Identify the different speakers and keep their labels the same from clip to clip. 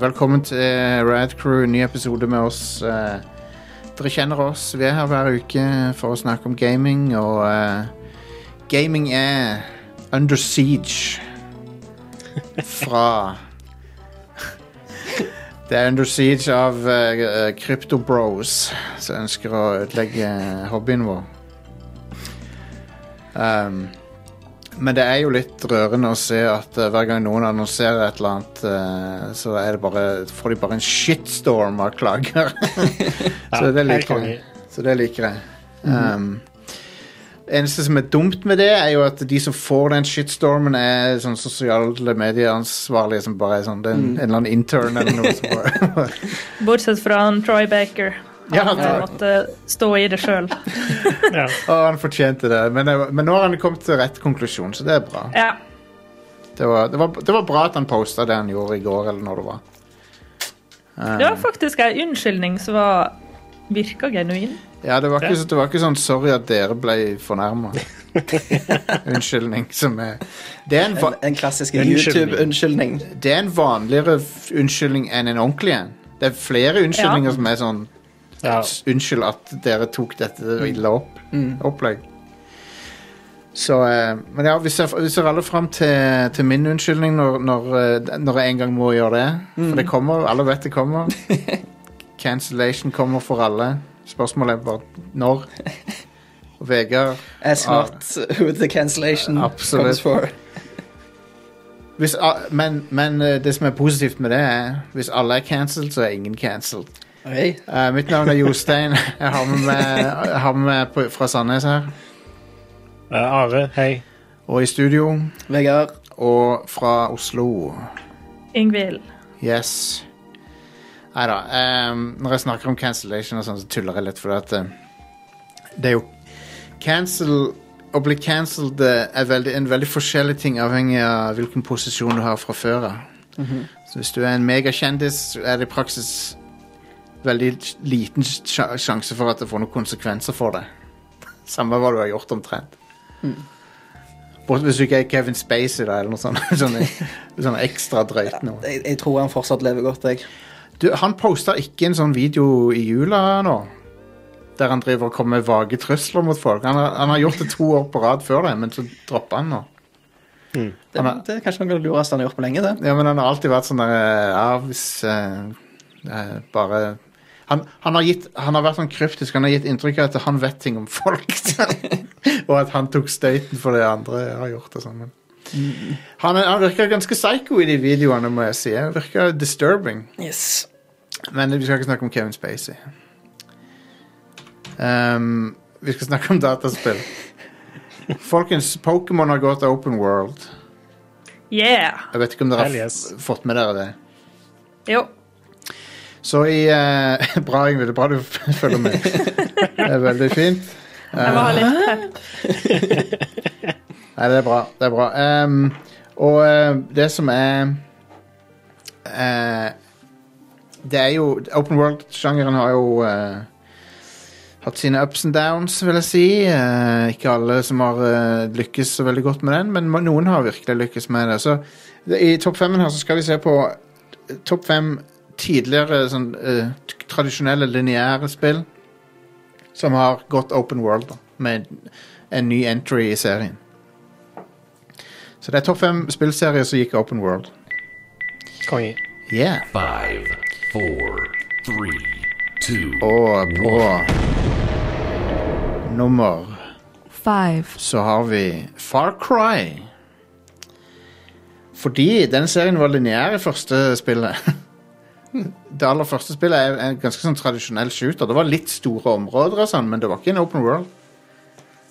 Speaker 1: Velkommen til Rad Crew, ny episode med oss. Eh, Dere kjenner oss. Vi er her hver uke for å snakke om gaming, og eh, gaming er under siege fra Det er under siege av eh, Crypto Bros som ønsker å ødelegge eh, hobbyen vår. Um, men det er jo litt rørende å se at eh, hver gang noen annonserer et eller annet, eh, så er det bare, får de bare en shitstorm av klager. så, det
Speaker 2: her
Speaker 1: liker
Speaker 2: kan vi-
Speaker 1: jeg. så det liker jeg. Um, eneste som er dumt med det, er jo at de som får den shitstormen, er sånn sosiale medieansvarlige som bare er sånn det er en, en eller annen intern eller noe som bare
Speaker 3: Bortsett fra han Troy Baker. Han
Speaker 1: Ja,
Speaker 3: eh,
Speaker 1: Troy.
Speaker 3: måtte stå i det sjøl.
Speaker 2: Ja.
Speaker 1: Å, han fortjente det. Men, det- men nå har han kommet til rett konklusjon, så det er bra.
Speaker 3: Ja.
Speaker 1: Det var, det var, det var bra at han posta det han gjorde i går, eller når det var.
Speaker 3: Det var faktisk ei unnskyldning som var virka genuin.
Speaker 1: Ja, det var ikke, det var ikke sånn 'sorry at dere ble fornærma'. Unnskyldning som er det er, en va
Speaker 4: En, en klassisk
Speaker 2: Unnskyldning.
Speaker 4: YouTube-unnskyldning.
Speaker 1: det er en vanligere f- unnskyldning enn en ordentlig en. Det er flere unnskyldninger som er sånn
Speaker 2: Ja.
Speaker 1: S- Unnskyld at dere tok dette ille opp.
Speaker 4: Mm.
Speaker 1: Opplegg. Så, eh, men ja, vi ser, vi ser alle fram til, til min unnskyldning når, når, eh, når jeg en gang må gjøre det. For det kommer. Alle vet det kommer. Cancellation kommer for alle. Spørsmålet er bare når. Og Vegard
Speaker 4: Ask
Speaker 1: Ja.
Speaker 4: not who the cancellation
Speaker 1: Ah. Absolutt.
Speaker 4: comes for.
Speaker 1: hvis, a- men, men eh, det som er positivt med det, er hvis alle er cancelled, så er ingen cancelled.
Speaker 4: Oi.
Speaker 1: Eh, mitt navn er Jostein. Jeg har med meg, jeg har med meg på, fra Sandnes her.
Speaker 2: Eh, Are, hei.
Speaker 1: Og i studio
Speaker 4: Vegard,
Speaker 1: og fra Oslo.
Speaker 3: Ingvild.
Speaker 1: Yes. Nei da. ehm, når jeg snakker om cancellation og sånn, så tuller jeg litt, for at eh, det er jo Cancel Å bli cancelled eh, er veldig, en veldig forskjellig ting avhengig av hvilken posisjon du har fra før av. Så hvis du er en megakjendis, så er det i praksis veldig liten sja- sjanse for at det får noen konsekvenser for deg. Samme hva du har gjort, omtrent. Bortsett hvis du ikke er Kevin Spacey, da, eller noe sånt. Sånn, sånn ekstra drøyt noe.
Speaker 4: jeg, jeg tror han fortsatt lever godt, jeg.
Speaker 1: Du, han posta ikke en sånn video i jula nå, der han driver og kommer med vage trusler mot folk. Han har, han har gjort det to år på rad før det, men så droppa han nå.
Speaker 4: Det,
Speaker 1: Han er-
Speaker 4: det er kanskje noe av det lureste han har gjort på lenge, det.
Speaker 1: Ja, men han har alltid vært sånn der eh, Ja, hvis eh, eh, Bare han, han, har gitt, han har vært sånn kryptisk. Han har gitt inntrykk av at han vet ting om folk. og at han tok støyten for det andre har gjort. og sånn. men- Han, er- han virker ganske psycho i de videoene, må jeg si. Han virker disturbing.
Speaker 4: Yes.
Speaker 1: Men vi skal ikke snakke om Kevin Spacey. Ehm, vi skal snakke om dataspill. Folkens, Pokémon har gått open world.
Speaker 3: Yeah!
Speaker 1: Jeg vet ikke om dere har
Speaker 2: Hell yes.
Speaker 1: f- fått med dere det.
Speaker 3: Jo.
Speaker 1: Så i eh, Bra, Ingvild. det er Bra du følger med. Det er veldig fint. Eh,
Speaker 3: Jeg må ha litt pep.
Speaker 1: Nei, det er bra. Det er bra. Ehm, og eh, det som er eh, Det er jo Open World-sjangeren har jo eh, hatt sine ups and downs, vil jeg si. Eh, ikke alle som har eh, lykkes så veldig godt med den, men ma- noen har virkelig lykkes med det. Så det- i topp femmen her så skal vi se på eh, topp fem tidligere sånn eh, t- tradisjonelle lineære spill som har gått open world, da, med en ny entry i serien. Så det er topp fem spillserier som gikk open world.
Speaker 2: Konge.
Speaker 1: Yeah.
Speaker 5: Five, four, three, two.
Speaker 1: Og på nummer
Speaker 6: Five.
Speaker 1: så har vi Far Cry. Fordi den serien var lineær i første spillet. Det aller første spillet er en ganske sånn tradisjonell shooter. Det var litt store områder, og sånn, men det var ikke en open world.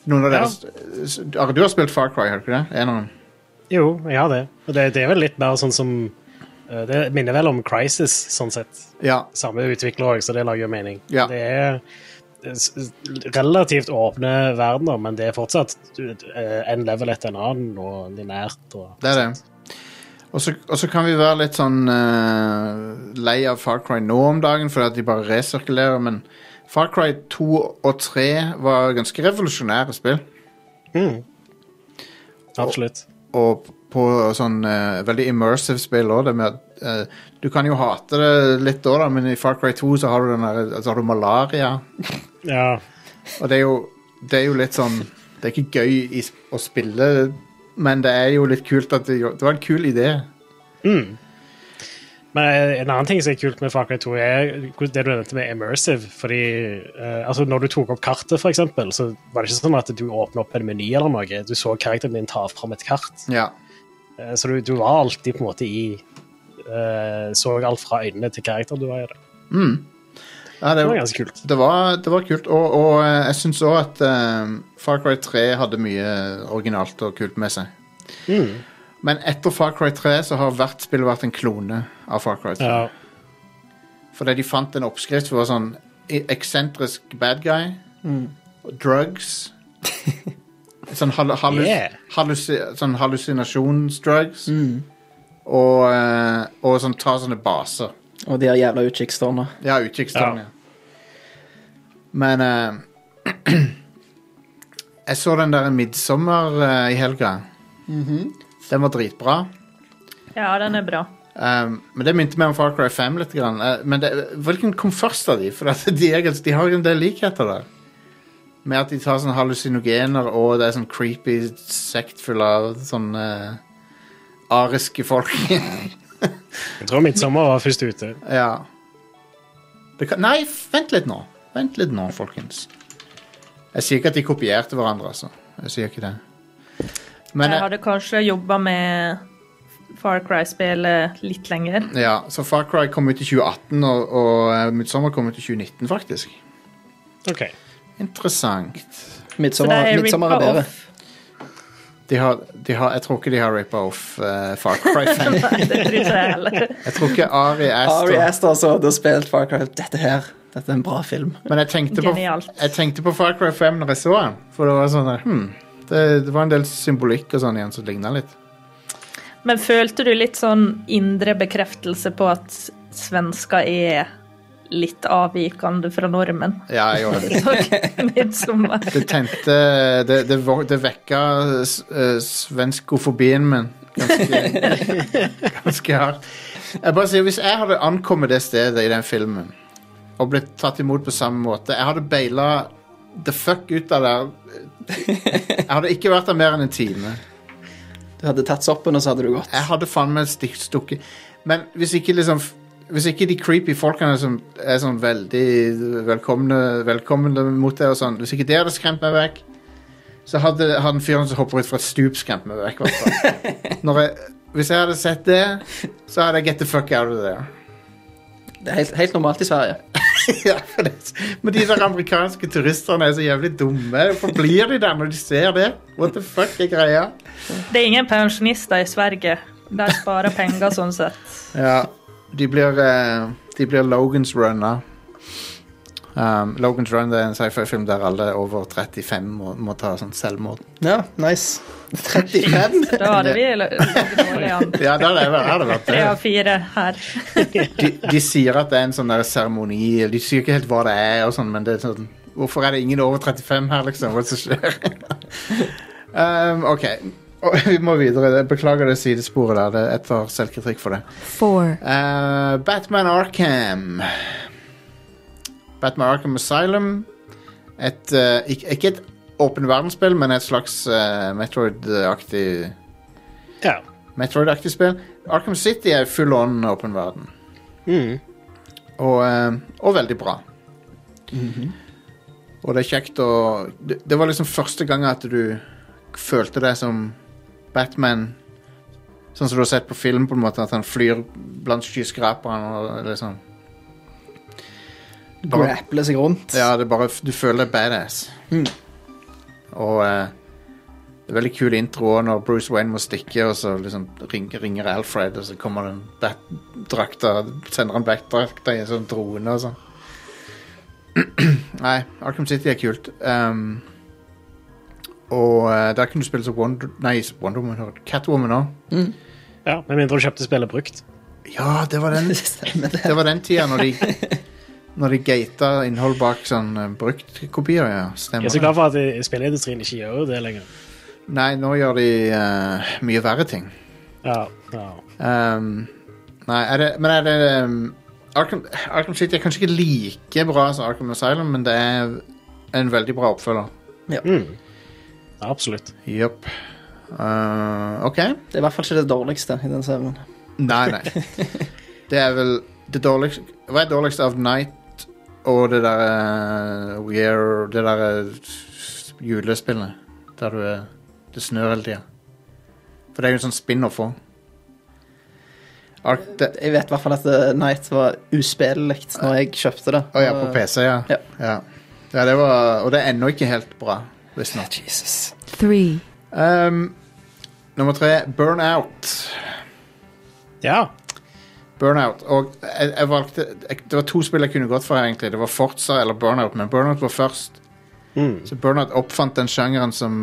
Speaker 1: Noen av
Speaker 2: Ja.
Speaker 1: dere, s- Are, du har spilt Far Cry, har du ikke det? En av dem.
Speaker 2: Jo, jeg har det. Og det, det er vel litt mer sånn som eh, Det minner vel om Crisis, sånn sett.
Speaker 1: Ja.
Speaker 2: Samme utvikler òg, så det lager jo mening.
Speaker 1: Ja.
Speaker 2: Det er s- s- relativt åpne verdener, men det er fortsatt eh, en level etter en annen, og linært. Og,
Speaker 1: Det er det. Og så- Og så kan vi være litt sånn eh, lei av Far Cry nå om dagen, fordi at de bare resirkulerer, men Far Cry 2 og 3 var ganske revolusjonære spill.
Speaker 2: Absolutt.
Speaker 1: og på sånn eh, veldig immersive spill òg. eh, du kan jo hate det litt da, da, men i Far Cry 2 så har du, den der, eh, så har du malaria.
Speaker 2: Ja.
Speaker 1: Og det er jo, det er jo litt sånn Det er ikke gøy i, s- å spille, men det er jo litt kult at det, det var en kul idé.
Speaker 2: Men eh, en annen ting som er kult med Far Cry 2, er det du nevnte med immersive. Fordi eh, altså når du tok opp kartet, for eksempel, så var det ikke sånn at du åpna opp en meny eller noe. Du så karakteren din ta fram et kart.
Speaker 1: Ja.
Speaker 2: Eh, så du, du var alltid på en måte i eh, Så alt fra øynene til karakteren du var i. Det,
Speaker 1: Ja,
Speaker 2: det var ganske kult.
Speaker 1: Det var, det var kult, og, og eh, jeg syns òg at eh, Far Cry 3 hadde mye originalt og kult med seg. Men etter Far Cry 3 så har hvert spill vært en klone av Far Cry 3.
Speaker 2: Ja.
Speaker 1: Fordi de fant en oppskrift som var sånn e- eksentrisk bad guy, drugs Sånn, hal hallus
Speaker 2: Yeah.
Speaker 1: hallusi- sånn hallusinasjonsdrugs. Og, eh, og sånn ta sånne baser.
Speaker 4: Og de her jævla utkikkstårna.
Speaker 1: Ja, utkikkstang,
Speaker 2: Ja.
Speaker 1: ja. Men eh, Jeg så den der Midsommer eh, i helga. Den var dritbra.
Speaker 3: Ja, den er bra.
Speaker 1: Um, men det minte meg om Far Cry 5 litt. Grann. Eh, men det, hvilken kom først av de? For at de, er, gans- de har jo en del likheter der. Med at de tar sånne hallusinogener, og det er sånn creepy sekt full av sånne eh, ariske folk.
Speaker 2: Jeg tror midtsommer var først ute.
Speaker 1: Ja. Det kan, nei, vent litt nå. Vent litt nå, folkens. Jeg sier ikke at de kopierte hverandre, altså. Jeg sier ikke det. Men
Speaker 3: Jeg
Speaker 1: eh,
Speaker 3: hadde kanskje jobba med Far Cry-spillet litt lenger.
Speaker 1: ja, så Far Cry kom ut i 2018, og, og eh, Midsommar kom ut i 2019, faktisk.
Speaker 2: OK.
Speaker 1: Interessant.
Speaker 3: Så det
Speaker 4: Midtsommer
Speaker 3: er
Speaker 4: midtsommer er
Speaker 3: rippa
Speaker 4: bedre.
Speaker 3: off.
Speaker 1: De har, de har, jeg tror ikke de har rippa off eh, Far Cry 5.
Speaker 3: Nei, det tror ikke jeg heller.
Speaker 1: Jeg tror ikke Ari
Speaker 4: Ari
Speaker 1: Aster
Speaker 4: Aster så hadde spilt Far Cry. Dette her, dette er en bra film.
Speaker 1: Men jeg tenkte, på,
Speaker 3: Genialt.
Speaker 1: jeg tenkte på Far Cry 5 når jeg så den. For det var sånn der, hmm, det, det var en del symbolikk og sånn igjen som ligna litt.
Speaker 3: Men følte du litt sånn indre bekreftelse på at svensker er litt avvikende fra nordmenn?
Speaker 1: Ja, jeg gjorde det.
Speaker 3: Så midtsommer.
Speaker 1: Det tente Det, det, vo- det vekka s- eh, svenskofobien min ganske, ganske hardt. Jeg bare sier, Hvis jeg hadde ankommet det stedet i den filmen og blitt tatt imot på samme måte Jeg hadde baila the fuck ut av der. Jeg hadde ikke vært der mer enn en time.
Speaker 4: Du hadde tatt soppen, og så hadde du gått.
Speaker 1: Jeg hadde faen meg stikk- stukket Men hvis ikke liksom hvis ikke de creepy folkene som er sånn veldig velkomne, velkomne mot deg og sånn, hvis ikke det hadde skremt meg vekk, så hadde han fyren som hopper ut fra et stup skremt meg vekk. hvertfall. Når jeg, hvis jeg hadde sett det, så hadde jeg get the fuck out of there.
Speaker 4: Det er helt, helt normalt i Sverige.
Speaker 1: ja, for det, men de der amerikanske turisterne er så jævlig dumme. Hvorfor blir de der når de ser det? What the fuck er greia?
Speaker 3: Det er ingen pensjonister i Sverige. De sparer penger sånn sett.
Speaker 1: Ja, de blir, eh, de blir Logans Run da. Um, Logans Run det er en sci-fi-film der alle over 35 må, må ta sånn selvmord.
Speaker 4: Ja, nice. 35?
Speaker 3: Da hadde vi l- ligget dårlig an.
Speaker 1: Ja, der er det, er det vært
Speaker 3: Tre
Speaker 1: det.
Speaker 3: av fire her.
Speaker 1: De, de sier at det er en sånn der seremoni, de sier ikke helt hva det er og sånn, men det er sånn, hvorfor er det ingen over 35 her liksom, hva er det som skjer? um, ok, Og vi må videre, beklager det sidesporet der, det jeg tar selvkritikk for det.
Speaker 6: four,
Speaker 1: Eh, Batman Arkham. Batman Arkham Asylum. Et, eh, ikk- ikke et åpen verdensspill, men et slags eh, Metroid-aktig
Speaker 2: Ja.
Speaker 1: Metroid-aktig spill. Arkham City er full on åpen verden.
Speaker 2: Mm.
Speaker 1: Og, eh, og veldig bra. Og det er kjekt å det, det var liksom første gang at du følte deg som Batman. Sånn som du har sett på film, på en måte, at han flyr blant skyskraperne og liksom Bare-
Speaker 4: Grapple seg rundt.
Speaker 1: Ja, det er bare, du føler deg badass.
Speaker 4: Mm.
Speaker 1: Og eh, det er veldig kul intro også når Bruce Wayne må stikke, og så liksom ringer, ringer Alfred, og så kommer den bat-drakta, sender han bat-drakta i en sånn drone og sånn. Nei, Arkham City er kult. Um, og eh, der kunne du spille som Wonder, nei, som Wonder Woman, hører du. Catwoman òg.
Speaker 2: ja. Med mindre du kjøpte spillet brukt.
Speaker 1: Ja, det var den
Speaker 4: Det stemmer, det.
Speaker 1: det var den tida når de Når de gata innhold bak sånn eh, bruktkopier, ja. Stemmer.
Speaker 2: eh, Jeg er så glad for at i- spillindustrien ikke gjør det lenger.
Speaker 1: Nei, nå gjør de eh, mye verre ting.
Speaker 2: Ja, ja.
Speaker 1: Ehm, nei, er det, men er det ehm, Arkham, Arkham City er kanskje ikke like bra som Arkham Asylum, men det er en veldig bra oppfølger.
Speaker 2: Absolutt.
Speaker 1: Jepp. Eh, OK.
Speaker 4: Det er i hvert fall ikke det dårligste i den serien.
Speaker 1: Nei, nei. Det er vel det dårligste Hva er dårligst av Night og det derre Weir Det derre julespillet der du er Det snør hele tida. For det er jo en sånn spin-off òg. Ark... Det,
Speaker 4: Jeg vet i hvert fall at eh, Night var uspillelig når jeg kjøpte det. Eh,
Speaker 1: Å ja, på PC, ja.
Speaker 4: Ja.
Speaker 1: ja. Ja, det var, og det er ennå ikke helt bra, visstnok.
Speaker 4: Jesus.
Speaker 6: three,
Speaker 1: Um, nummer tre, Burnout.
Speaker 2: Ja.
Speaker 1: Burnout. Og jeg, jeg valgte jeg, Det var to spill jeg kunne gått for, her, egentlig. Det var Forza eller Burnout, men Burnout var først.
Speaker 2: Mm.
Speaker 1: Så Burnout oppfant den sjangeren som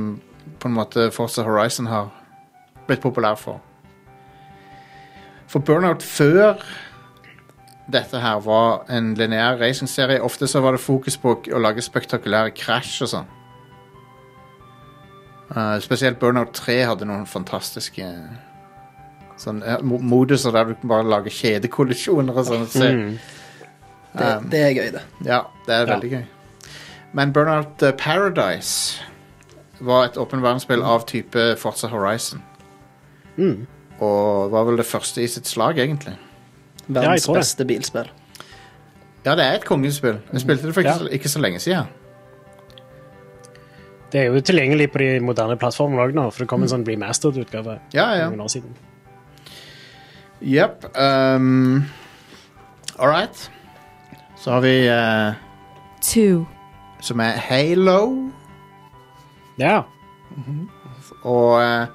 Speaker 1: på en måte Forza Horizon har blitt populær for. For Burnout før dette her var en lineær racingserie. Ofte så var det fokus på å lage spektakulære krasj og sånn. Eh, spesielt Burnout 3 hadde noen fantastiske sånn, eh, mo- moduser der du bare lager kjedekollisjoner og sånn. Så,
Speaker 2: Mm.
Speaker 4: Det,
Speaker 1: Um,
Speaker 4: det er gøy, det.
Speaker 1: ja, det er
Speaker 2: Ja.
Speaker 1: veldig gøy. Men Burnout eh, Paradise var et åpen verdensspill av type Forza Horizon.
Speaker 2: Mm.
Speaker 1: Og var vel det første i sitt slag, egentlig.
Speaker 2: Ja,
Speaker 4: Verdens
Speaker 2: jeg tror det.
Speaker 4: beste bilspill.
Speaker 1: Ja, det er et kongespill. Jeg spilte det for ikke,
Speaker 2: Ja.
Speaker 1: så- ikke så lenge siden.
Speaker 2: Det er jo tilgjengelig på de moderne plattformene òg nå, for det kom en sånn remastered utgave
Speaker 1: Mm. Ja,
Speaker 2: for
Speaker 1: ja.
Speaker 2: noen år siden.
Speaker 1: Jepp. Um, All right. Så har vi eh,
Speaker 6: two,
Speaker 1: som er Halo.
Speaker 2: Ja.
Speaker 1: Og eh,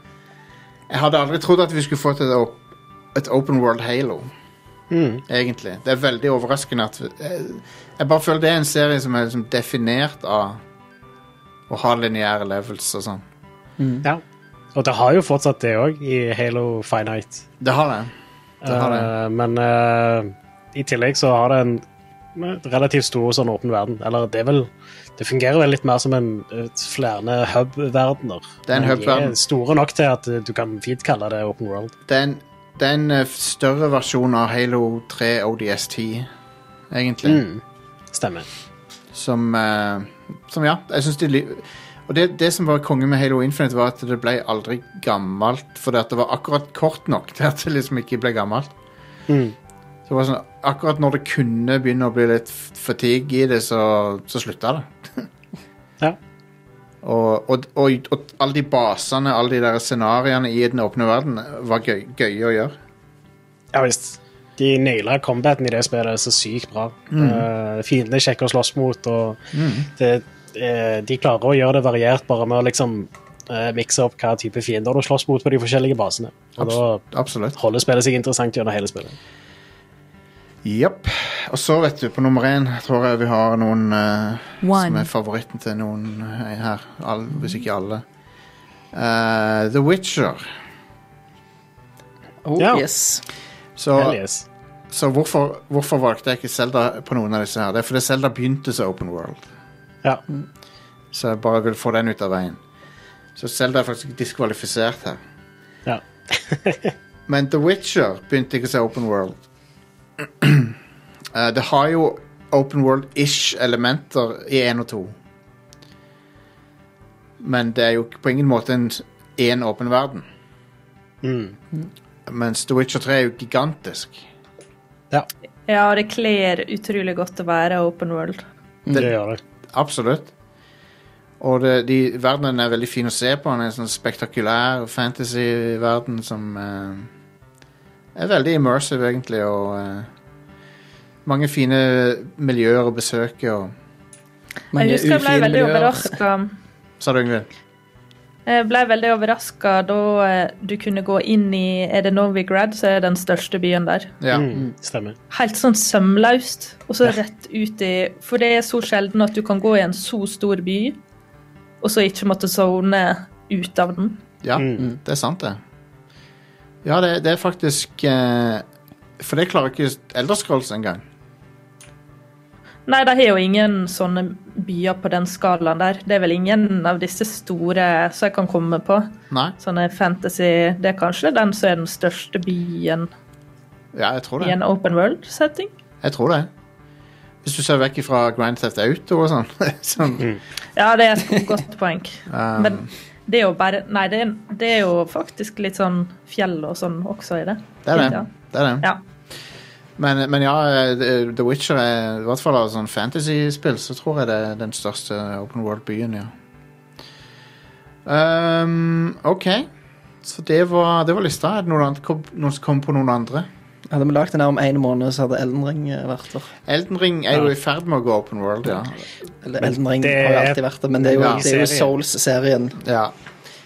Speaker 1: jeg hadde aldri trodd at vi skulle fått et, op et open world Halo.
Speaker 2: Mm.
Speaker 1: egentlig. Det er veldig overraskende at Jeg, jeg bare føler det er en serie som er liksom definert av å ha lineære levels og sånn.
Speaker 2: ja. Og det har jo fortsatt det òg, i Halo Finite.
Speaker 1: Det har det. Det har det.
Speaker 2: Eh, men eh, i tillegg så har det en eh, relativt stor sånn åpen verden. Eller det er vel Det fungerer vel litt mer som en et flere hub-verdener.
Speaker 1: Det er en
Speaker 2: Men de
Speaker 1: hub-verden.
Speaker 2: Store nok til at eh, du kan fint kalle det open world.
Speaker 1: Det er en, det er en eh, større versjon av Halo 3 ODST, egentlig.
Speaker 2: Mm. Stemmer.
Speaker 1: Som, eh, som ja, jeg synes de li- Og det, det som var konge med Halo Infinite, var at det ble aldri gammelt. Fordi at det var akkurat kort nok til at det liksom ikke ble gammelt.
Speaker 2: Mm.
Speaker 1: Så det var sånn, akkurat når det kunne begynne å bli litt f- fatigue i det, så, så slutta det.
Speaker 2: Ja.
Speaker 1: Og, og, og, og alle de basene, alle de der scenarioene i den åpne verden var gøy, gøye å gjøre.
Speaker 2: Ja visst. De naila combaten i det spillet så sykt bra.
Speaker 1: Mm.
Speaker 2: Eh, Fiendene er kjekke å slåss mot, og det, eh, de klarer å gjøre det variert bare med å liksom eh, mikse opp hva type fiender du slåss mot på de forskjellige basene. Og da
Speaker 1: Absolutt.
Speaker 2: holder spillet seg interessant gjennom hele spillet.
Speaker 1: Jepp. Og så, vet du, på nummer én tror jeg vi har noen eh, som
Speaker 6: one,
Speaker 1: er favoritten til noen eh, her. All, hvis ikke alle. Eh, The Witcher.
Speaker 4: Oh,
Speaker 2: Ja.
Speaker 4: yes.
Speaker 1: Så,
Speaker 2: Hell yes.
Speaker 1: så hvorfor, hvorfor valgte jeg ikke Zelda på noen av disse her? Det er fordi Zelda begynte som Open World.
Speaker 2: Ja.
Speaker 1: Så jeg bare vil få den ut av veien. Så Zelda er faktisk diskvalifisert her.
Speaker 2: Ja.
Speaker 1: Men The Witcher begynte ikke å se Open World. Eh, det har jo Open World-ish elementer i 1 og 2. Men det er jo ikke- på ingen måte en én åpen verden.
Speaker 2: Mm.
Speaker 1: Mens The Witcher 3 er jo gigantisk.
Speaker 2: ja.
Speaker 3: Ja, det kler utrolig godt å være open world.
Speaker 2: Det gjør det.
Speaker 1: Absolutt. Og det, de, verdenen er veldig fin å se på. Den er en sånn spektakulær fantasy-verden som eh, er veldig immersive, egentlig, og eh, mange fine miljøer å besøke. Og...
Speaker 3: Jeg
Speaker 4: Mange
Speaker 3: husker jeg ble
Speaker 4: ufine
Speaker 3: veldig
Speaker 4: miljøer.
Speaker 3: overraska.
Speaker 1: Sa du, Yngvild?
Speaker 3: Jeg ble veldig overraska da eh, du kunne gå inn i Er det Novigrad, så er det den største byen der.
Speaker 1: Ja.
Speaker 2: Mm. Stemmer.
Speaker 3: Helt sånn sømløst, og så rett ut i For det er så sjelden at du kan gå i en så stor by, og så ikke måtte sone ut av den.
Speaker 1: ja,
Speaker 2: Mm.
Speaker 1: det er sant, det. Ja, det, det er faktisk eh, For det klarer ikke Elderscrolls engang.
Speaker 3: Nei, de har jo ingen sånne byer på den skalaen der. Det er vel ingen av disse store som jeg kan komme på.
Speaker 1: Nei?
Speaker 3: Sånne fantasy Det er kanskje den som er den største byen
Speaker 1: Ja, jeg tror
Speaker 3: i
Speaker 1: det.
Speaker 3: en open world-setting.
Speaker 1: Jeg tror det. Hvis du ser vekk fra Grand Theft Auto og sånn. sånn.
Speaker 2: Mm.
Speaker 3: Ja, det er et godt poeng.
Speaker 1: Um.
Speaker 3: Men det er jo bare Nei, det er, det er jo faktisk litt sånn fjell og sånn også i det.
Speaker 1: Det er det. det, er det.
Speaker 3: Ja.
Speaker 1: Men, men ja, eh, The- The Witcher er i hvert fall av sånn fantasy-spill, så tror jeg det er den største open world-byen, ja. Ehm, OK. Så det var, det var lista. Er det noen, andre, kom, noen som kom på noen andre?
Speaker 4: Hadde vi lagd den her om en måned, så hadde Elden Ring eh, vært der.
Speaker 1: Elden Ring er jo i ferd med å gå open world, ja.
Speaker 4: Eller Elden Ring
Speaker 2: det
Speaker 4: har jo
Speaker 2: er-
Speaker 4: alltid vært der, men det er jo,
Speaker 1: Ja.
Speaker 4: det er jo
Speaker 2: Serien.
Speaker 4: Souls-serien.
Speaker 1: ja.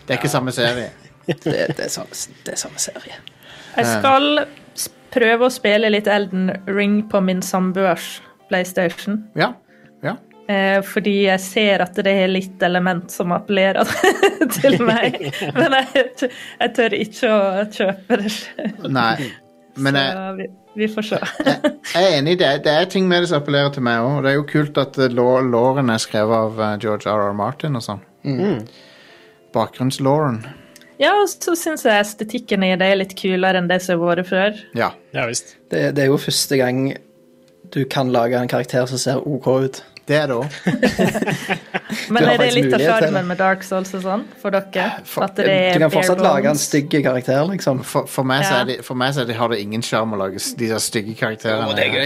Speaker 1: Det er ikke samme serie.
Speaker 4: Det, det, er samme, det er samme serie.
Speaker 1: Um.
Speaker 3: Jeg skal s- prøve å spille litt Elden Ring på min samboers PlayStation.
Speaker 1: Ja. ja.
Speaker 3: Eh, fordi jeg ser at det er litt element som appellerer til meg. Men jeg, t- jeg tør ikke å kjøpe det selv.
Speaker 1: Nei. Men eh, jeg,
Speaker 3: Så vi, vi får se.
Speaker 1: jeg er enig, det er, det er ting med det som appellerer til meg òg. Det er jo kult at eh, lå- låren er skrevet av eh, George R.R. Martin og sånn.
Speaker 4: Mm.
Speaker 1: Bakgrunnslåren.
Speaker 3: Ja, og så syns jeg estetikken i det er litt kulere enn det som har vært før.
Speaker 1: Ja.
Speaker 2: Ja visst.
Speaker 4: Det, det er jo første gang du kan lage en karakter som ser OK ut.
Speaker 1: Det er det òg.
Speaker 3: Men
Speaker 4: har
Speaker 3: er det
Speaker 4: faktisk
Speaker 3: litt av
Speaker 4: mulighet til
Speaker 3: sjarmen med Dark Souls og sånn for dere? At det er
Speaker 4: Du kan fortsatt
Speaker 3: bare
Speaker 4: lage en
Speaker 3: bones?
Speaker 4: stygg karakter, liksom.
Speaker 1: For, for meg, så
Speaker 3: Ja.
Speaker 1: er de, for meg så er de, har det ingen sjarm å lage s- de der stygge karakterene.
Speaker 4: Det er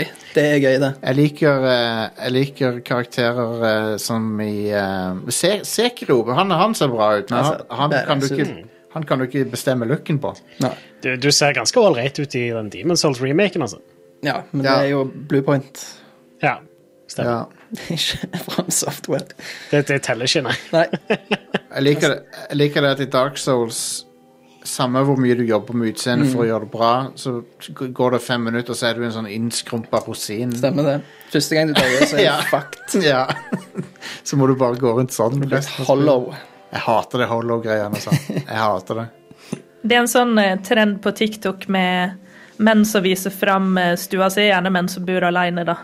Speaker 4: gøy, det.
Speaker 1: Jeg liker, eh, jeg liker karakterer eh, som i eh, Se- Sekiro. Han, han ser bra ut, men han,
Speaker 4: Altså,
Speaker 1: han,
Speaker 4: det er
Speaker 1: kan du
Speaker 4: absolutt.
Speaker 1: ikke, han kan du ikke bestemme looken på.
Speaker 4: Nei.
Speaker 2: Du, du ser ganske ålreit ut i den Demon's Souls-remaken, altså.
Speaker 4: Ja,
Speaker 1: Ja.
Speaker 4: men det er jo Bluepoint.
Speaker 2: Ja, stemmer.
Speaker 1: Ja.
Speaker 4: Ikke fra software.
Speaker 2: Det, det teller ikke, nei.
Speaker 4: Nei.
Speaker 1: Jeg liker, det- jeg liker det at i Dark Souls samme hvor mye du jobber med utseendet for å gjøre det bra, så g- går det fem minutter, så er du en sånn innskrumpa rosin.
Speaker 4: Stemmer det. Første gang du dør, så er
Speaker 1: Ja.
Speaker 4: du fucked.
Speaker 1: Ja. Så må du bare gå rundt sånn.
Speaker 4: Du er hollow.
Speaker 1: Jeg hater det hollow-greiene. sånn. Jeg hater det.
Speaker 3: Det er en sånn eh, trend på TikTok med menn som viser fram eh, stua si, gjerne menn som bor alene, da.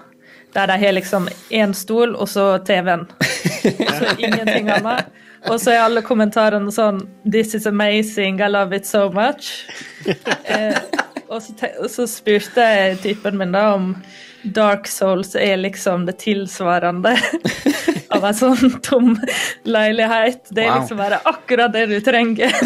Speaker 3: Der de har liksom én stol, og så TV-en. Så ingenting annet. Og så er alle kommentarene sånn This is amazing, I love it so much. Eh, og, så te og så spurte jeg typen min da om Dark Souls er liksom det tilsvarende av en sånn tom leilighet. Det er
Speaker 1: Wow.
Speaker 3: liksom bare akkurat det du trenger.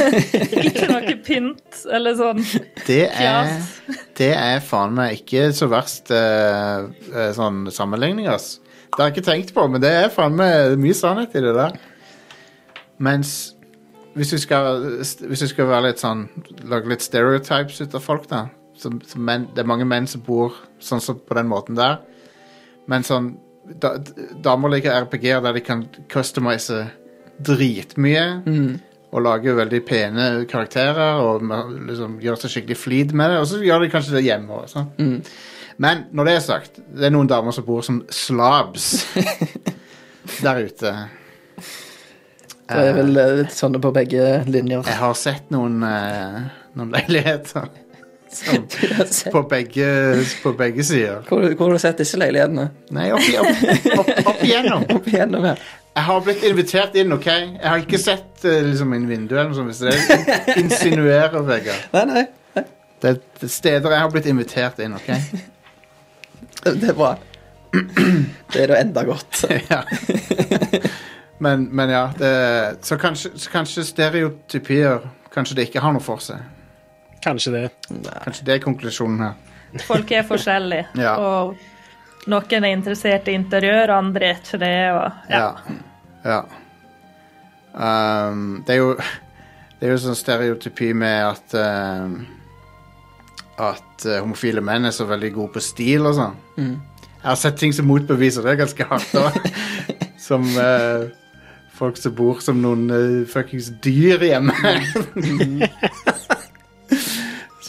Speaker 3: Ikke noe pynt eller sånn.
Speaker 1: Det er,
Speaker 3: Fjas.
Speaker 1: det er faen meg ikke så verst eh, eh, sånn sammenligning, ass. Det har jeg ikke tenkt på, men det er faen meg mye sannhet i det der. Mens hvis vi skal, hvis vi skal være litt sånn lage litt stereotypes ut av folk, da som, som menn, Det er mange menn som bor sånn som på den måten der. Men sånn da, Damer liker RPG-er der de kan customize dritmye. Og lage veldig pene karakterer og ma- liksom gjøre seg skikkelig flid med det. Og så gjør de kanskje det hjemme òg. Men når det er sagt, det er noen damer som bor som slabs der ute.
Speaker 4: Det er vel eh, litt sånne på begge linjer.
Speaker 1: Jeg har sett noen, eh, noen leiligheter som,
Speaker 4: Hvor
Speaker 1: på, begge, på begge sider.
Speaker 4: hvor har du sett disse leilighetene?
Speaker 1: Nei, opp, opp, opp, opp igjennom.
Speaker 4: Opp igjennom her.
Speaker 1: Jeg har blitt invitert inn, OK? Jeg har ikke sett eh, liksom en vindu eller noe sånt. Hvis det er det du insinuerer, Vegard.
Speaker 4: Nei, nei.
Speaker 1: Det er- det er steder jeg har blitt invitert inn, OK?
Speaker 4: Det det er bra. Det er da enda godt.
Speaker 1: ja. Men, men ja, det, så, kanskje, så kanskje stereotypier Kanskje det ikke har noe for seg.
Speaker 2: Kanskje det.
Speaker 1: Kanskje det er konklusjonen her.
Speaker 3: Folk er forskjellige.
Speaker 1: Ja.
Speaker 3: Og noen er interessert i interiør, andre er ikke det. Og, ja.
Speaker 1: Ja. ja. Um, det er jo Det er jo sånn stereotypi med at um, At uh, homofile menn er så veldig gode på stil og sånn. Jeg har sett ting som motbeviser det ganske hardt òg. som uh, folk som bor som noen uh, fuckings dyr hjemme.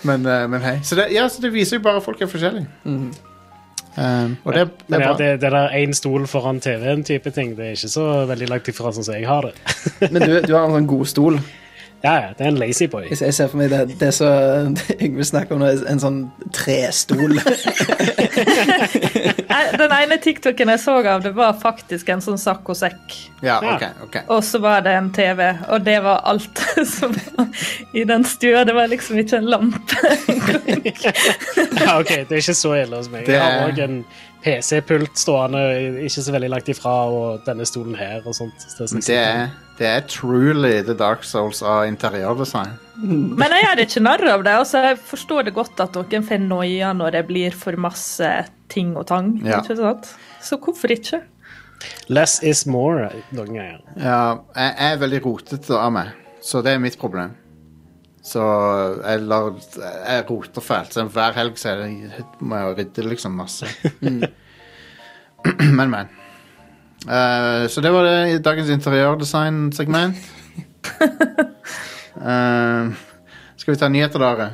Speaker 1: men, uh, men hei. Så det, ja, så det viser jo bare at folk er forskjellige. Um, og det, det
Speaker 2: Men
Speaker 1: er
Speaker 2: ja,
Speaker 1: bra.
Speaker 2: det, det der én stol foran TV-en-type ting, det er ikke så veldig langt ifra sånn som jeg har det.
Speaker 4: Men du, du har en sånn god stol.
Speaker 2: Ja, ja, det er en lazy boy.
Speaker 4: Jeg ser- jeg ser for meg det, det som Yngve snakker om, nå, er en sånn trestol.
Speaker 3: Nei, Den ene TikToken jeg så av det, var faktisk en sånn saccosekk.
Speaker 1: Ja,
Speaker 2: Ja.
Speaker 1: OK. ok.
Speaker 3: Og så var det en TV, og det var alt som var i den stua. Det var liksom ikke en lampe.
Speaker 2: Ja, ok, Det er ikke så ille hos meg.
Speaker 1: Det
Speaker 2: Jeg har
Speaker 1: er-
Speaker 2: òg en PC-pult stående ikke så veldig langt ifra, og denne stolen her og sånt. så Det, sånn
Speaker 1: Det er, det er truly the dark souls av interiørdesign.
Speaker 3: Men jeg gjør ikke narr av det. altså Jeg forstår det godt at noen får noia når det blir for masse ting og tang.
Speaker 1: Ja.
Speaker 3: ikke sant? Så hvorfor ikke?
Speaker 2: Less is more eh, noen ganger.
Speaker 1: Ja, jeg jeg er veldig rotete av meg, så det er mitt problem. Så jeg, lar, jeg roter fælt. Så hver helg så er det, må jeg rydde liksom masse. men, men. Eh, så det var det i dagens interiørdesign-segment. Eh, skal vi ta nyheter, da? Are?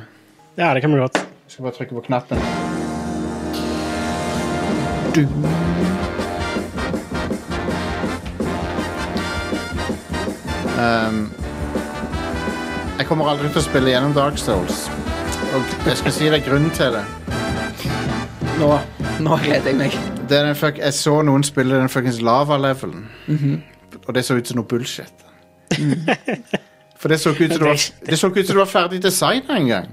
Speaker 2: Ja, det kan vi godt.
Speaker 1: Jeg skal bare trykke på knappen. Um, jeg kommer aldri til å spille gjennom Dark Souls. Og jeg skal si deg grunnen til det.
Speaker 4: Nå, nå gleder jeg meg.
Speaker 1: det er den fuck, jeg så noen spille den fuckings lava-levelen. Mhm. Og det så ut som noe bullshit. For det så ikke ut som Mhm. det var, det så ikke ut som det var ferdig designa engang.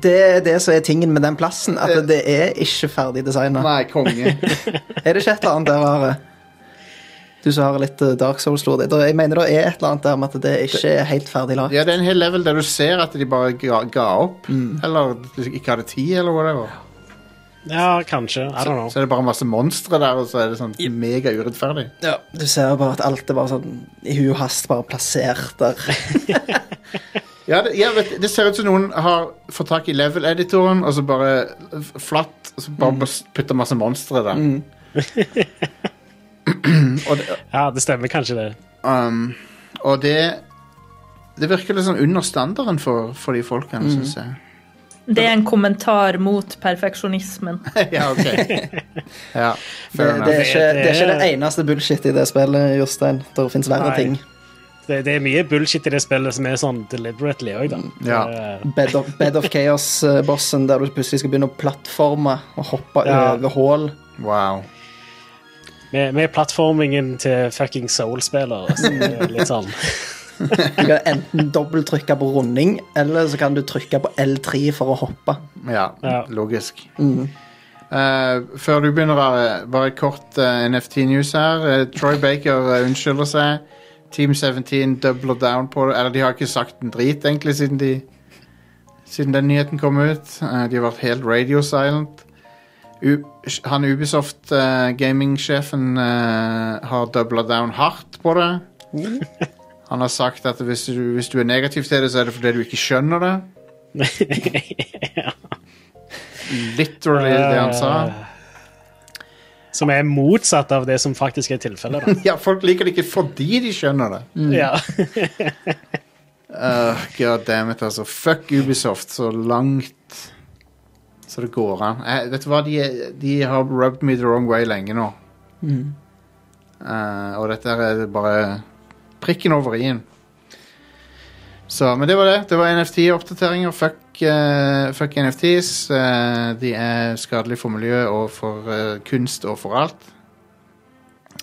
Speaker 4: Det er det som er tingen med den plassen, at det er ikke ferdig designa.
Speaker 1: Nei, konge.
Speaker 4: Er det ikke et eller annet der, Are? Du som har litt eh, Dark Souls-lore. Det- Jeg mener det er et eller annet der med at det ikke er helt ferdig lagd.
Speaker 1: Ja, det er en hel level der du ser at de bare ga, ga opp.
Speaker 4: Mm.
Speaker 1: Eller ikke hadde tid, eller whatever.
Speaker 2: Ja, kanskje. I don't know.
Speaker 1: Så er det bare masse monstre der, og så er det sånn mega urettferdig.
Speaker 4: Ja. Du ser bare at alt er bare sånn i hu og hast bare plassert der.
Speaker 1: Ja, det, ja, vet, det ser ut som noen har fått tak i level-editoren, og så bare f- flatt og så
Speaker 4: Mm.
Speaker 1: bare bes- putter masse monstre der. og, det,
Speaker 2: Ja, Det stemmer kanskje, det.
Speaker 1: um, og det Det virker litt sånn under standarden for, for de folkene,
Speaker 4: Mm.
Speaker 1: synes jeg.
Speaker 3: Det er en kommentar mot perfeksjonismen.
Speaker 1: ja, ok. Ja,
Speaker 4: Det,
Speaker 1: fair enough.
Speaker 4: det, er ikke, det er ikke
Speaker 2: Det er-
Speaker 4: det eneste bullshit i det spillet, Jostein. Det fins verre
Speaker 2: Nei.
Speaker 4: ting.
Speaker 2: det. Det er mye bullshit i det spillet som er sånn deliberately òg, da.
Speaker 1: Ja.
Speaker 2: Det er-
Speaker 4: Bed of, Bed of Chaos-bossen, der du plutselig skal begynne å plattforme og hoppe
Speaker 2: Ja.
Speaker 4: over hull.
Speaker 1: Wow.
Speaker 2: Med, med plattformingen til fucking Soul-spillere. så det er Litt sånn.
Speaker 4: Du kan enten dobbelttrykke på runding, eller så kan du trykke på L3 for å hoppe.
Speaker 1: Ja,
Speaker 2: Ja.
Speaker 1: logisk. Eh, før du begynner, Are, bare kort eh, NFT-news her. Eh, Troy Baker eh, unnskylder seg. Team 17 doubler down på det. Eller de har ikke sagt en drit, egentlig, siden, de, siden den nyheten kom ut. Eh, de har vært helt radio silent. U han Ubisoft, eh, gaming-sjefen, eh, har doubla down hardt på det. Han har sagt at hvis du, hvis du er negativ til det, så er det fordi du ikke skjønner det. Literally det han sa.
Speaker 2: Eh. Som er motsatt av det som faktisk er tilfellet, da.
Speaker 1: Ja, folk liker det ikke fordi de skjønner det.
Speaker 2: Ja.
Speaker 1: Uh, God damn it, altså. Fuck Ubisoft så langt så det går an. Eh, vet du hva, de, de har rubbed me the wrong way lenge nå. Eh, og dette her er bare prikken over i-en. Så, men det var det. Det var NFT-oppdateringer. Fuck, eh, fuck NFTs. Eh, de er skadelige for miljøet og for eh, kunst og for alt.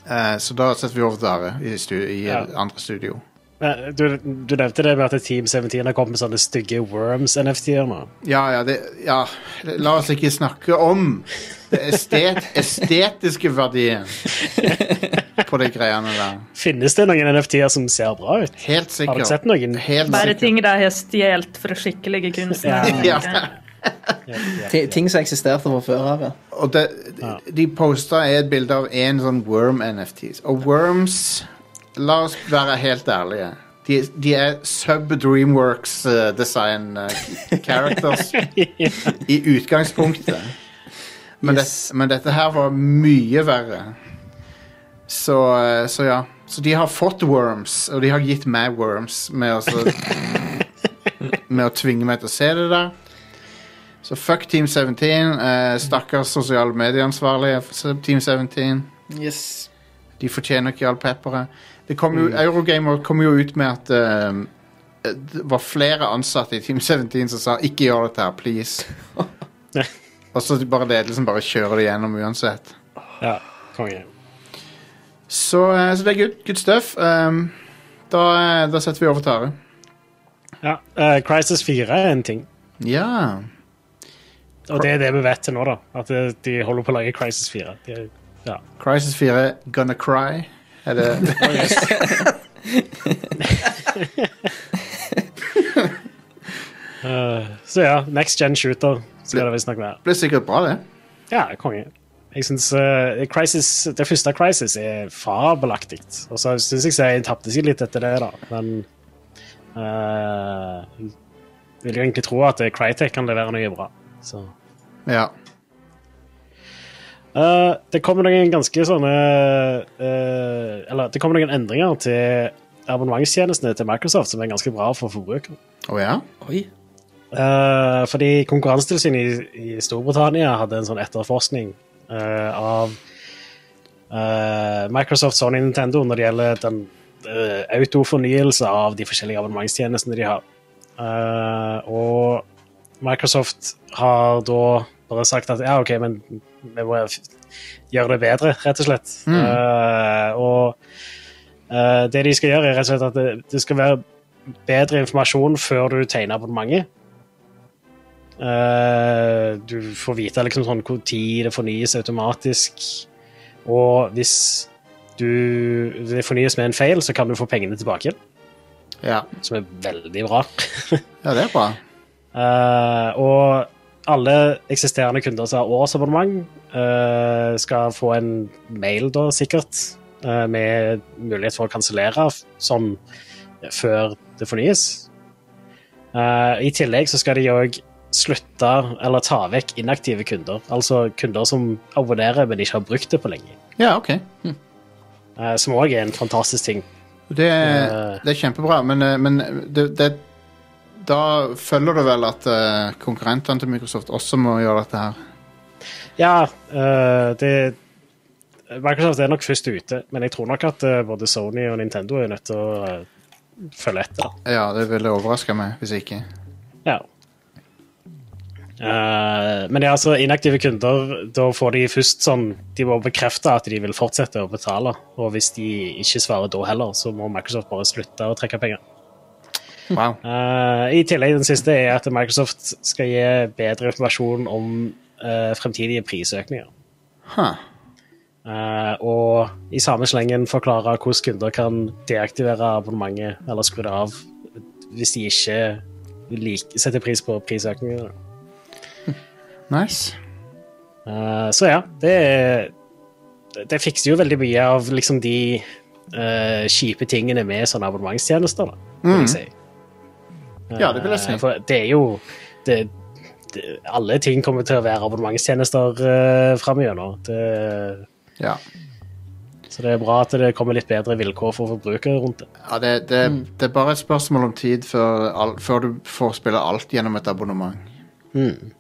Speaker 1: Eh, så da setter vi over til Are i, stu i eh,
Speaker 2: Ja.
Speaker 1: andre studio.
Speaker 2: Men eh, Du, du nevnte det med at Team 17 har kommet med sånne stygge Worms-NFT-er nå.
Speaker 1: Ja, ja, det, ja. La oss ikke snakke om det estet, estetiske verdien på de greiene der.
Speaker 2: Finnes det noen NFT-er som ser bra ut?
Speaker 1: Helt sikkert.
Speaker 2: Har dere sett noen?
Speaker 1: Helt
Speaker 3: Bare
Speaker 1: sikkert.
Speaker 3: ting de har stjålet fra skikkelige kunstnere.
Speaker 1: Ja.
Speaker 4: Ti- Ting som eksisterte fra før av. ja.
Speaker 1: Og det,
Speaker 2: Ja.
Speaker 1: de posta et bilde av én sånn Worm-NFT. Og Worms La oss være helt ærlige. De, de er sub-Dreamworks-design eh, characters i utgangspunktet. Men,
Speaker 4: Yes.
Speaker 1: det, men dette her var mye verre. Så, eh, så ja. Så de har fått worms, og de har gitt meg worms med å, så- med å tvinge meg til å se det der. Så fuck Team 17. Eh, stakkars sosiale medieansvarlige for Team 17. De fortjener ikke all pepperet. Det Det kom jo, Eurogamer kom jo ut med at ehm, det var flere ansatte i Team 17 som sa 'ikke gjør dette her, please'. Og så bare ledelsen bare kjører det gjennom uansett.
Speaker 2: Ja, konge.
Speaker 1: Så, eh, så det er good, good stuff. Ehm, da, eh, da setter vi over Tare.
Speaker 2: Ja, eh, Crisis 4 er en ting.
Speaker 1: Ja.
Speaker 2: Og det er det vi vet til nå, da. At eh, de holder på å lage Crisis 4. De, ja.
Speaker 1: Crisis 4, Gonna Cry. Er det
Speaker 2: Eh, så ja, next gen shooter skal det visstnok være.
Speaker 1: blir sikkert bra, det.
Speaker 2: Ja, konge. Jeg synes, eh, Crisis, Det første Crisis er fabelaktig. Og så syns jeg serien tapte seg litt etter det, da. Men eh, jeg vil jo egentlig tro at eh, Crytek kan levere noe bra. Så.
Speaker 1: Ja.
Speaker 2: Eh, det kommer noen ganske sånne eh, Eller det kommer noen endringer til abonnementstjenestene til Microsoft som er ganske bra for forbrukere.
Speaker 1: Å ja?
Speaker 4: Oi.
Speaker 2: Eh, fordi Konkurransetilsynet i, i Storbritannia hadde en sånn etterforskning eh, av eh, Microsoft, Sony Nintendo når det gjelder den eh, autofornyelse av de forskjellige abonnementstjenestene de har. Eh, og Microsoft har da bare sagt at ja, OK, men vi må f- gjøre det bedre, rett og slett. Eh, og eh, det de skal gjøre, er rett og slett at det, det skal være bedre informasjon før du tegner abonnementet. Eh, du får vite liksom sånn hvor tid det fornyes automatisk. Og hvis du, det fornyes med en feil, så kan du få pengene tilbake igjen,
Speaker 1: Ja,
Speaker 2: som er veldig bra.
Speaker 1: ja det er bra.
Speaker 2: Eh, og alle eksisterende kunder som har årsabonnement, eh, skal få en mail, da, sikkert, eh, med mulighet for å kansellere f- som før det fornyes. Eh, I tillegg så skal de òg slutte eller ta vekk inaktive kunder, altså kunder som abonnerer, men ikke har brukt det på lenge.
Speaker 1: Ja, OK.
Speaker 2: Eh, som òg er en fantastisk ting.
Speaker 1: Det, er-
Speaker 2: Eh.
Speaker 1: det er kjempebra, men, eh, men det, det Da følger det vel at eh, konkurrentene til Microsoft også må gjøre dette her.
Speaker 2: Ja, eh, det Microsoft er nok først ute, men jeg tror nok at eh, både Sony og Nintendo er nødt til å eh, følge etter. da.
Speaker 1: Ja, det ville overraska meg hvis ikke.
Speaker 2: Ja. Eh, men det er altså inaktive kunder. Da får de først sånn De må bekrefte at de vil fortsette å betale. Og hvis de ikke svarer da heller, så må Microsoft bare slutte å trekke penger.
Speaker 1: Wow.
Speaker 2: Eh, I tillegg den siste er at Microsoft skal gi bedre informasjon om eh, fremtidige prisøkninger.
Speaker 1: Huh.
Speaker 2: Eh, og i samme slengen forklare hvordan kunder kan deaktivere abonnementet eller skru det av hvis de ikke lik- setter pris på prisøkningene.
Speaker 1: Nice.
Speaker 2: Eh, så ja, det, er- det fikser jo veldig mye av liksom de eh, kjipe tingene med sånne abonnementstjenester, da, vil jeg si.
Speaker 1: Mm. Ja, det vil jeg si.
Speaker 2: Eh, For det er jo det, det, Alle ting kommer til å være abonnementstjenester uh, framover. Det
Speaker 1: Ja,
Speaker 2: Så det er bra at det kommer litt bedre vilkår for forbrukere rundt det.
Speaker 1: ja det, det,
Speaker 2: Mm.
Speaker 1: det er bare et spørsmål om tid før, all, før du får spille alt gjennom et abonnement.
Speaker 2: Mm.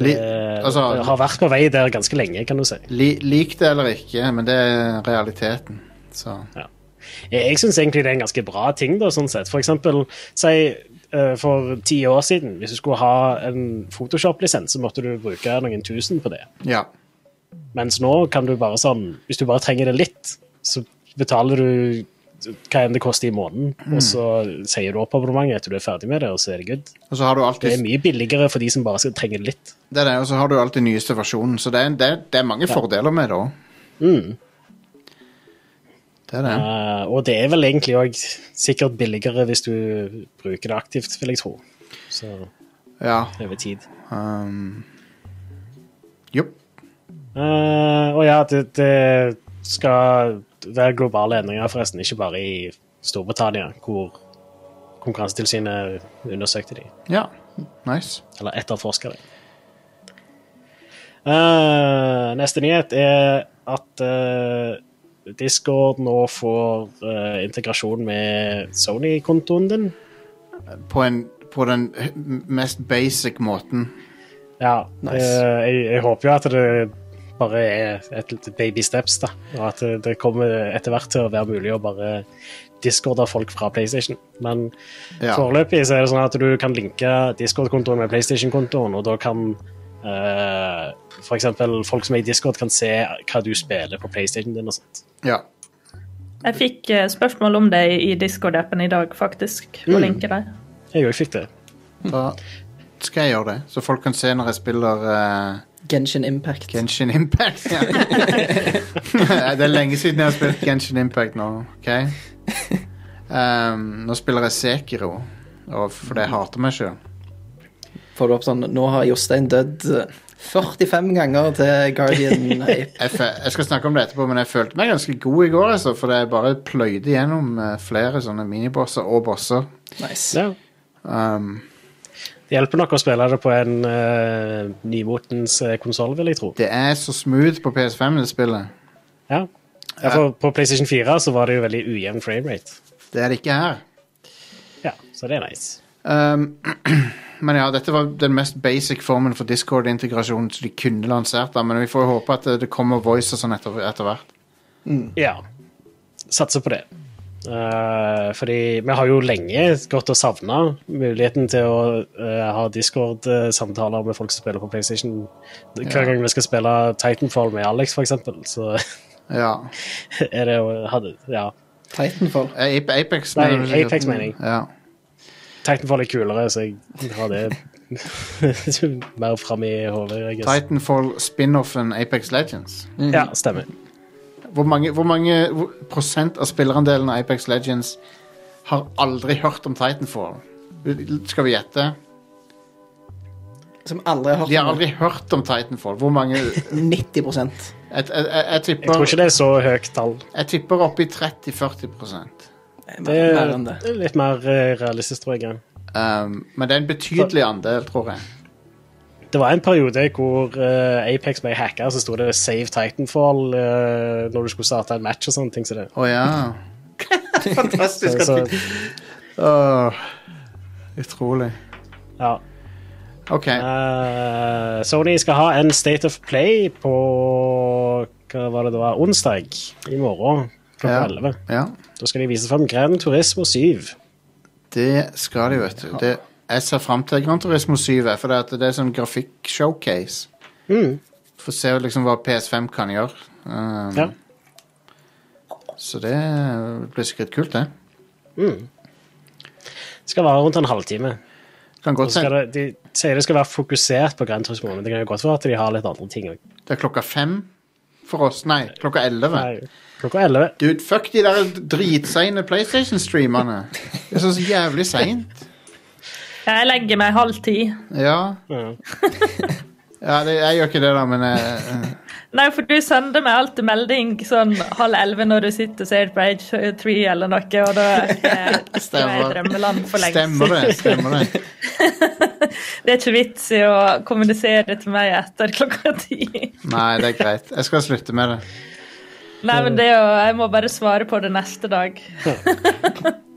Speaker 1: Li,
Speaker 2: det
Speaker 1: altså,
Speaker 2: Eh, har vært på vei der ganske lenge, kan du si.
Speaker 1: li, lik det eller ikke, men det er realiteten. Så
Speaker 2: Jeg syns egentlig det er en ganske bra ting, da, sånn sett. For eksempel, si eh, for ti år siden, hvis du skulle ha en Photoshop-lisens, så måtte du bruke noen tusen på det.
Speaker 1: ja.
Speaker 2: Mens nå kan du bare sånn Hvis du bare trenger det litt, så betaler du hva enn det koster i måneden,
Speaker 1: Mm.
Speaker 2: og så sier du opp abonnementet etter du er ferdig med det, og så er det good.
Speaker 1: Og så har du
Speaker 2: Det
Speaker 1: alltid
Speaker 2: er mye billigere for de som bare skal trenge det litt.
Speaker 1: Det er det, og så har du alltid nyeste versjonen, så det er, det, det er mange fordeler med det òg. Det er det.
Speaker 2: Eh, og det er vel egentlig òg sikkert billigere hvis du bruker det aktivt, vil jeg tro. Så
Speaker 1: Ja.
Speaker 2: over tid.
Speaker 1: Um, jo.
Speaker 2: Eh, og ja, det, det skal være globale endringer, forresten. Ikke bare i Storbritannia, hvor Konkurransetilsynet undersøkte de,
Speaker 1: Ja. Nice.
Speaker 2: eller etterforska de. Eh, neste nyhet er at eh, Discord nå får eh, integrasjon med Sony-kontoen din.
Speaker 1: På, en, på den mest basic måten.
Speaker 2: Ja,
Speaker 4: Nice.
Speaker 2: eh, jeg, jeg håper jo at det bare er et lite baby steps, da. Og at det- det kommer etter hvert til å være mulig å bare discorde folk fra PlayStation. Men
Speaker 1: Ja.
Speaker 2: foreløpig så er det sånn at du kan linke Discord-kontoen med PlayStation-kontoen, og da kan eh, for eksempel folk som er i Discord, kan se hva du spiller på PlayStation din og sånt.
Speaker 1: Ja.
Speaker 3: Jeg fikk eh, spørsmål om det i Discord-appen i dag, faktisk.
Speaker 1: Mm.
Speaker 3: Å linke deg.
Speaker 2: Jeg òg fikk det.
Speaker 1: Da skal jeg gjøre det, så folk kan se når jeg spiller eh,
Speaker 4: Genshin Impact.
Speaker 1: Genshin Impact. Ja. det er lenge siden jeg har spilt Genshin Impact nå. ok? Um, nå spiller jeg Sekiro, og fordi jeg hater meg sjøl.
Speaker 4: Får du opp sånn Nå har Jostein dødd eh, 45 ganger til Guardian Ape.
Speaker 1: Jeg, fø- jeg skal snakke om det etterpå, men jeg følte meg ganske god i går, altså, fordi jeg bare pløyde gjennom eh, flere sånne minibosser og bosser.
Speaker 4: Nice.
Speaker 2: Ja.
Speaker 1: Um,
Speaker 2: Det hjelper nok å spille det på en eh, nymotens uh, konsoll, vil jeg tro.
Speaker 1: det er så smooth på PS5, det spillet.
Speaker 2: Ja. Ja, for på PlayStation 4 så var det jo veldig ujevn framerate.
Speaker 1: Det er det ikke her.
Speaker 2: Ja, så det er nice.
Speaker 1: Um, men ja, dette var den mest basic formen for Discord-integrasjon som de kunne lansert. Da, men vi får jo håpe at eh, det kommer voice og sånn etter, etter hvert.
Speaker 4: Mm.
Speaker 2: Ja. Satser på det. Eh, fordi vi har jo lenge gått og savna muligheten til å eh, ha Discord-samtaler med folk som spiller på PlayStation. Hver gang vi skal spille Titanfall med Alex, for eksempel, så
Speaker 1: Ja.
Speaker 2: er det jo hadde, Ja.
Speaker 4: Titanfall.
Speaker 1: Eh, Ape- Apex,
Speaker 2: Nei,
Speaker 1: mener du sikkert?
Speaker 2: Apex, mener jeg.
Speaker 1: Ja.
Speaker 2: Titanfall er kulere, så jeg har det mer fram i hodet. jeg guess.
Speaker 1: Titanfall spin-offen Apex Legends.
Speaker 2: Ja, stemmer.
Speaker 1: Hvor mange, hvor mange hvor- prosent av spillerandelen av Apex Legends har aldri hørt om Titanfall? Skal vi gjette?
Speaker 4: Som aldri har hørt
Speaker 1: De har
Speaker 4: om
Speaker 1: aldri
Speaker 4: det.
Speaker 1: hørt om Titanfall. Hvor mange Jeg,
Speaker 4: 90
Speaker 1: jeg, jeg, jeg,
Speaker 2: Jeg tror
Speaker 1: tipper,
Speaker 2: ikke det er så høyt tall.
Speaker 1: jeg tipper oppi 30-40 prosent.
Speaker 2: Det
Speaker 4: Mer enn det.
Speaker 2: er litt mer eh, realistisk, tror jeg.
Speaker 1: Um, men det er en betydelig andel, tror jeg.
Speaker 2: Det var en periode hvor eh, Apex ble hacka, så sto det 'Save Titanfall' eh, når du skulle starte en match og sånne ting. Så det.
Speaker 1: Å ja. Fantastisk.
Speaker 2: Så,
Speaker 1: at du- Åh, utrolig.
Speaker 2: ja.
Speaker 1: OK.
Speaker 2: Eh, Sony skal ha en State of Play på hva var det det var, onsdag i morgen klokka
Speaker 1: Ja.
Speaker 2: 11.
Speaker 1: Ja.
Speaker 2: Da skal de vise fram Gran Turismo 7.
Speaker 1: Det skal de, vet du. Det, jeg ser fram til Gran Turismo 7, for det, at det er sånn grafikk-showcase.
Speaker 2: Mm.
Speaker 1: Få se liksom hva PS5 kan gjøre. Um,
Speaker 2: Ja.
Speaker 1: Så det blir sikkert kult, det.
Speaker 2: Skal vare rundt en halvtime.
Speaker 1: Kan
Speaker 2: Og
Speaker 1: godt
Speaker 2: så skal
Speaker 1: hende.
Speaker 2: det, de sier det skal være fokusert på Gran Turismo, men det kan jo godt være at de har litt andre ting òg.
Speaker 1: Det er klokka fem for oss. Nei, klokka elleve.
Speaker 2: Klokka 11.
Speaker 1: Dude, fuck de der dritseine PlayStation-streamerne. Det er så jævlig seint.
Speaker 3: Jeg legger meg halv ti.
Speaker 1: Ja.
Speaker 2: Ja.
Speaker 1: ja det, jeg gjør ikke det, da, men eh,
Speaker 3: Nei, for du sender meg alltid melding sånn halv elleve når du sitter og ser på H3 eller noe, og da er jeg- da er jeg i
Speaker 1: Stemmer.
Speaker 3: drømmeland for lenge
Speaker 1: Stemmer
Speaker 3: siden.
Speaker 1: det. stemmer Det
Speaker 3: Det er ikke vits i å kommunisere til meg etter klokka ti.
Speaker 1: Nei, det er greit. Jeg skal slutte med det.
Speaker 3: Nei, men det er jo Jeg må bare svare på det neste dag.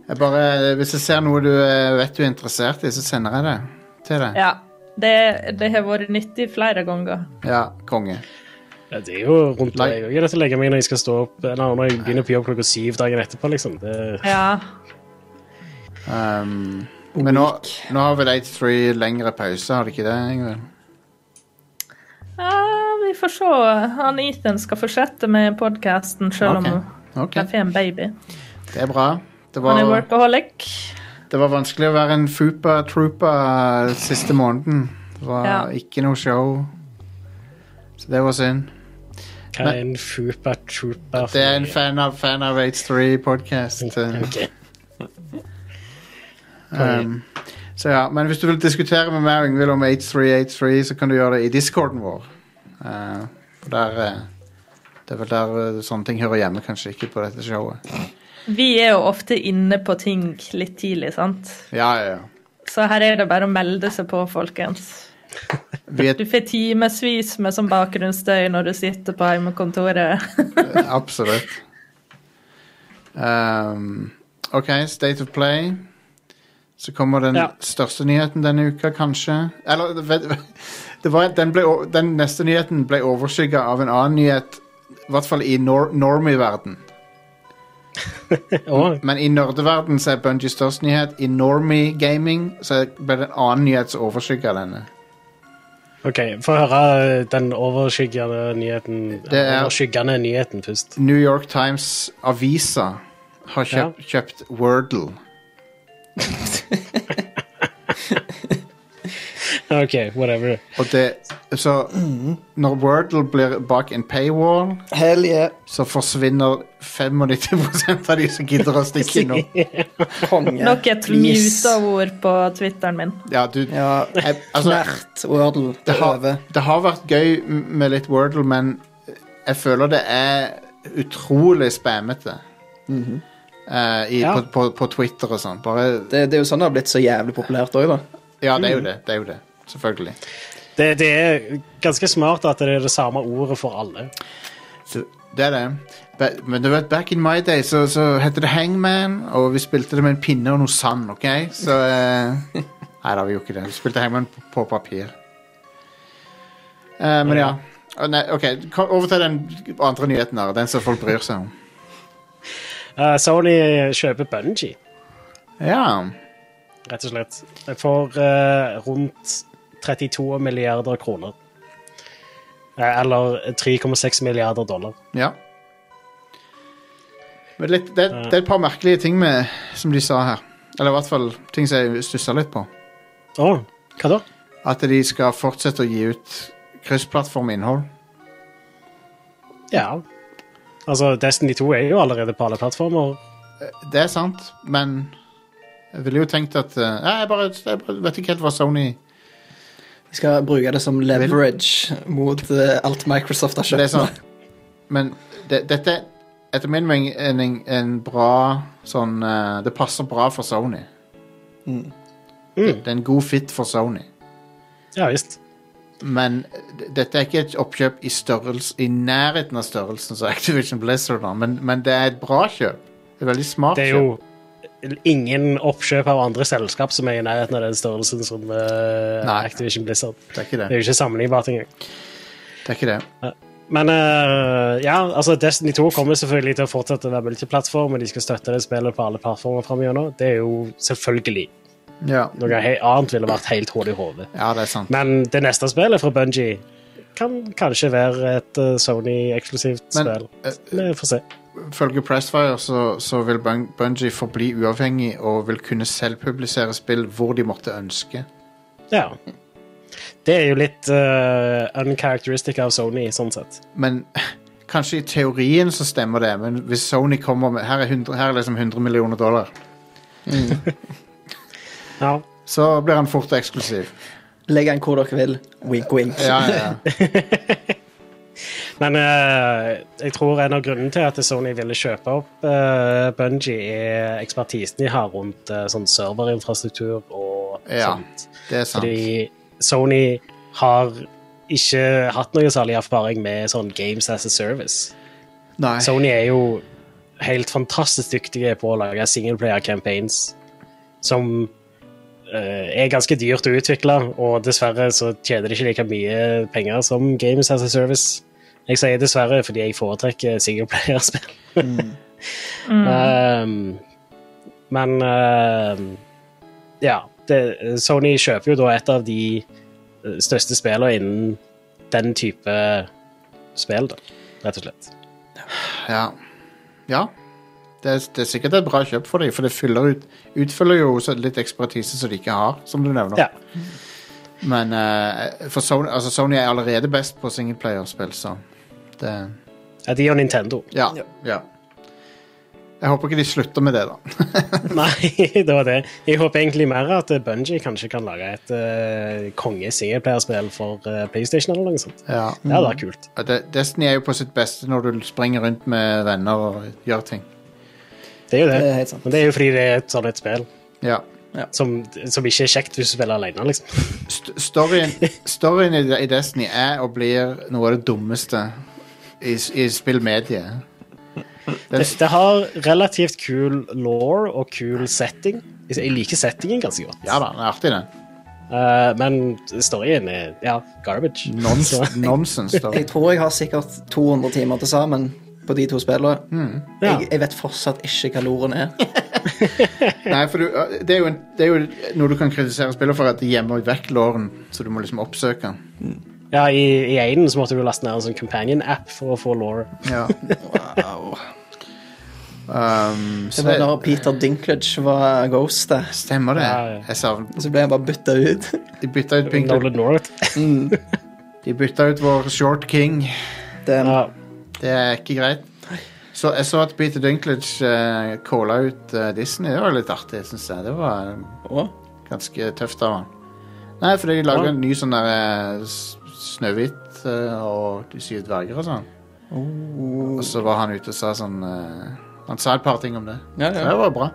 Speaker 1: Jeg bare, hvis jeg ser noe du eh, vet du er interessert i, så sender jeg det til deg.
Speaker 3: Ja. Det, det har vært nyttig flere ganger.
Speaker 1: Ja, konge.
Speaker 2: Ja, det er jo rundt
Speaker 1: Nei.
Speaker 2: meg. Jeg er nødt til å legge meg når jeg skal stå opp Eller når jeg begynner på jobb klokka syv dagen etterpå. liksom det,
Speaker 3: Ja.
Speaker 1: Um, men nå, nå har vel 83 lengre pause, har de ikke det? Ingvild?
Speaker 3: ja vi får se. Han Ethan skal fortsette med podkasten selv om
Speaker 1: Ok,
Speaker 3: han
Speaker 1: ok.
Speaker 3: får en baby.
Speaker 1: Det er bra. Det
Speaker 3: Han er
Speaker 1: var,
Speaker 3: workaholic.
Speaker 1: det var vanskelig å være en fupa troopa siste måneden. Det var
Speaker 3: Ja.
Speaker 1: ikke noe show. Så det var synd.
Speaker 2: hva er en fupa troopa? for-
Speaker 1: Altså, Det er en fan av, fan av 83 podcast. eh.
Speaker 2: Ok.
Speaker 1: Um, så ja, men hvis du vil diskutere med meg og Yngvild om 8383, så kan du gjøre det i discorden vår. Uh, for der eh, Det er vel der eh, sånne ting hører hjemme, kanskje ikke på dette showet.
Speaker 3: Vi er jo ofte inne på ting litt tidlig, sant?
Speaker 1: Ja, ja, ja.
Speaker 3: Så her er det bare å melde seg på, folkens.
Speaker 1: Vi er,
Speaker 3: Du får timevis med sånn bakgrunnsstøy når du sitter på hjemmekontoret.
Speaker 1: absolutt. Um, OK, State of Play. Så kommer den
Speaker 2: Ja.
Speaker 1: største nyheten denne uka, kanskje. Eller vet, det var, den, ble, o- den neste nyheten ble overskygga av en annen nyhet, i hvert fall i nor normie-verden.
Speaker 2: Og
Speaker 1: Men i nerdeverden så er Bungie størst nyhet. I normie gaming så ble det en annen nyhet som overskygga denne.
Speaker 2: OK, få høre eh, den overskyggende nyheten.
Speaker 1: Det er-
Speaker 2: Overskyggende nyheten først.
Speaker 1: New York Times avisa har kjøpt, kjøpt Wordle.
Speaker 2: OK, whatever.
Speaker 1: Og det, så når Wordle blir bak en paywall,
Speaker 4: Hell yeah.
Speaker 1: så forsvinner 95 av de som gidder å stikke innom.
Speaker 4: Konge.
Speaker 3: Nok et
Speaker 4: Please.
Speaker 3: muta-ord på Twitteren min.
Speaker 1: Ja, du,
Speaker 4: Ja.
Speaker 1: jeg, altså,
Speaker 4: Knert, Wordle, det
Speaker 1: det, har,
Speaker 4: høver.
Speaker 1: det har vært gøy med litt Wordle, men jeg føler det er utrolig spammete. Eh, i,
Speaker 2: Ja.
Speaker 1: på, på, på Twitter og sånn. Bare
Speaker 4: Det, det er jo sånn det har blitt så jævlig populært òg, da.
Speaker 1: Ja, det er jo det. Det er jo det. Selvfølgelig.
Speaker 2: Det, det er ganske smart at det er det samme ordet for alle.
Speaker 1: Det er det. Ba- Men du vet, back in my day så, så het det Hangman, og vi spilte det med en pinne og noe sand, OK? Så eh, Nei, da, vi gjorde ikke det. Vi spilte Hangman på, på papir. Eh, men ja. Å, Nei, OK, kom- over til den andre nyheten her. Den som folk bryr seg om.
Speaker 2: Eh, Sony kjøper Bungie.
Speaker 1: Ja.
Speaker 2: rett og slett. For eh, rundt 32 milliarder kroner. Eh, eller 3,6 milliarder dollar.
Speaker 1: ja. Men litt, det, det er et par merkelige ting med, som de sa her. Eller i hvert fall ting som jeg stussa litt på.
Speaker 2: Å, hva da?
Speaker 1: At de skal fortsette å gi ut kryssplattforminnhold.
Speaker 2: Ja. Altså, Destiny 2 er jo allerede på alle plattformer.
Speaker 1: Det er sant, men jeg ville jo tenkt at eh, Nei, jeg, bare, jeg bare vet ikke helt hva Sony
Speaker 4: Vi skal bruke det som leverage mot eh, alt Microsoft har
Speaker 1: Det er
Speaker 4: kjøpt.
Speaker 1: sånn. Men det, dette er etter min mening en, en, en bra sånn eh, Det passer bra for Sony.
Speaker 2: Mm.
Speaker 1: Det, det er en god fit for Sony.
Speaker 2: Ja visst.
Speaker 1: Men d- dette er ikke et oppkjøp i, størrelse, i nærheten av størrelsen som Activision Blizzard, da. Men, men det er et bra kjøp. Det er veldig smart
Speaker 2: Det er jo ingen oppkjøp av andre selskap som er i nærheten av den størrelsen som eh,
Speaker 1: Nei.
Speaker 2: Activision Blizzard.
Speaker 1: kjøp. Det er ikke
Speaker 2: Det er
Speaker 1: det.
Speaker 2: jo ikke sammenlignbart engang.
Speaker 1: det, er ikke det.
Speaker 2: Men eh, ja, altså Destiny 2 kommer selvfølgelig til å fortsette å være multiplattform, og de skal støtte det spillet på alle plattformer framgjennom. Det er jo selvfølgelig.
Speaker 1: Ja.
Speaker 2: Noe he annet ville vært helt hull i hodet.
Speaker 1: ja, det er sant.
Speaker 2: Men det neste spillet fra Bungie kan kanskje være et eh, Sony-eksklusivt
Speaker 1: Men,
Speaker 2: spill.
Speaker 1: eh,
Speaker 2: Vi får se.
Speaker 1: Følge Pressfire så, så vil Bungie forbli uavhengig og vil kunne selv publisere spill hvor de måtte ønske.
Speaker 2: Ja. Det er jo litt eh, uncharacteristic av Sony, sånn sett.
Speaker 1: Men kanskje i teorien så stemmer det, men hvis Sony kommer med Her er, 100, her er liksom 100 millioner dollar.
Speaker 2: Ja.
Speaker 1: Så blir han fort eksklusiv.
Speaker 4: Legg den hvor dere vil. Wink, wink.
Speaker 1: sånn- Ja, ja, ja.
Speaker 2: Men eh, jeg tror en av grunnene til at Sony ville kjøpe opp uh, Bungie, er ekspertisen de har rundt eh, sånn serverinfrastruktur og
Speaker 1: Ja.
Speaker 2: sånt.
Speaker 1: Det er sant.
Speaker 2: Fordi Sony har ikke hatt noe særlig erfaring med sånn games as a service.
Speaker 1: Nei.
Speaker 2: Sony er jo helt fantastisk dyktige på å lage singleplayer-campaigns som eh, er ganske dyrt å utvikle, og dessverre så tjener de ikke like mye penger som games as a service. Jeg sier dessverre fordi jeg foretrekker singleplayerspill. um, men ehm, ja, det, Sony kjøper jo da et av de eh, største spillene innen den type spill, da, rett og slett.
Speaker 1: Ja. ja. Det, er, det er sikkert et bra kjøp for dem, for det fyller ut, utfyller jo også litt ekspertise som de ikke har, som du nevner.
Speaker 2: Ja.
Speaker 1: Men eh, for Sony, altså Sony er allerede best på singleplayerspill, så det
Speaker 2: Ja, de og Nintendo.
Speaker 1: Ja. ja. Jeg håper ikke de slutter med det, da.
Speaker 2: Nei, det var det. Jeg håper egentlig mer at eh, Bungie kanskje kan lage et uh, konge-singleplayerspill for eh, PlayStation eller noe sånt. Det hadde
Speaker 4: Mm.
Speaker 2: vært kult.
Speaker 1: Og De- Destiny er jo på sitt beste når du springer rundt med venner og gjør ting.
Speaker 2: Det er jo det.
Speaker 4: Det er helt sant.
Speaker 2: Men det er jo fordi det er et sånn et spill
Speaker 1: Ja.
Speaker 2: som, som ikke er kjekt hvis du spiller alene, liksom.
Speaker 1: St storyen storyen i, i Destiny er og blir noe av det dummeste i, s- i spillmediet. Den,
Speaker 2: Det,
Speaker 1: s-
Speaker 2: det har relativt kul law og kul setting, Jeg liker settingen ganske godt.
Speaker 1: Ja da, det er artig, det.
Speaker 2: Eh, men storyen er ja, garbage.
Speaker 1: Nons
Speaker 2: Så,
Speaker 1: nonsens, da.
Speaker 4: Jeg tror jeg har sikkert 200 timer til sammen på de to spillene.
Speaker 2: ja.
Speaker 4: Jeg, jeg vet fortsatt ikke hva loren er.
Speaker 1: Nei, for du, det, er jo en, det er jo noe du kan kritisere spillet for, at de gjemmer vekk låren, så du må liksom oppsøke den.
Speaker 2: ja, I i Aiden så måtte du laste ned en sånn companion-app for å få Laura.
Speaker 1: Ja.
Speaker 4: Wow.
Speaker 1: Um,
Speaker 4: Det
Speaker 1: så
Speaker 4: var
Speaker 1: det,
Speaker 4: når Peter Dinklage var ghostet.
Speaker 1: stemmer det.
Speaker 2: Ja, ja.
Speaker 1: Jeg savner
Speaker 4: Så ble han bare bytta ut.
Speaker 1: De bytta ut, Pinkler-
Speaker 2: Nolan North.
Speaker 1: de bytta ut vår Short King.
Speaker 4: Den,
Speaker 2: Ja.
Speaker 1: Det er ikke greit. Så jeg så at Peter Dinklage uh, calla ut eh, Disney. Det var litt artig, syns jeg. Det var
Speaker 4: Å?
Speaker 1: ganske tøft av han. Nei, fordi de lager
Speaker 2: Ja.
Speaker 1: en ny sånn der eh, s- Snøhvit eh, og De syv dverger og sånn. Og så var han ute og sa sånn eh, Han sa et par ting om det.
Speaker 4: Ja,
Speaker 1: Så
Speaker 4: ja.
Speaker 1: Det var bra.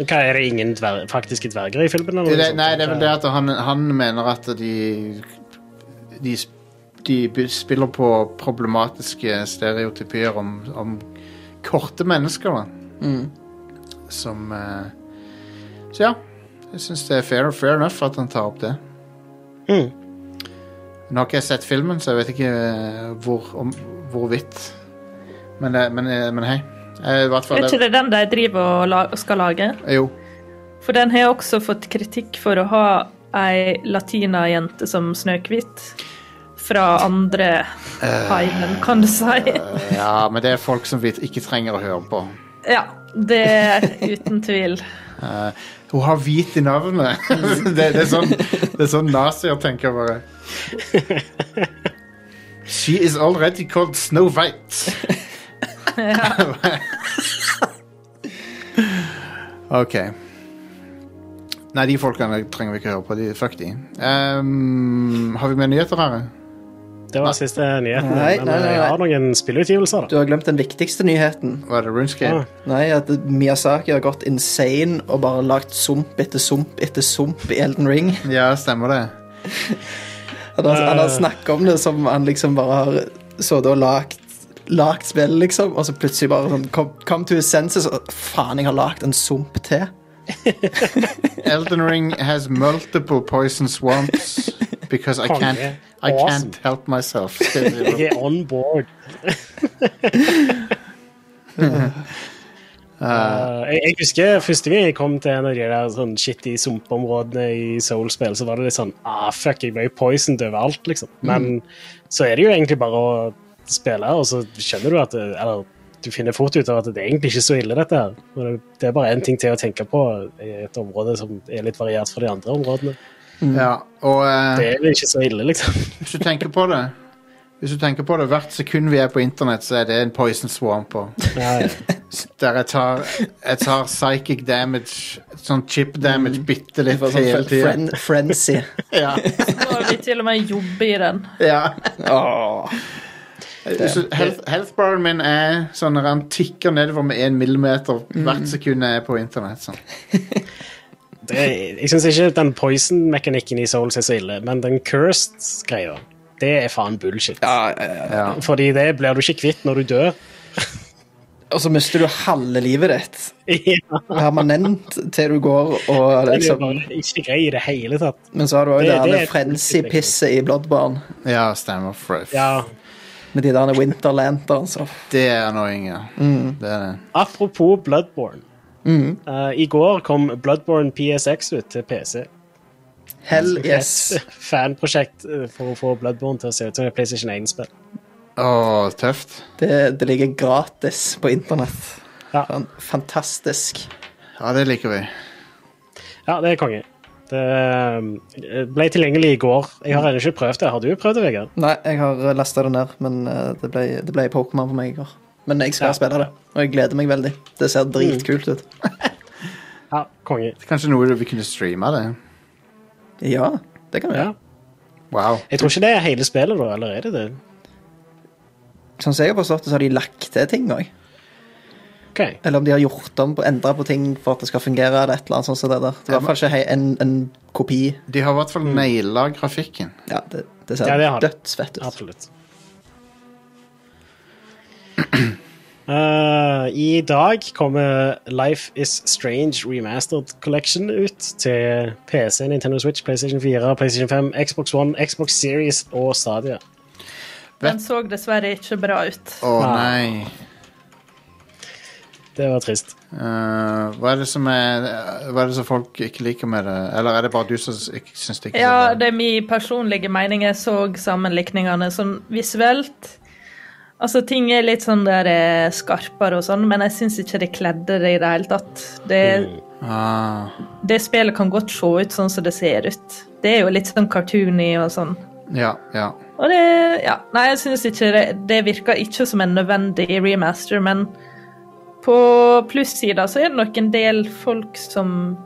Speaker 2: Hva Er det ingen dver faktiske dverger i filmen? eller
Speaker 1: Det,
Speaker 2: noe
Speaker 1: det,
Speaker 2: sånt?
Speaker 1: nei, det er vel det at han, han mener at de De, sp- de b- spiller på problematiske stereotypier om, om korte mennesker. Da.
Speaker 4: Mm.
Speaker 1: Som eh, Så ja. Jeg syns det er fair, fair enough at han tar opp det.
Speaker 2: Mm.
Speaker 1: Nå har ikke jeg sett filmen, så jeg vet ikke eh, hvor, om, hvorvidt. Men, eh, men, eh, men hei. Eh, I hvert
Speaker 3: Er
Speaker 1: fall
Speaker 3: ikke
Speaker 1: det,
Speaker 3: det den de driver og la- skal lage?
Speaker 1: Jo.
Speaker 3: For den har også fått kritikk for å ha ei latinajente som Snøhvit. Fra andre heimen, kan du si.
Speaker 1: Eh, Ja, men det er folk som vi ikke trenger å høre på.
Speaker 3: Ja, det er uten tvil.
Speaker 1: Eh, hun har hvit i navnet. det, det, er sånn, det er sånn nazier tenker bare. She is already called Snow White. ok. Nei, de folkene trenger vi ikke høre på. De, fuck de. Ehm, har vi med nyheter her?
Speaker 2: Det var siste nyheten.
Speaker 4: Nei,
Speaker 2: men
Speaker 4: nei, nei,
Speaker 2: eh, jeg
Speaker 4: nei.
Speaker 2: har noen spillutgivelser,
Speaker 4: Du
Speaker 2: da.
Speaker 4: har glemt den viktigste nyheten.
Speaker 1: Var det RuneScape?
Speaker 2: Ah.
Speaker 4: Nei, at Miyazaki har gått insane og bare lagt sump etter sump etter sump i Elden Ring.
Speaker 1: Ja, stemmer det.
Speaker 4: Han har, han har snakket om det som han liksom bare har så da lagt Lagt spill, liksom, og så plutselig bare sånn Come, come to his senses, og faen, jeg har lagt en sump til.
Speaker 1: Elden Ring has multiple poison swamps because I can't, I can't help myself.
Speaker 2: Jeg er on board. Eh, jeg, jeg husker første gang jeg kom til en av de der sånn shitty sumpområdene i Soul-spill, så var det litt sånn ah, fuck, jeg ble jo poisoned overalt, liksom. Men så er det jo egentlig bare å spille, og så skjønner du at det, Eller du finner fort ut av at det er egentlig ikke så ille, dette her. Og det, det er bare én ting til å tenke på i et område som er litt variert fra de andre områdene.
Speaker 1: Ja, og eh,
Speaker 2: Det er ikke så ille, liksom.
Speaker 1: hvis du tenker på det Hvis du tenker på det, hvert sekund vi er på internett, så er det en poison swamp. Og,
Speaker 2: Ja, ja.
Speaker 1: der jeg tar, jeg tar psychic damage, sånn chip damage, bitte
Speaker 4: Det
Speaker 1: litt
Speaker 4: var sånn
Speaker 1: hele
Speaker 4: fre-
Speaker 1: tiden.
Speaker 4: fren frenzy.
Speaker 1: Ja,
Speaker 3: Nå har vi til og med jobbet i den.
Speaker 1: ja.
Speaker 4: Åh.
Speaker 1: Så health, healthbaren min er sånn når han tikker nedover med én millimeter hvert sekund jeg er på internett. Sånn.
Speaker 2: det, jeg syns ikke den poison-mekanikken i Souls er så ille, men den cursed-greia, det er faen bullshit.
Speaker 4: Ja, ja, ja.
Speaker 1: Ja.
Speaker 2: Fordi det blir du ikke kvitt når du dør.
Speaker 4: Og så mister du halve livet ditt
Speaker 2: Ja,
Speaker 4: permanent til du går og
Speaker 2: det er
Speaker 4: liksom
Speaker 2: bare ikke grei i det hele tatt.
Speaker 4: Men så har du òg
Speaker 2: Det-
Speaker 4: det,
Speaker 2: det
Speaker 4: det
Speaker 2: er-
Speaker 4: frenzy-pisset i Bloodbarn
Speaker 1: ja, stemmer. Fre-
Speaker 2: Ja,
Speaker 4: med de der Winter Lanterns. og-
Speaker 1: Det er annoying, ja. Det er det.
Speaker 2: Apropos Bloodborne. Eh, I går kom Bloodborne PSX ut til PC.
Speaker 4: Hell yes.
Speaker 2: Et fanprosjekt eh, for å få Bloodborne til å se ut som et PlayStation 1-spill.
Speaker 1: Åh, tøft.
Speaker 4: Det, det ligger gratis på internett.
Speaker 2: Ja.
Speaker 4: Fan- Fantastisk.
Speaker 1: Ja, det liker vi.
Speaker 2: ja, det er konge. Det eh, ble tilgjengelig i går. Jeg har ennå ikke prøvd det. Har du prøvd det, Vegard?
Speaker 4: Nei, jeg har lasta det ned, men eh, det ble, det ble Pokémon for meg i går. Men jeg skal
Speaker 2: Ja. Mm.
Speaker 4: spille det, og jeg gleder meg veldig. Det ser dritkult ut.
Speaker 2: Ja, konge.
Speaker 1: Kanskje noe du- vi kunne streame det?
Speaker 4: Ja, det kan vi
Speaker 2: Ja.
Speaker 4: gjøre.
Speaker 1: Wow.
Speaker 2: Jeg tror ikke det er hele spillet, da. Eller er det det?
Speaker 4: Sånn som jeg har forstått det, så har de lagt til ting òg.
Speaker 2: Ok.
Speaker 4: Eller om de har gjort om, endra på ting for at det skal fungere. eller et eller annet sånt som det der. Det er i hvert fall ikke hei- en, en kopi.
Speaker 1: De har i hvert fall naila grafikken.
Speaker 4: Ja, det, det ser
Speaker 2: Ja, det har de.
Speaker 4: dødsfett ut.
Speaker 2: Absolutt. Eh, I dag kommer Life Is Strange Remastered Collection ut til PC, Nintendo Switch, PlayStation 4, PlayStation 5, Xbox One, Xbox Series og Stadia.
Speaker 3: Den så dessverre ikke bra ut.
Speaker 1: Å nei.
Speaker 2: Det var trist.
Speaker 1: Eh, hva er det som er Hva er det som folk ikke liker med det? Eller er det bare du som ikke syns det ikke er
Speaker 3: Ja,
Speaker 1: så bra?
Speaker 3: det er min personlige mening. Jeg så sammenlikningene sånn visuelt. Altså, ting er litt sånn der eh, skarpere og sånn, men jeg syns ikke det kledde det i det hele tatt. Det,
Speaker 1: Mm. Ah,
Speaker 3: det spillet kan godt se ut sånn som det ser ut. Det er jo litt sånn cartoony og sånn.
Speaker 1: ja, ja.
Speaker 3: Og det Ja. Nei, jeg syns ikke det Det virker ikke som en nødvendig remaster, men på plussida så er det nok en del folk som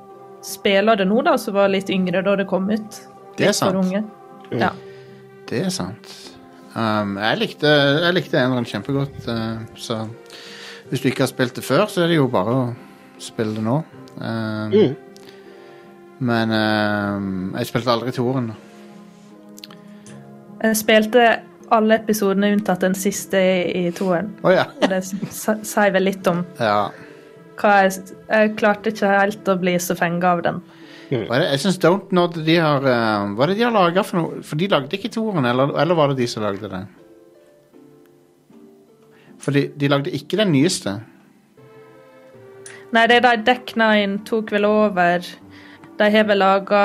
Speaker 3: spiller det nå, da, som var litt yngre da det kom ut.
Speaker 1: Det er
Speaker 3: Litt
Speaker 1: sant.
Speaker 3: for unge. Ja.
Speaker 1: Det er sant. Um, jeg likte, jeg likte eneren kjempegodt, eh, så hvis du ikke har spilt det før, så er det jo bare å spille det nå. Um, Men um, jeg spilte aldri toeren.
Speaker 3: Jeg spilte alle episodene unntatt den siste i toeren.
Speaker 1: Å ja.
Speaker 3: Og det s- sier vel litt om
Speaker 1: ja.
Speaker 3: hva jeg s- Jeg klarte ikke helt å bli så fenga av den.
Speaker 1: Hva er det? Jeg syns Don't Nod de har eh, Hva er det de har laga for noe? For de lagde ikke toeren, eller, eller var det de som lagde det? For de, de lagde ikke den nyeste.
Speaker 3: Nei, det er de Deck Nine tok vel over. De har vel laga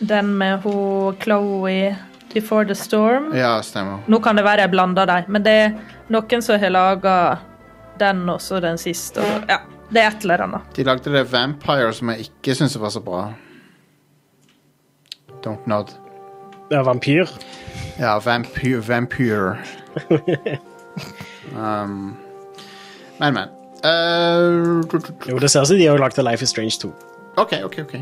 Speaker 3: den med hun Chloé Before the Storm.
Speaker 1: Ja, stemmer.
Speaker 3: Nå kan det være jeg blander dem, men det er noen som har laga den også, den siste. og- Ja, det er et eller annet.
Speaker 1: De lagde det Vampire, som jeg ikke syns var så bra. Don't Nod.
Speaker 2: Det er vampyr.
Speaker 1: Ja, Vampyr. vampyr. um, men, men. Eh, du- du- du-
Speaker 2: Jo, det ser ut som de har lagd Life Is Strange 2.
Speaker 1: OK, OK. ok.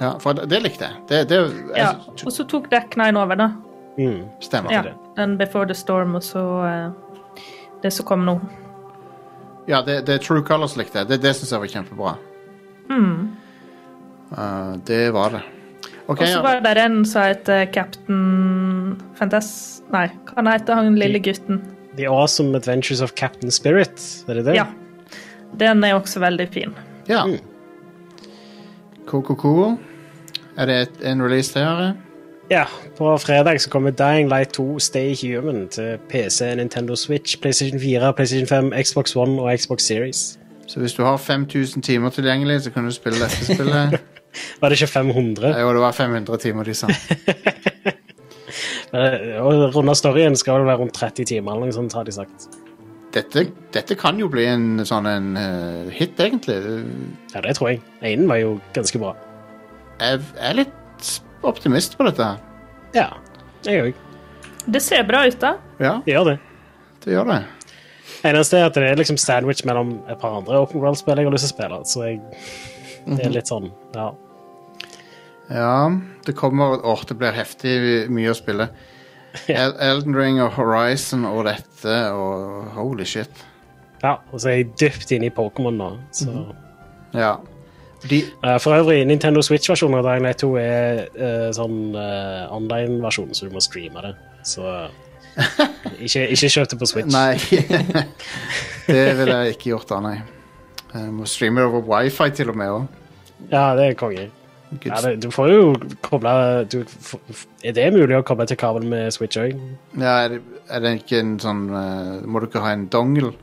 Speaker 1: Ja, for det, det likte jeg. Det, det jeg
Speaker 3: Ja,
Speaker 1: syns-
Speaker 3: og så tok Deck Nine over, da.
Speaker 2: Mm.
Speaker 1: stemmer.
Speaker 3: Ja,
Speaker 1: Ja.
Speaker 3: den Before the Storm, og så eh, det som kom nå.
Speaker 1: det, det True Colors likte jeg. Det, det syns jeg var kjempebra.
Speaker 3: Mm.
Speaker 1: Eh, det var det. OK,
Speaker 3: Og så
Speaker 1: ja.
Speaker 3: var det der en som heter Captain Fantas... Nei, hva heter han lille gutten?
Speaker 2: The Awesome Adventures of Captain Spirit. Er det det?
Speaker 3: Ja. Den er også veldig fin.
Speaker 1: ja. Ko-ko-ko. Er det et, en release til her?
Speaker 2: Ja, På fredag så kommer Dying Light 2 Stay Human til PC, Nintendo Switch, PlayStation 4, PlayStation 5, Xbox One og Xbox Series.
Speaker 1: Så hvis du har 5000 timer tilgjengelig, så kan du spille dette spillet.
Speaker 2: Var det ikke 500?
Speaker 1: Jo, det var 500 timer, de sa.
Speaker 2: Eh, Og runde storyen skal vel være rundt 30 timer, eller noe sånt, har de sagt.
Speaker 1: dette, dette kan jo bli en sånn en eh, hit, egentlig.
Speaker 2: Ja, det tror jeg. Einen var jo ganske bra.
Speaker 1: Jeg er litt optimist på dette. her.
Speaker 2: Ja, jeg òg.
Speaker 3: Det ser bra ut, da.
Speaker 1: Ja,
Speaker 2: Det gjør det.
Speaker 1: det gjør det.
Speaker 2: Eneste er at det er liksom sandwich mellom et par andre Open World-spill jeg har lyst til å spille, så jeg det er litt sånn, ja.
Speaker 1: Ja, det kommer Åh, det blir heftig mye å spille. El Elden Ring og Horizon og dette og holy shit.
Speaker 2: ja. Og så er jeg dypt inne i Pokémon nå, så
Speaker 1: Ja. De,
Speaker 2: Eh, For øvrig, Nintendo Switch-versjonen av Dying Light 2 er eh, sånn eh, online-versjon, så du må streame det. Så eh, ikke, ikke kjøp det på Switch.
Speaker 1: nei. det ville jeg ikke gjort da, nei. Jeg må streame over wifi til og med òg.
Speaker 2: Ja, det er konge. Ja, det, du får jo koble du, f- f- Er det mulig å koble til kabel med Switch òg?
Speaker 1: Ja, er, det- er det ikke en sånn eh, Må du ikke ha en dongle?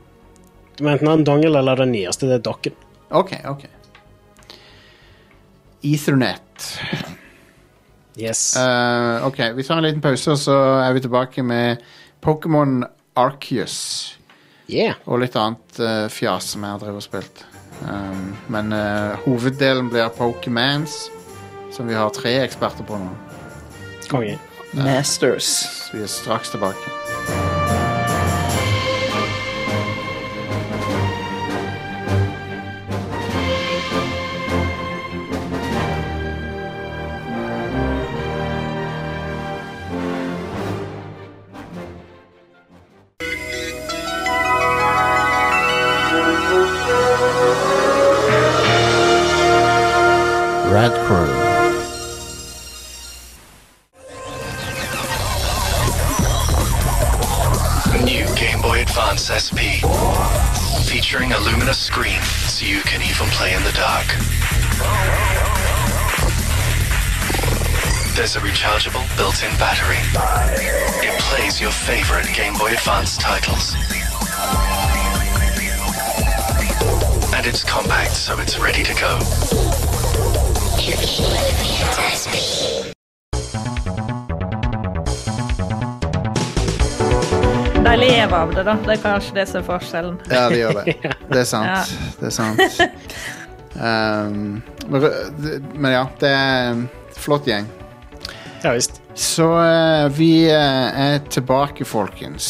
Speaker 2: Du må enten ha en dongle eller den nyeste, det er dokken.
Speaker 1: OK, OK. Ethernet.
Speaker 2: Yes.
Speaker 1: Eh, ok, vi tar en liten pause, og så er vi tilbake med Pokémon Arceus
Speaker 2: yeah.
Speaker 1: og litt annet eh, fjas som jeg har drevet og spilt. Um, men eh, hoveddelen blir Pokémans, som vi har tre eksperter på nå.
Speaker 2: Konge.
Speaker 4: Masters.
Speaker 1: Så vi er straks tilbake.
Speaker 7: Red Crew.
Speaker 8: New Game Boy Advance SP. a screen so you can even play in the dark. There's a rechargeable built in battery. It plays your favorite Game Boy Advance titles. And it's compact, so it's ready to go.
Speaker 3: De lever av det, da. Det er kanskje det som er forskjellen.
Speaker 1: Ja, det gjør det. Det er sant. Det er sant. Um, men, men ja, det er en flott gjeng.
Speaker 2: Ja visst.
Speaker 1: Så eh, vi eh, er tilbake, folkens,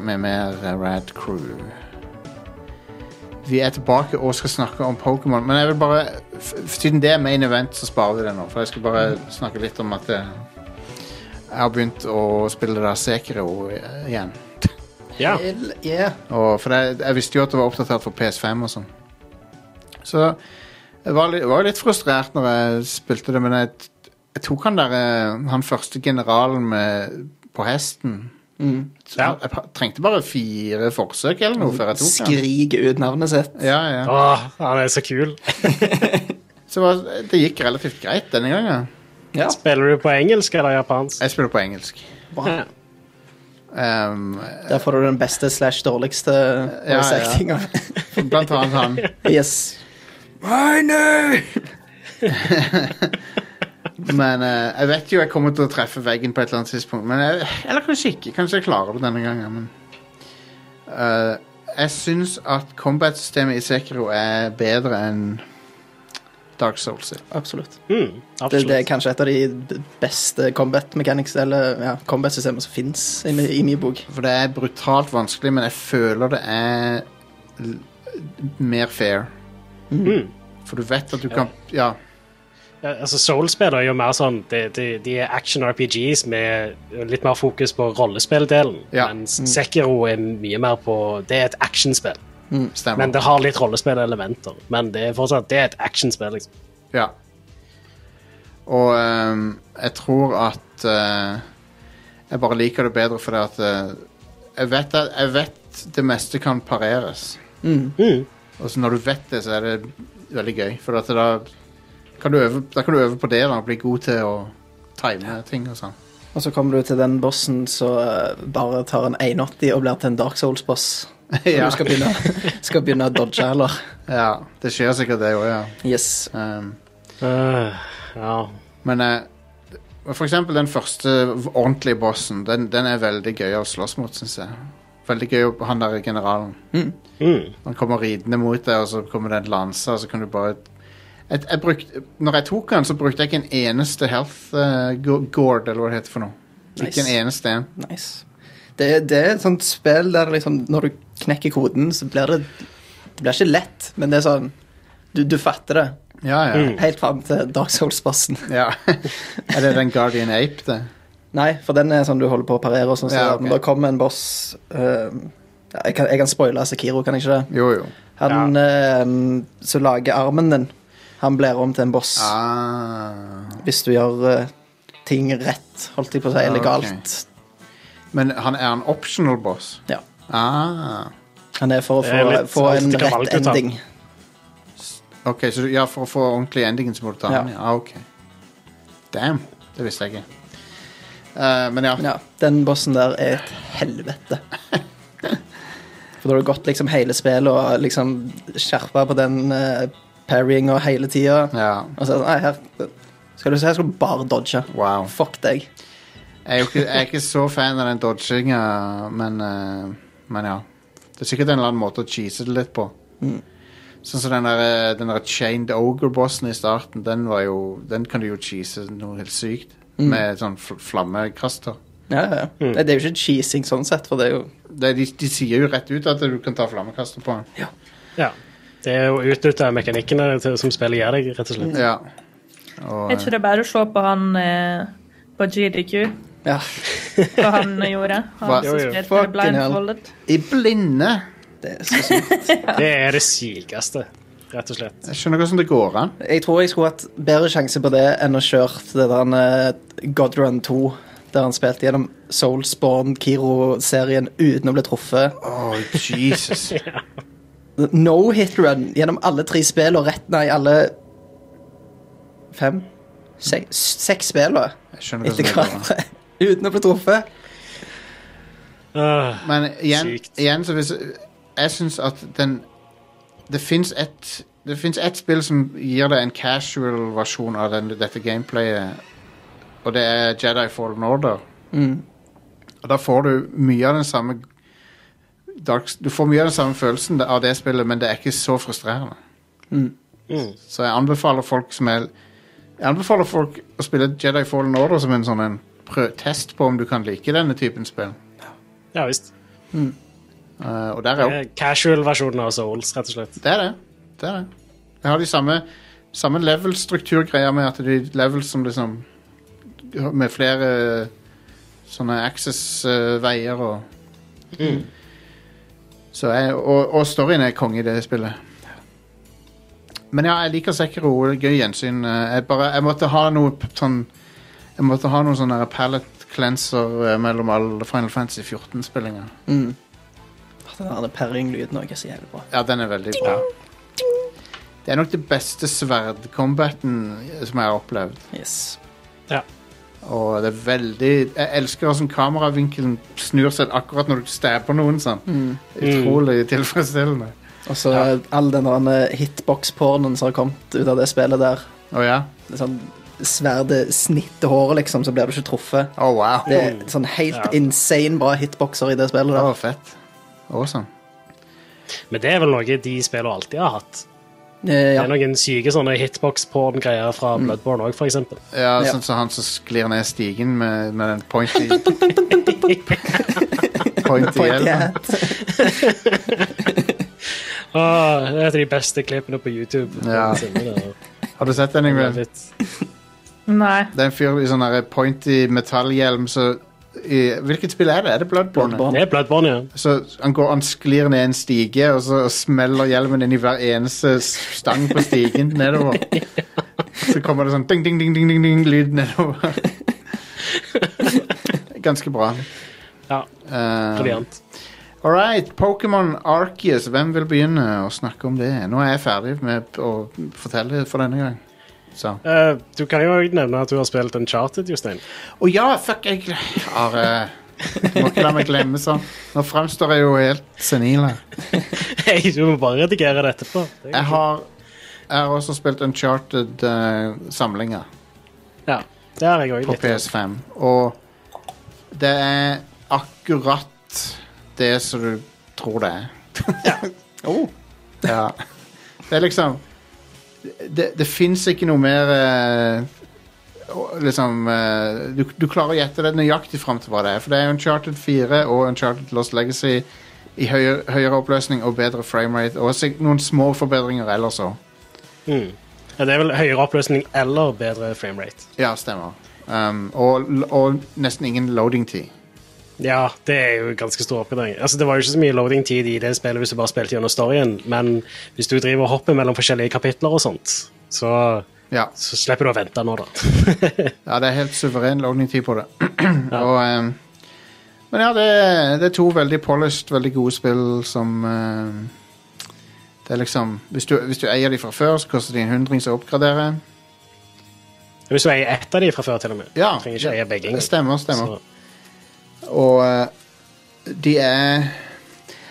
Speaker 1: med mer eh, Rad Crew. Vi er tilbake og skal snakke om Pokémon, men jeg vil bare f- f- Siden det er main event, så sparer vi det nå. For jeg skal bare snakke litt om at eh, jeg har begynt å spille da Sekiro eh, igjen.
Speaker 2: Ja.
Speaker 4: Hell yeah.
Speaker 1: Og, for jeg, jeg visste jo at det var oppdatert for PS5 og sånn. Så jeg var, li- var jo litt frustrert når jeg spilte det, men jeg, t- jeg tok han der eh, Han første generalen med, på hesten. Så
Speaker 2: Ja.
Speaker 1: Jeg pa- trengte bare fire forsøk eller noe før jeg tok han.
Speaker 4: Skriker ut navnet sitt.
Speaker 1: Ja, ja.
Speaker 2: Åh, han er så kul.
Speaker 1: Så var, det gikk relativt greit denne gangen.
Speaker 4: Ja,
Speaker 2: Spiller du på engelsk eller
Speaker 4: Eh,
Speaker 2: japansk?
Speaker 1: Jeg spiller på engelsk.
Speaker 4: bra.
Speaker 1: Um,
Speaker 4: Der får du den beste slash dårligste
Speaker 1: ja.
Speaker 4: voice actinga.
Speaker 1: blant annet han
Speaker 4: Yes.
Speaker 1: Men eh, jeg vet jo jeg kommer til å treffe veggen på et eller annet tidspunkt. Men jeg, eller kanskje ikke. Kanskje jeg klarer det denne gangen. Men, Eh, jeg syns at combat-systemet i Sekiro er bedre enn Dark Souls sitt.
Speaker 4: Absolutt.
Speaker 2: Mm,
Speaker 4: Det, det er
Speaker 2: absolutt.
Speaker 4: kanskje et av de beste combat mechanics, eller ja, combat-systemer som fins i, mi- i min bok.
Speaker 1: For det er brutalt vanskelig, men jeg føler det er l mer fair.
Speaker 2: Mm.
Speaker 1: For du vet at du kan Ja.
Speaker 2: Ja, altså Soul-spill er jo mer sånn De, de, de er action-RPGs med litt mer fokus på rollespilldelen.
Speaker 1: Ja.
Speaker 2: Mens Sekiro er mye mer på Det er et actionspill. Men
Speaker 1: Stemmer.
Speaker 2: det har litt rollespillelementer. Men det er fortsatt det er et actionspill. Liksom.
Speaker 1: Ja. Og ehm, jeg tror at eh, Jeg bare liker det bedre fordi at eh, jeg, vet at jeg vet det meste kan pareres.
Speaker 2: Mm.
Speaker 1: Og så når du vet det, så er det veldig gøy. For at da, kan du øve, da kan du øve på det da, og bli god til å time ting og sånn.
Speaker 4: Og så kommer du til den bossen som eh, bare tar en 180 og blir til en Dark Souls-boss. Når
Speaker 1: ja.
Speaker 4: du skal begynne, skal begynne å dodge, eller?
Speaker 1: ja, det skjer sikkert det òg, ja.
Speaker 4: Yes.
Speaker 1: Ehm,
Speaker 2: Øh, ja.
Speaker 1: men eh, for eksempel den første ordentlige bossen, den, den er veldig gøy å slåss mot, syns jeg. Veldig gøy å han der generalen.
Speaker 2: Mm.
Speaker 1: Han kommer ridende mot deg, og så kommer det en lanse, og så kan du bare jeg, jeg brukte, Når jeg tok han, så brukte jeg ikke en eneste health eh, go- gourd, eller hva det heter for noe. Ikke
Speaker 4: Nice.
Speaker 1: en eneste en.
Speaker 4: Nice. Det, det er et sånt spill der liksom, når du knekker koden, så blir det Det blir ikke lett, men det er sånn Du, du fatter det.
Speaker 1: Ja, ja.
Speaker 4: Helt fram til Dark Souls-bossen.
Speaker 1: ja. er det den Guardian Ape, det?
Speaker 4: Nei, for den er sånn du holder på å parere. og Sånn, så
Speaker 1: Ja, ok.
Speaker 4: Når det kommer en boss eh, ja, jeg, kan, jeg kan spoile Sekiro, kan jeg ikke det?
Speaker 1: Jo, jo.
Speaker 4: Han eh, som lager armen din, han blir om til en boss
Speaker 1: Ah.
Speaker 4: hvis du gjør eh, ting rett, holdt jeg på å si,
Speaker 2: Ah,
Speaker 1: Ja,
Speaker 4: eller
Speaker 1: ok.
Speaker 4: galt.
Speaker 1: Men han er en optional boss?
Speaker 4: Ja.
Speaker 1: Ah.
Speaker 4: Han er for å
Speaker 2: Det er
Speaker 4: få,
Speaker 2: litt
Speaker 4: få en
Speaker 2: alt du kan
Speaker 4: rett
Speaker 2: valgte, da.
Speaker 4: ending.
Speaker 1: Ok, så du, ja, For å få ordentlig endingen så må du ta
Speaker 4: Ja.
Speaker 1: han, ja. Ah, ok. Damn. Det visste jeg ikke. Eh, men ja.
Speaker 4: Ja, den bossen der er et helvete. For da har du gått liksom hele spillet og liksom skjerpa på den eh, parryinga hele tida.
Speaker 1: ja.
Speaker 4: Og så er det sånn, nei, her skal du se, her skal du bare dodge.
Speaker 1: Wow.
Speaker 4: Fuck deg.
Speaker 1: Jeg er jo ikke, jeg er ikke så fan av den dodginga, men, eh, men ja. Det er sikkert en eller annen måte å cheese det litt på. Sånn som den der, eh, den der chained ogre-bossen i starten, den, var jo, den kan du jo cheese noe helt sykt. Med sånn fl flammekaster.
Speaker 4: Ja, ja, ja.
Speaker 2: Hmm.
Speaker 4: Det, det er jo ikke cheesing sånn sett, for det er jo
Speaker 1: Det, de, de sier jo rett ut at du kan ta flammekaster på den.
Speaker 2: ja. Det er å utnytte mekanikkene til, som spillet gir deg, rett og slett.
Speaker 1: Ja. Og,
Speaker 3: Er ikke det bare å se på han eh, på GDQ,
Speaker 4: Ja.
Speaker 3: hva han gjorde? Han
Speaker 1: Hva-
Speaker 3: som
Speaker 2: Jo, jo.
Speaker 3: spilte
Speaker 4: Fucking
Speaker 3: blindfoldet.
Speaker 1: eh, I blinde!
Speaker 4: Det er så sykt.
Speaker 2: Det er det sykeste, rett og slett.
Speaker 1: Jeg skjønner ikke hvordan det går an.
Speaker 4: Jeg tror jeg skulle hatt bedre sjanse på det enn å kjøre det der eh, Godrun 2, der han spilte gjennom Soulsborne Kiro-serien uten å bli truffet.
Speaker 1: Oh, Jesus.
Speaker 4: No hit run gjennom alle tre spill og rett Nei, alle Fem? Se, seks spill, da.
Speaker 1: Jeg skjønner
Speaker 4: Etter
Speaker 1: hva som er bra.
Speaker 4: hverandre. Uten å bli truffet.
Speaker 2: Ah,
Speaker 1: Men igjen,
Speaker 2: Sykt.
Speaker 1: igjen så hvis Jeg syns at den Det fins ett det finnes ett spill som gir deg en casual versjon av den, dette gameplayet, og det er Jedi Fallen Order. Og da får du mye av den samme dark, Du får mye av den samme følelsen av det spillet, men det er ikke så frustrerende.
Speaker 2: Mm.
Speaker 1: Så jeg anbefaler folk som er Jeg anbefaler folk å spille Jedi Fallen Order som en sånn en prø test på om du kan like denne typen spill.
Speaker 2: ja visst.
Speaker 1: Eh, og der er
Speaker 2: Det
Speaker 1: opp
Speaker 2: er Casual-versjonen av Souls, rett og slett.
Speaker 1: Det er det. Det er det. Jeg har de samme, samme level-strukturgreier med at det er levels som liksom Med flere sånne access-veier og Så jeg, og, og storyen er konge i det spillet. Men ja, jeg liker Sekiro. det er Gøy gjensyn. Eh, Jeg, bare, jeg måtte ha noe p- sånn Jeg måtte ha noen sånne pallet cleanser eh, mellom alle Final Fantasy 14-spillinger.
Speaker 4: Mm. Åh, Den der perring-lyden også er så jævlig bra.
Speaker 1: Ja, den er veldig bra. Det er nok det beste sverdcombaten som jeg har opplevd.
Speaker 4: Yes.
Speaker 1: Og det er veldig Jeg elsker hvordan kameravinkelen snur seg akkurat når du stabber noen. sånn
Speaker 4: Mm.
Speaker 1: Utrolig tilfredsstillende.
Speaker 4: Og så all den der eh, hitbox-pornoen som har kommet ut av det spillet der.
Speaker 1: Å ja?
Speaker 4: Det er sånn Sverdet snitter håret, liksom, så blir du ikke truffet.
Speaker 1: Å wow.
Speaker 4: Det er sånn helt insane bra hitboxer i det spillet.
Speaker 1: Det
Speaker 4: der.
Speaker 1: var fett. Awesome.
Speaker 2: Men det er vel noe de spillene alltid har hatt.
Speaker 4: Eh,
Speaker 2: Det
Speaker 4: ja.
Speaker 2: er noen syke sånne hitbox-porn-greier fra Bloodborne òg, f.eks.
Speaker 1: Ja,
Speaker 4: Ja.
Speaker 1: sånn som han som sklir ned stigen med, med den pointy Pointy
Speaker 4: Point the
Speaker 1: hjelmen.
Speaker 4: hat.
Speaker 2: Ah, det er et av de beste klippene på YouTube.
Speaker 1: Ja.
Speaker 2: noensinne,
Speaker 1: Har du sett den,
Speaker 2: da.
Speaker 1: Ingrid?
Speaker 2: Litt.
Speaker 3: Nei.
Speaker 1: Det er en fyr i sånn her pointy metallhjelm så i, Hvilket spill er det? Er det Bloodborne?
Speaker 4: Bloodborne.
Speaker 2: Det er Bloodborne, ja.
Speaker 1: Så han går, han sklir ned en stige, og så smeller hjelmen inn i hver eneste stang på stigen nedover. Så kommer det sånn ding, ding, ding, ding, ding, ding lyd nedover. Ganske bra.
Speaker 2: ja
Speaker 1: Uh,
Speaker 2: Brilliant.
Speaker 1: All right, Pokémon Arceus. Hvem vil begynne å snakke om det? Nå er jeg ferdig med å fortelle for denne gang. Så.
Speaker 2: Eh, du kan jo også nevne at du har spilt Uncharted, Jostein.
Speaker 1: Å ja, fuck, jeg gle- Are, du må ikke la meg glemme sånn. Nå fremstår jeg jo helt senil her.
Speaker 2: Hey, du må bare redigere det etterpå. Det er-
Speaker 1: Jeg har, jeg har også spilt Uncharted-samlinger
Speaker 2: Ja, det har jeg òg
Speaker 1: på
Speaker 2: litt.
Speaker 1: PS5. Og det er akkurat det som du tror det er.
Speaker 4: Oh.
Speaker 1: Ja. Det er liksom Det, det fins ikke noe mer eh, å- Liksom eh, du, du klarer å gjette det nøyaktig fram til hva det er. For det er Uncharted 4 og Uncharted Lost Legacy i høyere, høyere oppløsning og bedre framerate. Og sik- noen små forbedringer ellers òg.
Speaker 2: Mm. Ja, det er vel høyere oppløsning eller bedre framerate.
Speaker 1: Ja, stemmer. Um, og, og nesten ingen loading-tid.
Speaker 2: Ja, det er jo en ganske stor oppgradering. Altså, det var jo ikke så mye loading-tid i det spillet hvis du bare spilte gjennom storyen, men hvis du driver og hopper mellom forskjellige kapitler og sånt, så,
Speaker 1: Ja.
Speaker 2: så slipper du å vente nå, da.
Speaker 1: ja, det er helt suveren loading-tid på det. og, um, men ja, det, er- det er to veldig polished, veldig gode spill som um, Det er liksom hvis du, hvis du eier de fra før, så koster de en hundring å oppgradere.
Speaker 2: Hvis du eier ett av de fra før, til og med.
Speaker 1: Ja,
Speaker 2: Du trenger ikke
Speaker 1: det-
Speaker 2: eie begge.
Speaker 1: det stemmer, stemmer.
Speaker 2: Så-
Speaker 1: Og eh, de er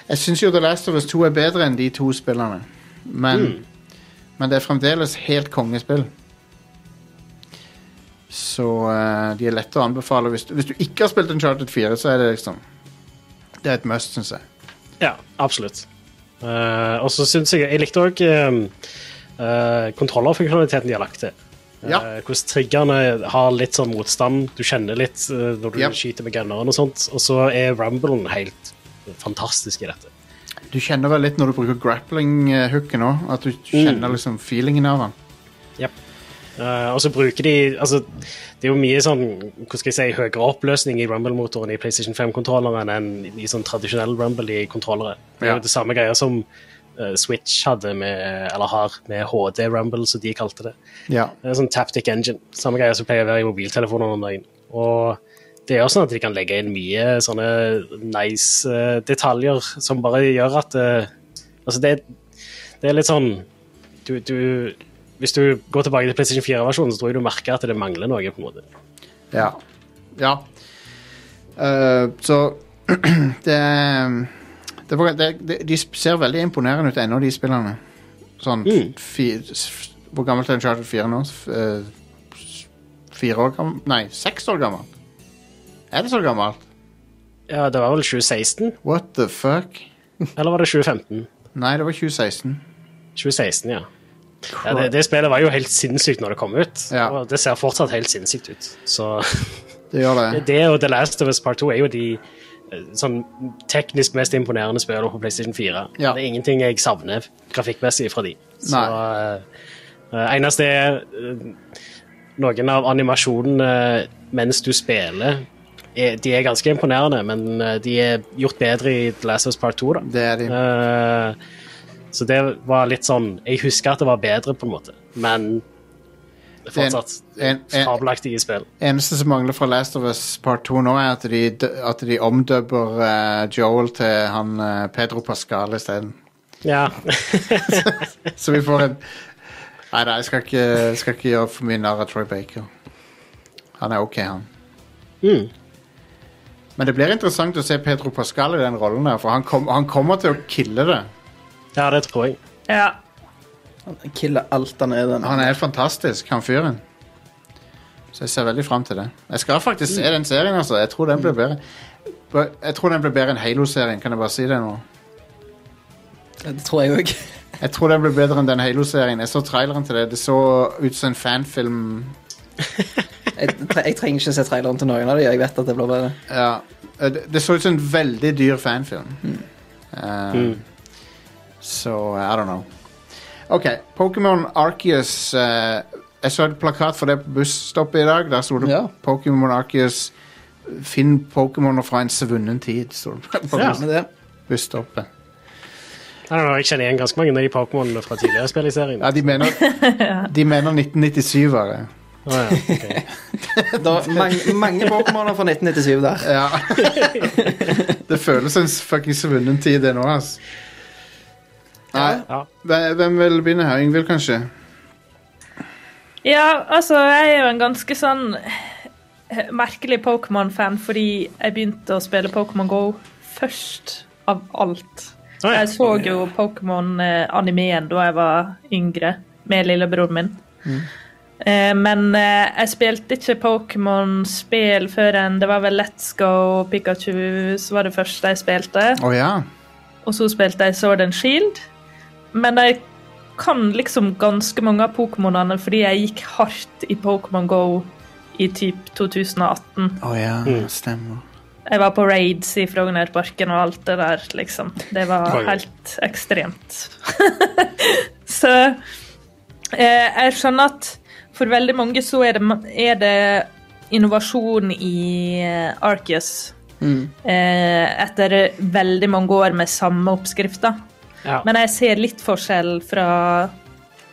Speaker 1: Jeg syns jo The Last of Us 2 er bedre enn de to spillene. Men, men det er fremdeles helt kongespill. Så eh, de er lette å anbefale. Hvis du, hvis du ikke har spilt Uncharted 4, så er det liksom Det er et must, syns jeg.
Speaker 2: Ja, absolutt. Eh, og så syns jeg Jeg likte òg kontrollerfunksjonaliteten de har lagt til. Eh,
Speaker 1: Ja.
Speaker 2: hvordan triggerne har litt sånn motstand. Du kjenner litt eh, når du
Speaker 1: Yep.
Speaker 2: skyter med gunneren og sånt. Og så er rumblen helt fantastisk i dette.
Speaker 1: Du kjenner vel litt når du bruker grappling-hooken òg, at du kjenner liksom feelingen av den.
Speaker 2: Eh, og så bruker de altså, Det er jo mye sånn hva skal jeg si, høyere oppløsning i Rumble-motoren i PlayStation 5-kontrolleren enn i sånn tradisjonell Rumble i kontrollere. Det
Speaker 1: Ja.
Speaker 2: er jo det samme greia som eh, Switch hadde med, eller har med HD Rumble, som de kalte det.
Speaker 1: Ja.
Speaker 2: Det er en sånn Taptic Engine. Samme greie som pleier å være i mobiltelefoner om dagen. Og det gjør sånn at de kan legge inn mye sånne nice eh, detaljer som bare gjør at eh, Altså, det, det er litt sånn du, du, Hvis du går tilbake til PlayStation 4-versjonen, så tror jeg du merker at det mangler noe. på en måte.
Speaker 1: Ja. ja. Eh, så det, er- det, er- det, det De ser veldig imponerende ut ennå, de spillene. Sånn
Speaker 2: Mm.
Speaker 1: fi, s- Hvor gammelt er Uncharted 4 nå? F- eh, s- Fire år gammel? Nei, seks år gammel. Er det så gammelt?
Speaker 2: Ja, Det var vel 2016?
Speaker 1: What the fuck?
Speaker 2: Eller var det 2015?
Speaker 1: Nei, det var 2016.
Speaker 2: 2016, ja. ja det, det spillet var jo helt sinnssykt når det kom ut,
Speaker 1: Ja.
Speaker 2: og det ser fortsatt helt sinnssykt ut. Så
Speaker 1: Det gjør det.
Speaker 2: det og The Last of Us Part 2 er jo de eh, sånn teknisk mest imponerende spillene på PlayStation 4.
Speaker 1: Ja.
Speaker 2: Det er ingenting jeg savner grafikkmessig fra de. Så
Speaker 1: Nei.
Speaker 2: eh, eh, eneste er eh, noen av animasjonene mens du spiller er, De er ganske imponerende, men eh, de er gjort bedre i The Last of Us Part 2, da.
Speaker 1: Det er de.
Speaker 2: Eh, Så det var litt sånn Jeg husker at det var bedre, på en måte, men det er fortsatt
Speaker 1: En- en-
Speaker 2: fabelaktige spill.
Speaker 1: Eneste som mangler fra Last of Us Part 2 nå, er at de, at de omdøper eh, Joel til han eh, Pedro Pascal isteden.
Speaker 2: Ja.
Speaker 1: Så vi får en Nei da, jeg skal ikke, jeg skal ikke gjøre for mye narr av Troy Baker. Han er OK, han.
Speaker 2: Mm.
Speaker 1: Men det blir interessant å se Pedro Pascal i den rollen der, for han, kom, han kommer til å kille det.
Speaker 2: ja, det tror jeg.
Speaker 3: Ja.
Speaker 4: Han killer alt han er, den.
Speaker 1: Han er fantastisk, han fyren. Så jeg ser veldig fram til det. Jeg skal faktisk se den serien, altså. Jeg tror den blir bedre. But- Jeg tror den blir bedre enn Halo-serien, kan jeg bare si det nå.
Speaker 4: Det tror jeg òg.
Speaker 1: Jeg tror den blir bedre enn den Halo-serien. Jeg så traileren til det. Det så ut som en fanfilm.
Speaker 4: Jeg, tre- jeg trenger ikke se traileren til noen av dem. Jeg vet at det blir bedre.
Speaker 1: Ja. Eh, Det det så ut som en veldig dyr fanfilm. Eh, Så I don't know. OK. Pokémon Arceus eh, Jeg så et plakat for det på busstoppet i dag. Der sto det
Speaker 4: Ja.
Speaker 1: Pokémon Arceus Finn Pokémoner fra en svunnen tid. Sto det på
Speaker 2: Ja.
Speaker 1: bus-
Speaker 4: Men det,
Speaker 1: busstoppet.
Speaker 2: I don't know, jeg kjenner igjen ganske mange av de Pokémonene fra tidligere spill i serien.
Speaker 1: Ja, de mener, de mener 1997-ere.
Speaker 2: Å, ja. ok.
Speaker 4: det var mange, mange Pokémoner fra 1997 der.
Speaker 1: Ja. det føles som en fucking svunnen tid, det nå, altså. Nei,
Speaker 2: Ja.
Speaker 1: hve- hvem vil begynne her? Yngvild, kanskje?
Speaker 3: Ja, altså, jeg er jo en ganske sånn eh, merkelig Pokémon-fan fordi jeg begynte å spille Pokémon GO først av alt.
Speaker 2: Å, ja.
Speaker 3: Jeg så jo Pokémon-animeen da jeg var yngre, med lillebroren min.
Speaker 2: Mm.
Speaker 3: Eh, Men eh, jeg spilte ikke Pokémon-spill før en Det var vel Let's Go Pikachu som var det første jeg spilte.
Speaker 1: Å ja.
Speaker 3: Og så spilte jeg Sword and Shield. Men jeg kan liksom ganske mange av Pokémonene fordi jeg gikk hardt i Pokémon GO i typ 2018.
Speaker 1: Å ja, stemmer.
Speaker 3: Jeg var på raids i Frognerparken og alt det der, liksom. Det var
Speaker 2: Konge.
Speaker 3: helt ekstremt. så eh, jeg skjønner at for veldig mange så er det, er det innovasjon i eh, Arceus. Eh, etter veldig mange år med samme oppskrifter.
Speaker 2: Ja.
Speaker 3: Men jeg ser litt forskjell fra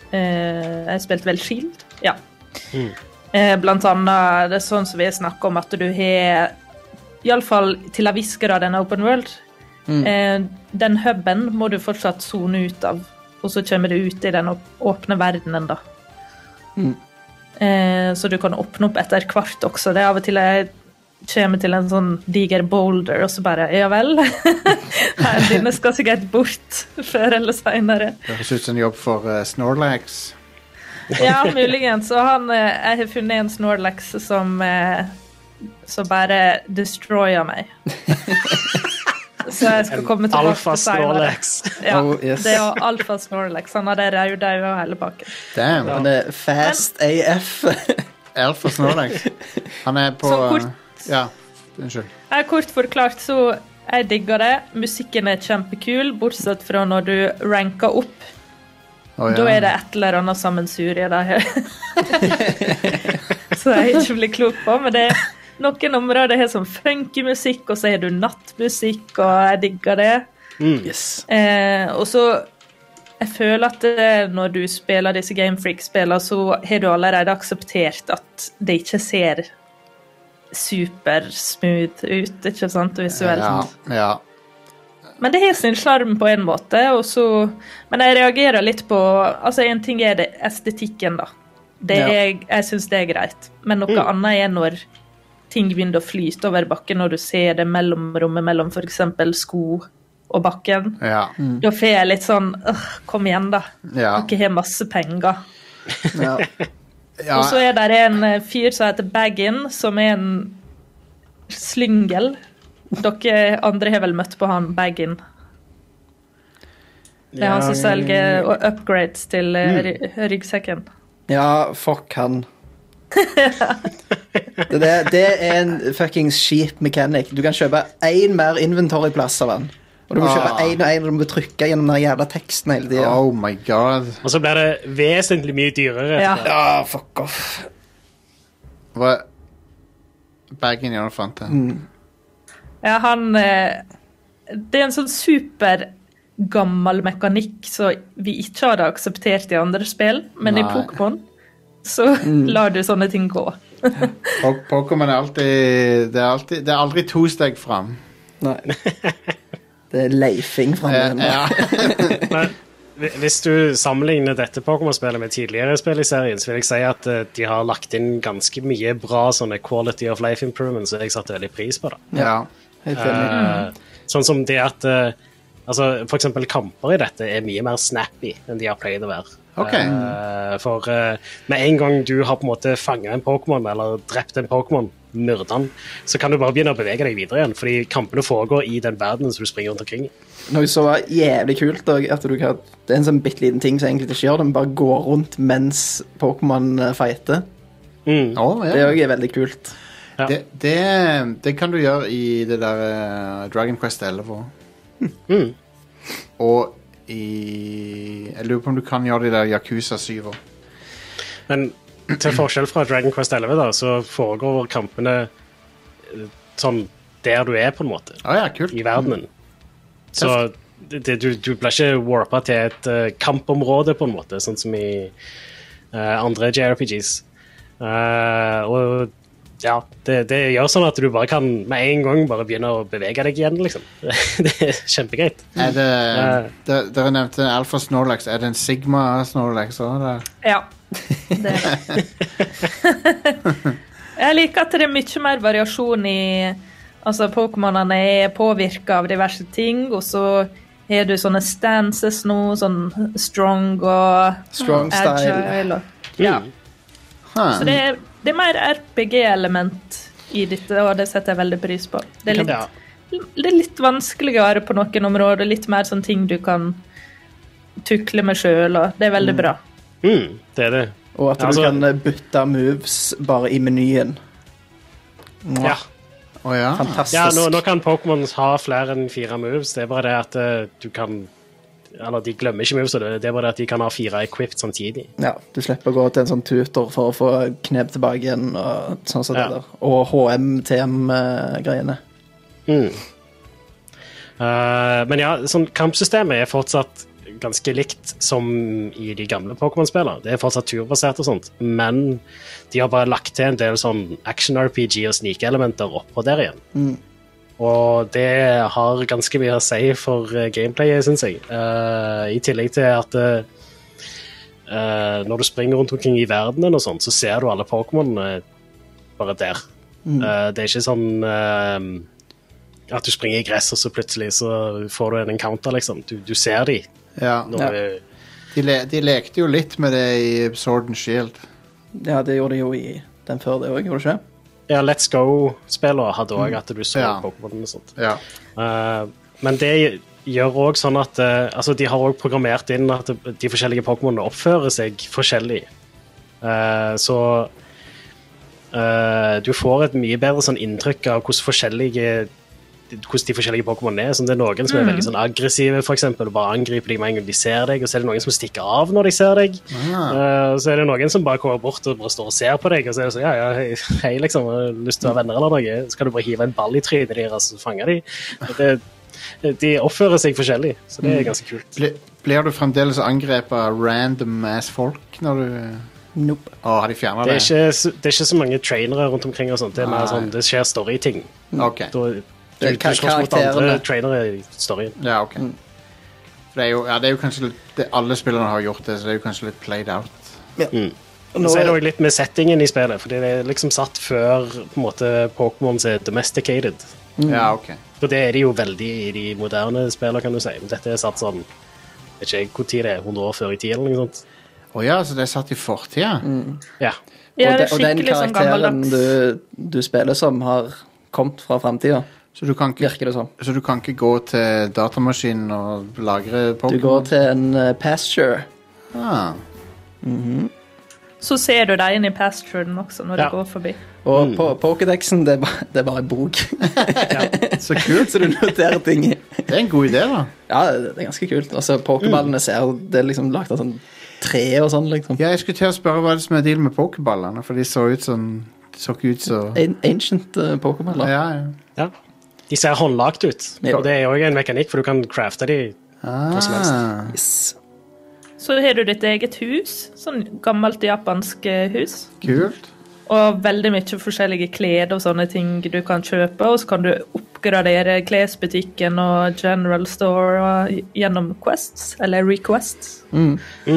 Speaker 3: eh, Jeg spilte vel Shield? Ja. Eh, blant annet det er sånn som vi snakker om, at du har Iallfall til en viss grad en open world. Eh, den huben må du fortsatt sone ut av, og så kommer du ut i den åp- åpne verdenen, da. Eh, så du kan åpne opp etter hvert også. Det er av og til jeg kommer til en sånn diger boulder, og så bare Ja vel. Her dine skal sikkert bort før eller seinere.
Speaker 1: Det høres ut som en jobb for eh, Snorlax.
Speaker 3: Ja, muligens. Og han eh, Jeg har funnet en Snorlax som eh, som bare destroyer meg. Så jeg skal komme tilbake
Speaker 2: Alfa Snorlax.
Speaker 3: Ja,
Speaker 4: Oh, yes.
Speaker 3: Det er Alfa Snorlax. Han hadde røde øyne og hele pakken.
Speaker 1: Damn.
Speaker 4: Han er fast AF.
Speaker 1: Alfa Snorlax. Han er på
Speaker 3: Så Sånn kort.
Speaker 1: eh, Ja, unnskyld.
Speaker 3: Jeg kort forklart, så jeg digger det. Musikken er kjempekul, bortsett fra når du ranker opp.
Speaker 1: Å, ja.
Speaker 3: Da er det et eller annet sammensurie der. så jeg ikke blir klok på, men det er noen områder har sånn funky musikk, og så har du nattmusikk, og jeg digger det.
Speaker 2: Mm.
Speaker 4: Yes.
Speaker 3: Eh, og så Jeg føler at eh, når du spiller disse Game Freak-spillene, så har du allerede akseptert at det ikke ser supersmooth ut, ikke sant, visuelt.
Speaker 1: Ja, ja.
Speaker 3: Men det har sin sjarm på en måte, og så Men jeg reagerer litt på Altså, en ting er det estetikken, da. Det
Speaker 4: Ja.
Speaker 3: er, jeg syns det er greit, men noe annet er når ting begynner å flyte over bakken, og du ser det mellomrommet mellom f.eks. sko og bakken.
Speaker 1: Ja.
Speaker 3: Da får jeg litt sånn «Åh, Kom igjen, da.
Speaker 1: Ja.
Speaker 3: Dere har masse penger.
Speaker 4: Ja.
Speaker 1: Ja,
Speaker 3: Og så er det en eh, fyr som heter Baggin, som er en slyngel. Dere andre har vel møtt på han Baggin? Det er han som selger og upgrades til eh, ry- ryggsekken.
Speaker 4: Ja, fuck han. det, der- det er en fuckings skip mechanic. Du kan kjøpe én mer inventoryplass av han. Og du må
Speaker 1: Ah.
Speaker 4: kjøpe én og én, og du må trykke gjennom den jævla teksten hele tida.
Speaker 1: Oh my god.
Speaker 2: Og så blir det vesentlig mye dyrere.
Speaker 3: Ja.
Speaker 4: Ja, fuck off.
Speaker 1: Hva Bagen gjør det fant
Speaker 3: Mm.
Speaker 1: jeg.
Speaker 3: ja, han eh, Det er en sånn super gammel mekanikk som vi ikke hadde akseptert i andre spill, men i
Speaker 1: Nei.
Speaker 3: Pokémon så lar du sånne ting gå.
Speaker 1: Po- Pokémon er alltid Det er alltid Det er aldri to steg fram.
Speaker 4: Nei. Det er leifing fra
Speaker 1: Eh,
Speaker 4: meg. nå.
Speaker 1: ja.
Speaker 2: Men hvi- hvis du sammenligner dette Pokémon-spillet med tidligere spill i serien, så vil jeg si at eh, de har lagt inn ganske mye bra sånne quality of life improvements, og jeg satte veldig pris på det.
Speaker 1: ja.
Speaker 4: Helt enig.
Speaker 2: Eh, Sånn som det at eh, altså, for eksempel kamper i dette er mye mer snappy enn de har pleid å være.
Speaker 1: Ok.
Speaker 2: Eh, for eh, med en gang du har på en måte fanga en Pokémon eller drept en Pokémon, myrda den, så kan du bare begynne å bevege deg videre igjen, fordi kampene foregår i den verden som du springer rundt omkring i.
Speaker 4: Noe som var jævlig kult, og at du kan, det er en sånn bitte liten ting som egentlig ikke gjør det, men bare gå rundt mens Pokémon eh, fighter.
Speaker 1: Å,
Speaker 4: Det
Speaker 1: ja.
Speaker 4: òg er veldig kult.
Speaker 2: Ja.
Speaker 1: Det, det, det kan du gjøre i det der eh, Dragon Quest 11 også.
Speaker 2: Mm.
Speaker 1: Og i Jeg lurer på om du kan gjøre det i der Yakuza 7 òg.
Speaker 2: Men til forskjell fra Dragon Quest 11, da, så foregår kampene eh, sånn der du er, på en måte,
Speaker 1: Å ja, kult.
Speaker 2: i verdenen. Så det, du, du blir ikke warpa til et eh, kampområde, på en måte, sånn som i eh, andre JRPGs. Eh, og ja, det, det gjør sånn at du bare kan med en gang bare begynne å bevege deg igjen, liksom. det er kjempegreit.
Speaker 1: Er det,
Speaker 2: Mm.
Speaker 1: der, Dere nevnte Alfa Snorlax. Er det en Sigma Snorlax òg der?
Speaker 3: Ja, det er det. Jeg liker at det er mye mer variasjon i Altså, Pokémonene er påvirka av diverse ting, og så har du sånne stances nå, sånn strong og
Speaker 4: Strong style.
Speaker 3: agile. og-
Speaker 2: Ja.
Speaker 1: Huh.
Speaker 3: Så det er, det er mer RPG-element i dette, og det setter jeg veldig pris på. Det er litt,
Speaker 2: Ja.
Speaker 3: det er litt vanskeligere på noen områder, litt mer sånn ting du kan tukle med sjøl, og det er veldig bra.
Speaker 2: Mm, det er det.
Speaker 4: Og at
Speaker 2: Altså-
Speaker 4: du kan eh, bytte moves bare i menyen. Mwah.
Speaker 2: Ja.
Speaker 1: Å ja.
Speaker 4: Fantastisk.
Speaker 2: Ja, nå, nå kan Pokémon ha flere enn fire moves. Det er bare det at eh, du kan Eller de glemmer ikke moves, så det det er bare det at de kan ha fire equipped samtidig.
Speaker 4: Ja, du slipper å gå til en sånn tutor for å få knep tilbake igjen og sånn som
Speaker 2: Ja.
Speaker 4: det der. Og HM-TM-greiene.
Speaker 2: Eh, men ja, sånn, kampsystemet er fortsatt ganske likt som i de gamle Pokémon-spillene. Det er fortsatt turbasert og sånt, men de har bare lagt til en del sånn action-RPG og snikelementer oppå der igjen. Og det har ganske mye å si for eh, gameplayet, syns jeg. Eh, I tillegg til at eh, eh, når du springer rundt omkring i verdenen og sånn, så ser du alle Pokémonene bare der. Eh, det er ikke sånn eh, at du springer i gress, og så plutselig så får du en encounter, liksom. Du, du ser de.
Speaker 1: ja.
Speaker 2: Når
Speaker 4: Ja.
Speaker 2: du-
Speaker 1: De, le, de lekte jo litt med det i Sword and Shield.
Speaker 4: Ja, det gjorde de jo i den før det òg, gjorde det ikke?
Speaker 2: ja, Let's Go-spillere hadde òg at du så
Speaker 1: Ja.
Speaker 2: Pokémon og sånt.
Speaker 1: Ja.
Speaker 2: Eh, men det gjør òg sånn at eh, altså De har òg programmert inn at de forskjellige Pokémonene oppfører seg forskjellig. Eh, så eh, du får et mye bedre sånn inntrykk av hvordan forskjellige hvordan de forskjellige Pokémonene er. Sånn, det er noen som er veldig sånn aggressive for eksempel, og bare angriper deg med en gang de ser deg, og så er det noen som stikker av når de ser deg. Eh, og så er det noen som bare kommer bort og bare står og ser på deg, og så er det sånn ja, ja, hei, hei liksom, har du lyst til å være venner eller noe, så kan du bare hive en ball i trynet deres og fange dem. Det, de oppfører seg forskjellig, så det er ganske kult.
Speaker 1: Bli, blir du fremdeles angrepet av random ass folk når du
Speaker 4: Nope.
Speaker 1: Å, har de fjerna det?
Speaker 2: Det er, ikke, så- det er ikke så mange trainere rundt omkring, og sånt. Det er mer
Speaker 1: Nei.
Speaker 2: sånn, det skjer storyting.
Speaker 1: Ok.
Speaker 2: Da- Du,
Speaker 4: Det er
Speaker 2: du
Speaker 4: kar-
Speaker 2: slåss mot andre
Speaker 4: karakterene.
Speaker 2: trainere i storyen.
Speaker 1: Ja, ok. For det er jo, ja, det er jo kanskje litt- det, Alle spillerne har gjort det, så det er jo kanskje litt played out.
Speaker 4: Og nå
Speaker 2: Så er det
Speaker 4: er,
Speaker 2: også litt med settingen i spillet, for det er liksom satt før på en måte Pokémons er domesticated.
Speaker 1: Ja, ok.
Speaker 2: For det er de jo veldig i de moderne spillene, kan du si. Men dette er satt sånn Vet ikke jeg hvor tid det er, 100 år før i tida, eller noe sånt.
Speaker 1: Å ja, så det er satt i fortida?
Speaker 2: Ja.
Speaker 3: Ja,
Speaker 4: og,
Speaker 3: det
Speaker 4: de,
Speaker 3: er
Speaker 4: og den
Speaker 3: skikkelig sånn
Speaker 4: karakteren
Speaker 3: gammeldags.
Speaker 4: du, du spiller som, har kommet fra framtida,
Speaker 1: Så, du kan ikke-
Speaker 4: virker det som.
Speaker 1: så du kan ikke gå til datamaskinen og lagre
Speaker 4: Du
Speaker 1: Pokémon?
Speaker 4: går til en eh, pasture.
Speaker 1: Ah,
Speaker 3: Så ser du deg inn i pasturen også når
Speaker 2: Ja.
Speaker 3: du går forbi.
Speaker 4: Og på Pokédexen, det, er ba- det er bare en bok.
Speaker 1: så kult.
Speaker 4: Så du noterer ting i.
Speaker 1: Det er en god idé, da.
Speaker 4: Ja, det det er ganske kult. Altså, Pokéballene ser Det er liksom lagd av sånn tre og sånn, liksom.
Speaker 1: Ja, jeg skulle til å spørre hva er det som er dealen med pokerballene, for de så ut som De så ikke ut så
Speaker 4: An ancient uh, Pokéballer.
Speaker 1: Ja, ja.
Speaker 2: ja. De ser håndlagt ut,
Speaker 4: Ja.
Speaker 2: og det er òg en mekanikk, for du kan crafte de. som helst.
Speaker 1: Ah,
Speaker 4: Yes.
Speaker 3: Så har du ditt eget hus, sånn gammelt japansk eh, hus.
Speaker 1: kult.
Speaker 3: Og veldig mye forskjellige klær og sånne ting du kan kjøpe. Og så kan du oppgradere klesbutikken og general store og gjennom quests, eller requests.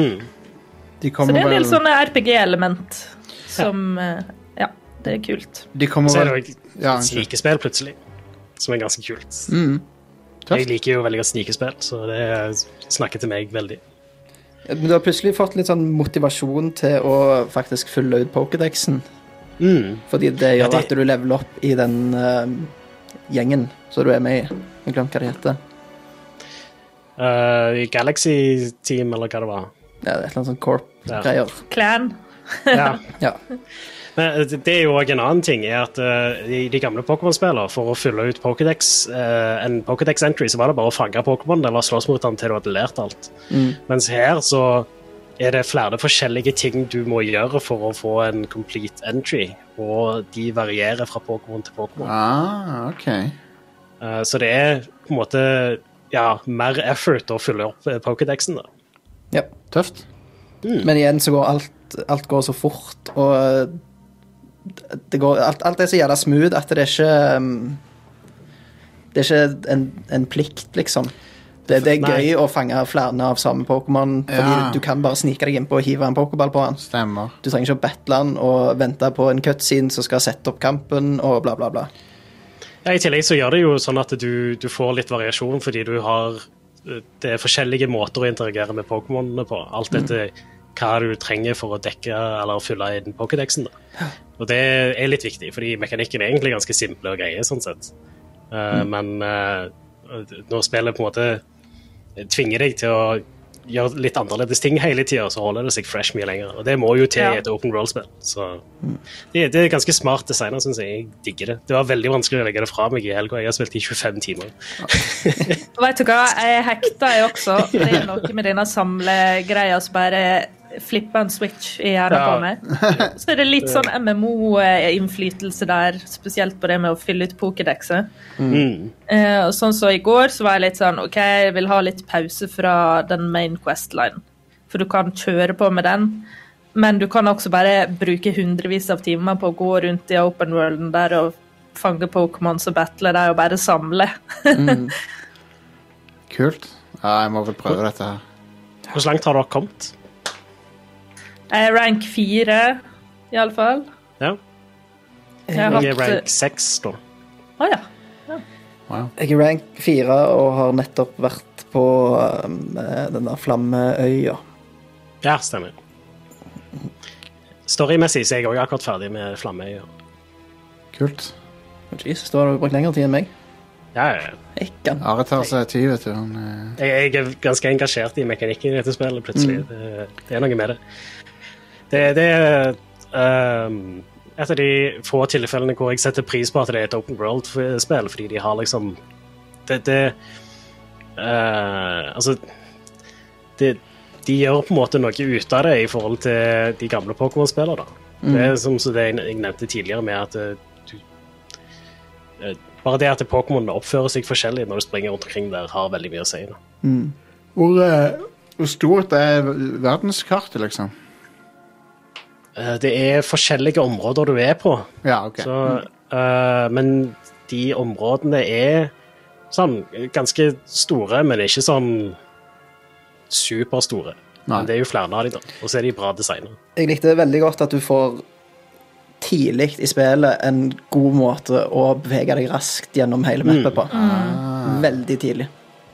Speaker 1: De
Speaker 3: Så det
Speaker 1: kommer
Speaker 3: er en del
Speaker 1: vel
Speaker 3: sånne RPG-element som eh, Ja, det er kult.
Speaker 1: De kommer
Speaker 2: Så er det
Speaker 1: vel
Speaker 2: òg
Speaker 1: Ja, unnskyld.
Speaker 2: snikespill, plutselig, som er ganske kult.
Speaker 4: Mm.
Speaker 1: Tøft.
Speaker 2: Jeg liker jo veldig godt snikespill, så det snakker til meg veldig.
Speaker 4: Men du har plutselig fått litt sånn motivasjon til å faktisk fylle ut Pokédexen. Fordi det gjør
Speaker 2: Ja, det-
Speaker 4: at du leveler opp i den eh, gjengen som du er med i. Jeg glemte hva det heter.
Speaker 2: Eh, I Galaxy Team, eller hva det var.
Speaker 4: Ja, det er et eller annet sånn Corp-greier.
Speaker 3: Clan.
Speaker 2: Ja.
Speaker 4: Ja.
Speaker 2: Men eh, det det er jo også en annen ting, er at eh, i de gamle Pokémon-spillene, for å fylle ut Pokédex, eh, en Pokédex-entry, så var det bare å fange Pokémon eller slåss mot den til du hadde lært alt. Mens her så er det flere forskjellige ting du må gjøre for å få en complete entry, og de varierer fra Pokémon til Pokémon.
Speaker 1: Ah, ok.
Speaker 2: Eh, Så det er på en måte ja, mer effort å fylle opp eh, Pokédexen, da.
Speaker 4: Ja.
Speaker 1: Tøft.
Speaker 2: Mm.
Speaker 4: Men igjen så går alt, alt går så fort, og eh, det går, alt, alt er så jævla smooth at det er ikke um, Det er ikke en, en plikt, liksom. Det, det er
Speaker 2: Nei.
Speaker 4: gøy å fange flere av samme Pokémon, fordi
Speaker 1: Ja.
Speaker 4: du kan bare snike deg innpå og hive en Pokéball på han.
Speaker 1: Stemmer.
Speaker 4: Du trenger ikke å battle han og vente på en cutscene som skal sette opp kampen, og bla, bla, bla.
Speaker 2: Ja, I tillegg så gjør det jo sånn at du, du får litt variasjon, fordi du har eh, Det er forskjellige måter å interagere med Pokémonene på. Alt etter hva du trenger for å dekke eller fylle inn Pokédexen. da. Og det er litt viktig, fordi mekanikken er egentlig ganske simple og greie, sånn sett. Eh,
Speaker 3: Mm.
Speaker 2: Men eh, når spillet på en måte tvinger deg til å gjøre litt annerledes ting hele tida, så holder det seg fresh mye lenger. Og det må jo til
Speaker 3: Ja. Mm.
Speaker 2: i et open world-spill. Så det, det er ganske smart designer, syns jeg. Jeg digger det. Det var veldig vanskelig å legge det fra meg i helga. Jeg har spilt i 25 timer.
Speaker 3: Og vet du hva, jeg hekta jeg også. Det er noe med denne samlegreia som bare flipper en switch i hjernen
Speaker 2: Ja.
Speaker 3: på meg. Så er det litt sånn MMO-innflytelse der, spesielt på det med å fylle ut Pokédexet. Eh, og sånn så i går, så var jeg litt sånn OK, jeg vil ha litt pause fra den main quest-linen. For du kan kjøre på med den, men du kan også bare bruke hundrevis av timer på å gå rundt i open worlden der og fange Pokémons og battle der og bare samle.
Speaker 1: Kult. Ja, jeg må vel prøve dette her.
Speaker 2: Hvor langt har dere kommet?
Speaker 3: Jeg er rank fire, iallfall.
Speaker 2: Ja,
Speaker 3: Jeg har
Speaker 2: jeg er rank
Speaker 3: hatt
Speaker 2: 6 nå.
Speaker 3: Å ja.
Speaker 4: Jeg er rank fire og har nettopp vært på um, eh, den der flammeøya.
Speaker 2: Ja, stemmer. Storymessig så er jeg òg akkurat ferdig med Flammeøya.
Speaker 1: Kult.
Speaker 4: Å, Jesus, da har du brukt lengre tid enn meg.
Speaker 2: Ja, ja, ja.
Speaker 4: Ekkan.
Speaker 1: Are tar seg tid, vet du. Han, eh,
Speaker 2: jeg, jeg er ganske engasjert i mekanikken i dette spillet, plutselig. Det, det er noe med det. Det, det er ehm, et av de få tilfellene hvor jeg setter pris på at det er et open world-spill, fordi de har liksom Det, det eh, Altså det, De gjør på en måte noe ut av det i forhold til de gamle Pokémon-spillene, da. Det er som som det jeg jeg nevnte tidligere, med at eh, du eh, bare det at Pokémonene oppfører seg forskjellig når du springer rundt omkring der, har veldig mye å si. Da.
Speaker 1: Hvor, eh, hvor stort er verdenskartet, liksom?
Speaker 2: Eh, Det er forskjellige områder du er på.
Speaker 1: Ja, ok.
Speaker 2: Så, eh, men de områdene er sånn ganske store, men ikke sånn superstore.
Speaker 1: Nei.
Speaker 2: Men det er jo flere av de da, og så er de bra designet.
Speaker 4: Jeg likte veldig godt at du får tidlig i spillet en god måte å bevege deg raskt gjennom hele mappet på. Veldig tidlig.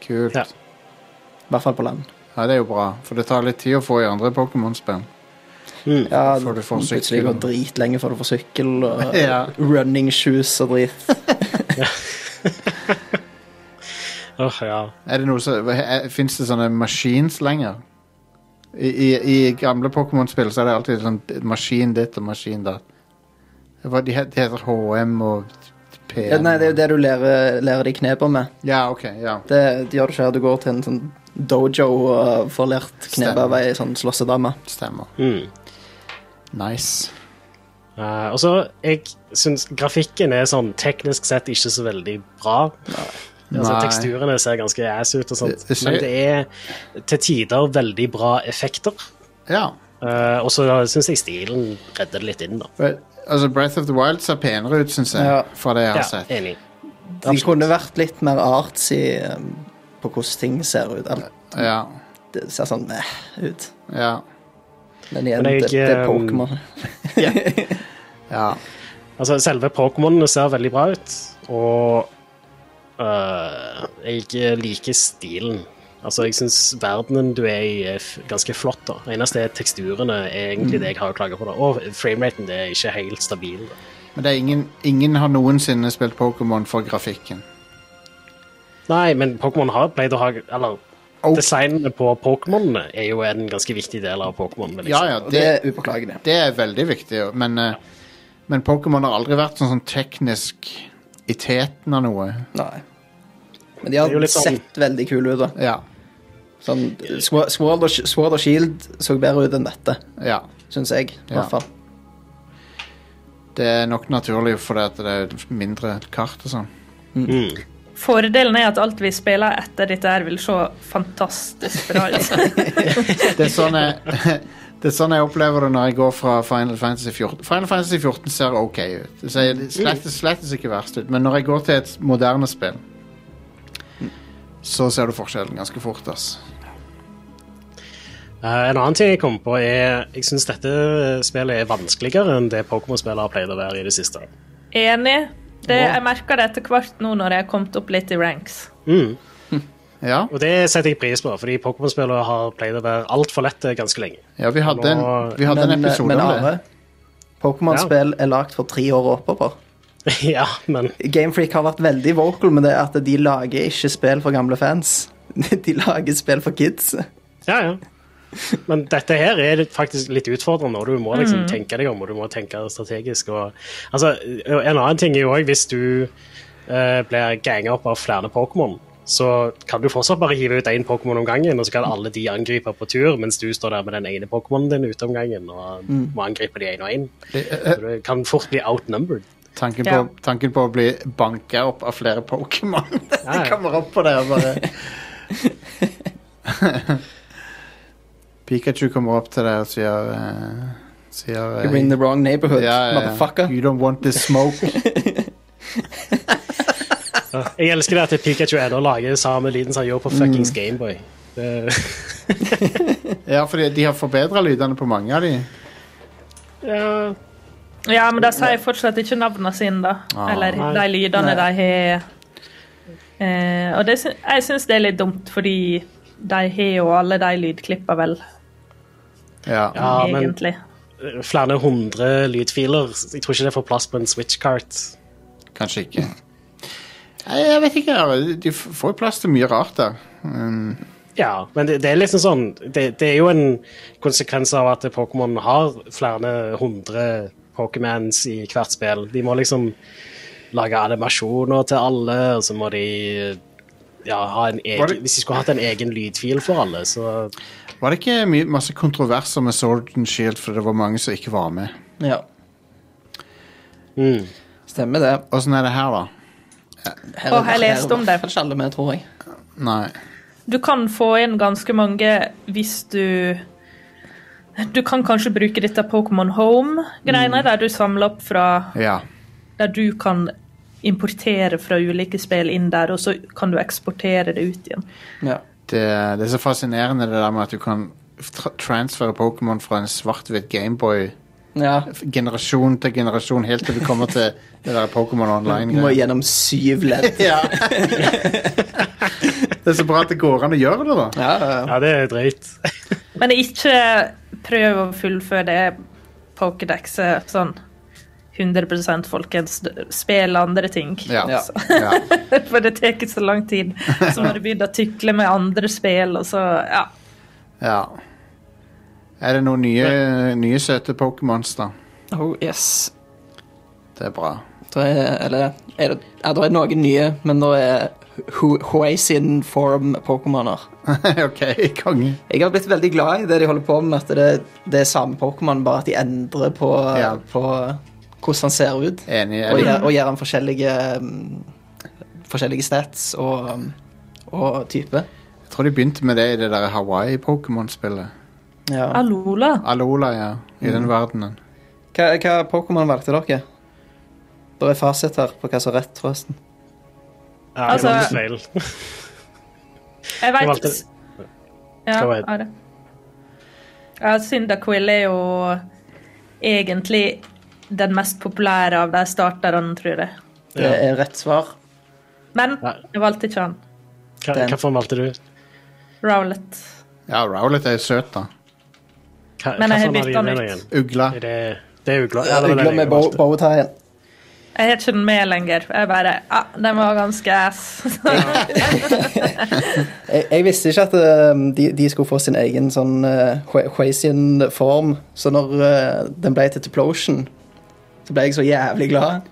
Speaker 1: Kult.
Speaker 2: Ja.
Speaker 4: I hvert fall på land.
Speaker 1: Ja, det er jo bra, for det tar litt tid å få i andre Pokémon-spill.
Speaker 2: Mm.
Speaker 4: Ja,
Speaker 1: Får du få
Speaker 4: plutselig
Speaker 1: sykkel.
Speaker 4: går dritlenge før du får sykkel og
Speaker 1: Ja.
Speaker 4: running shoes og drit.
Speaker 2: Åh, ja.
Speaker 1: Er det noe som Fins det sånne machines lenger? I, i, i gamle Pokémon-spill så er det alltid sånn maskin ditt og maskin datt. Det var- De het- de heter HM og PM.
Speaker 4: Ja, nei, det er jo det du lærer, lærer de knepa med.
Speaker 1: Ja, OK. Ja.
Speaker 4: Det, det gjør du ikke her. Du går til en sånn dojo og får lært knepa
Speaker 1: Stemmer.
Speaker 4: av ei sånn slåssedame.
Speaker 1: Stemmer.
Speaker 2: Mm.
Speaker 1: Nice.
Speaker 2: Eh, og så, jeg syns grafikken er sånn teknisk sett ikke så veldig bra. Altså,
Speaker 1: Nei.
Speaker 2: teksturene ser ganske ass ut, og sånt.
Speaker 1: Det- det ser-
Speaker 2: men det er til tider veldig bra effekter.
Speaker 1: Ja.
Speaker 2: Eh, og så syns jeg stilen redder det litt inn, da.
Speaker 1: But, altså Breath of the Wild ser penere ut, syns jeg,
Speaker 4: Ja.
Speaker 1: fra det jeg har
Speaker 2: Ja,
Speaker 1: sett.
Speaker 2: enig.
Speaker 4: De kunne vært litt mer artsy um, på hvordan ting ser ut. Alt
Speaker 1: Ja.
Speaker 4: det ser sånn eh, ut.
Speaker 1: Ja.
Speaker 4: Men igjen,
Speaker 2: Men jeg,
Speaker 4: det, det er
Speaker 2: um,
Speaker 4: Pokémon.
Speaker 1: ja.
Speaker 2: Altså, selve Pokémonene ser veldig bra ut, og øh, jeg liker stilen. Altså, jeg syns verdenen du er i, er f- ganske flott. da. Det eneste er teksturene er
Speaker 1: Mm.
Speaker 2: egentlig det jeg har å klage på. da. Og frameraten det er ikke helt stabil. Da.
Speaker 1: Men det er ingen, ingen har noensinne spilt Pokémon for grafikken.
Speaker 2: Nei, men Pokémon har pleid å ha Eller
Speaker 1: Ok.
Speaker 2: designene på Pokémonene er jo en ganske viktig del av Pokémon. Liksom.
Speaker 1: Ja, ja,
Speaker 4: Og det
Speaker 1: det,
Speaker 4: er upåklagelig.
Speaker 1: det er veldig viktig, jo, men, eh, men Pokémon har aldri vært sånn, sånn teknisk i teten av noe.
Speaker 4: Nei. Men de
Speaker 2: Det er jo
Speaker 4: har
Speaker 2: litt sånn-
Speaker 4: sett veldig kule ut. da.
Speaker 1: Ja.
Speaker 4: Sånn, Swa- Sword, og, Sword og Shield så bedre ut enn dette,
Speaker 1: ja.
Speaker 4: syns jeg. I
Speaker 1: Ja.
Speaker 4: hvert fall.
Speaker 1: Det er nok naturlig fordi at det er mindre kart og sånn.
Speaker 2: Mm.
Speaker 3: Fordelen er at alt vi spiller etter dette, her vil se fantastisk bra ut.
Speaker 1: Det er sånn jeg, det er sånn jeg opplever det når jeg går fra Final Fantasy 14. Final Fantasy 14 ser ok ut. Det ser
Speaker 4: Mm.
Speaker 1: slett, slett ikke verst ut, men når jeg går til et moderne spill, så ser du forskjellen ganske fort, ass.
Speaker 2: Eh, en annen ting jeg kom på, er jeg syns dette spillet er vanskeligere enn det Pokémon-spillet har pleid å være i det siste.
Speaker 3: Enig. Det, jeg merker det etter hvert nå når jeg har kommet opp litt i ranks.
Speaker 2: Mm.
Speaker 1: Ja,
Speaker 2: Og det setter jeg pris på, fordi Pokémon-spillere har pleid å være altfor lette ganske lenge.
Speaker 1: ja vi hadde en, vi hadde en
Speaker 4: Men, eh,
Speaker 1: episode
Speaker 4: men
Speaker 1: om det.
Speaker 4: Are, Pokémon-spill er lagd for tre år og oppover.
Speaker 2: ja, men
Speaker 4: Gamefreak har vært veldig vocal med det at de lager ikke spill for gamle fans. De lager spill for kids.
Speaker 2: Ja, ja. Men dette her er litt- faktisk litt utfordrende, og du må liksom tenke deg om, og du må tenke strategisk. Og, altså, og en annen ting er jo òg hvis du eh, blir ganga opp av flere Pokémon, så kan du fortsatt bare hive ut én Pokémon om gangen, og så kan alle de angripe på tur, mens du står der med den ene Pokémonen din ute om gangen og må angripe de én og én. Så Du kan fort bli outnumbered.
Speaker 1: eh, Tanken
Speaker 3: Ja.
Speaker 1: på, tanken på å bli banka opp av flere Pokémon.
Speaker 2: Ja,
Speaker 1: Jeg
Speaker 2: ja.
Speaker 1: kommer opp på det og bare Pikachu kommer opp til deg og sier, eh, sier eh,
Speaker 4: You're in the wrong neighborhood, motherfucker.
Speaker 1: You don't want this smoke.
Speaker 2: Jeg elsker det at Pikachu ennå lager samme lyden som han gjør på fuckings Gameboy. Det,
Speaker 1: ja, for de har forbedra lydene på mange av de.
Speaker 2: ja,
Speaker 3: Ja, men de sier fortsatt ikke navnene sine, da.
Speaker 1: Ah,
Speaker 3: Eller
Speaker 2: nei.
Speaker 3: de lydene
Speaker 4: Nei.
Speaker 3: de har. Eh, og det, syn- jeg syns det er litt dumt, fordi de har jo alle de lydklippene, vel,
Speaker 1: Ja.
Speaker 2: ja, men
Speaker 3: egentlig.
Speaker 2: flere hundre lydfiler. Jeg tror ikke det får plass på en Switch-kart.
Speaker 1: Kanskje ikke. Nei, Jeg vet ikke. Are. De f- får jo plass til mye rart der. Mm,
Speaker 2: Ja, men det, det er liksom sånn det, det er jo en konsekvens av at Pokémon har flere hundre Pokémans i hvert spill. De må liksom lage animasjoner til alle, og så må de ja, ha en
Speaker 1: Var
Speaker 2: egen,
Speaker 1: det-
Speaker 2: Hvis de skulle hatt en egen lydfil for alle, så
Speaker 1: var det ikke mye, masse kontroverser med Sword and Shield fordi det var mange som ikke var med?
Speaker 4: Ja,
Speaker 2: mm.
Speaker 4: stemmer det.
Speaker 1: Åssen er det her, da?
Speaker 4: Her,
Speaker 3: Åh, jeg leste om det.
Speaker 4: Her er ikke alle med, tror jeg.
Speaker 1: Nei.
Speaker 3: Du kan få inn ganske mange hvis du Du kan kanskje bruke dette Pokémon Home-greiene, der du samler opp fra
Speaker 1: Ja.
Speaker 3: Der du kan importere fra ulike spill inn der, og så kan du eksportere det ut igjen.
Speaker 4: Ja.
Speaker 1: Det, det er så fascinerende det der med at du kan tra- transfere Pokémon fra en svart-hvitt Gameboy
Speaker 4: ja.
Speaker 1: generasjon til generasjon, helt til du kommer til det der Pokémon
Speaker 4: Du må
Speaker 1: Online-greia.
Speaker 4: gjennom syv ledd.
Speaker 1: Ja. det er så bra at det går an å gjøre det, da.
Speaker 4: Ja, ja, ja.
Speaker 2: Ja, det er dreit.
Speaker 3: Men ikke prøv å fullføre det Pokédexet sånn 100 folkens. Spill andre ting.
Speaker 1: Ja.
Speaker 4: Ja.
Speaker 1: Ja.
Speaker 3: For det tar ikke så lang tid. Så må du begynne å tykle med andre spill, og så Ja.
Speaker 1: ja. Er det noen nye, nye søte Pokémons, da?
Speaker 4: Oh, yes.
Speaker 1: Det er bra.
Speaker 4: Da er, eller, er det, ja, da er det noen nye, men da er Hu- Huey sin form Pokémoner.
Speaker 1: OK, konge.
Speaker 4: Jeg har blitt veldig glad i det de holder på med, at det, det er samme Pokémon, bare at de endrer på,
Speaker 1: Ja.
Speaker 4: på hvordan han ser ut.
Speaker 1: Enig. Jeg,
Speaker 4: Og gjør, og gjør han forskjellige, mm, forskjellige stats og, og type.
Speaker 1: jeg tror de begynte med det i det der Hawaii-Pokémon-spillet.
Speaker 4: Ja.
Speaker 3: Alola.
Speaker 1: Alola, ja. I
Speaker 2: Mm.
Speaker 1: den verdenen.
Speaker 4: Hva, hva Pokémon valgte dere? Det er fasit her på hva som er rett, forresten.
Speaker 2: Ja, det
Speaker 3: Altså-
Speaker 2: var litt feil.
Speaker 3: Jeg
Speaker 2: Jeg
Speaker 3: veit
Speaker 2: valgte-
Speaker 3: Ja,
Speaker 2: Hva var det?
Speaker 3: er det? Ja, Cyndaquil er jo egentlig den mest populære av de starterne, tror jeg.
Speaker 4: Det
Speaker 2: Ja.
Speaker 4: er rett svar.
Speaker 3: Men
Speaker 2: Nei.
Speaker 3: jeg valgte ikke han.
Speaker 2: Hva,
Speaker 4: Den.
Speaker 2: hva form valgte du?
Speaker 3: Rowlett.
Speaker 1: Ja, Rowlet er søt, da.
Speaker 2: Hva,
Speaker 3: Men
Speaker 2: hva
Speaker 3: jeg har
Speaker 2: form
Speaker 3: byttet
Speaker 2: hadde du
Speaker 3: nytt.
Speaker 2: igjen?
Speaker 1: Ugla.
Speaker 2: Er det, det er ugla. Ja, det var den
Speaker 4: Ugla
Speaker 2: jeg
Speaker 4: med
Speaker 2: valgte.
Speaker 4: bowtien.
Speaker 3: Jeg har ikke den med lenger. Jeg bare ah, Den var ganske ass.
Speaker 4: Jeg, jeg visste ikke at ehm, de, de skulle få sin egen sånn Quasian form, så når eh, den ble til Teplosion, så ble jeg så jævlig glad.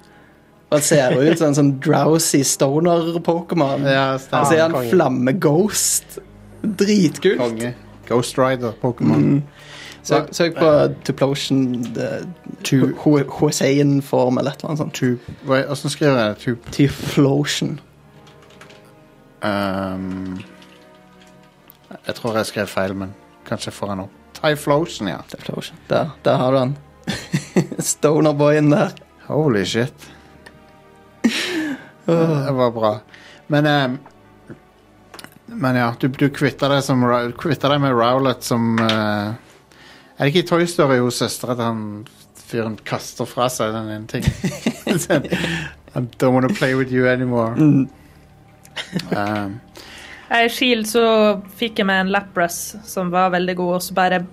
Speaker 4: Og det ser ut som en sånn drowsy stoner-Pokémon.
Speaker 1: Ja,
Speaker 4: og så er han
Speaker 2: konge.
Speaker 4: flamme-ghost. Dritkult.
Speaker 1: Konge. Ghost Rider, Pokémon.
Speaker 2: Mm.
Speaker 4: Søk, søk på Teplosion
Speaker 1: Tu-
Speaker 4: Hosein-form eller et eller annet sånt.
Speaker 1: Tu... hva- Åssen skriver jeg det? Tup...
Speaker 4: Teflosion.
Speaker 1: Um, jeg tror jeg skrev feil, men kanskje jeg får den opp. Typhlosion, ja.
Speaker 4: Teflosion. Der, der har du han. Stoner-boyen der.
Speaker 1: Holy shit. Det var bra. Men um, Men ja, du, du kvitta deg som Ra- Kvitta deg med Rowlett som eh, Er det ikke i Toy Story hos søstera til han fyren kaster fra seg den ene tingen? Sånn, I don't wanna play with you anymore. Um,
Speaker 3: I Shield så fikk jeg meg en Lapras som var veldig god, og så bare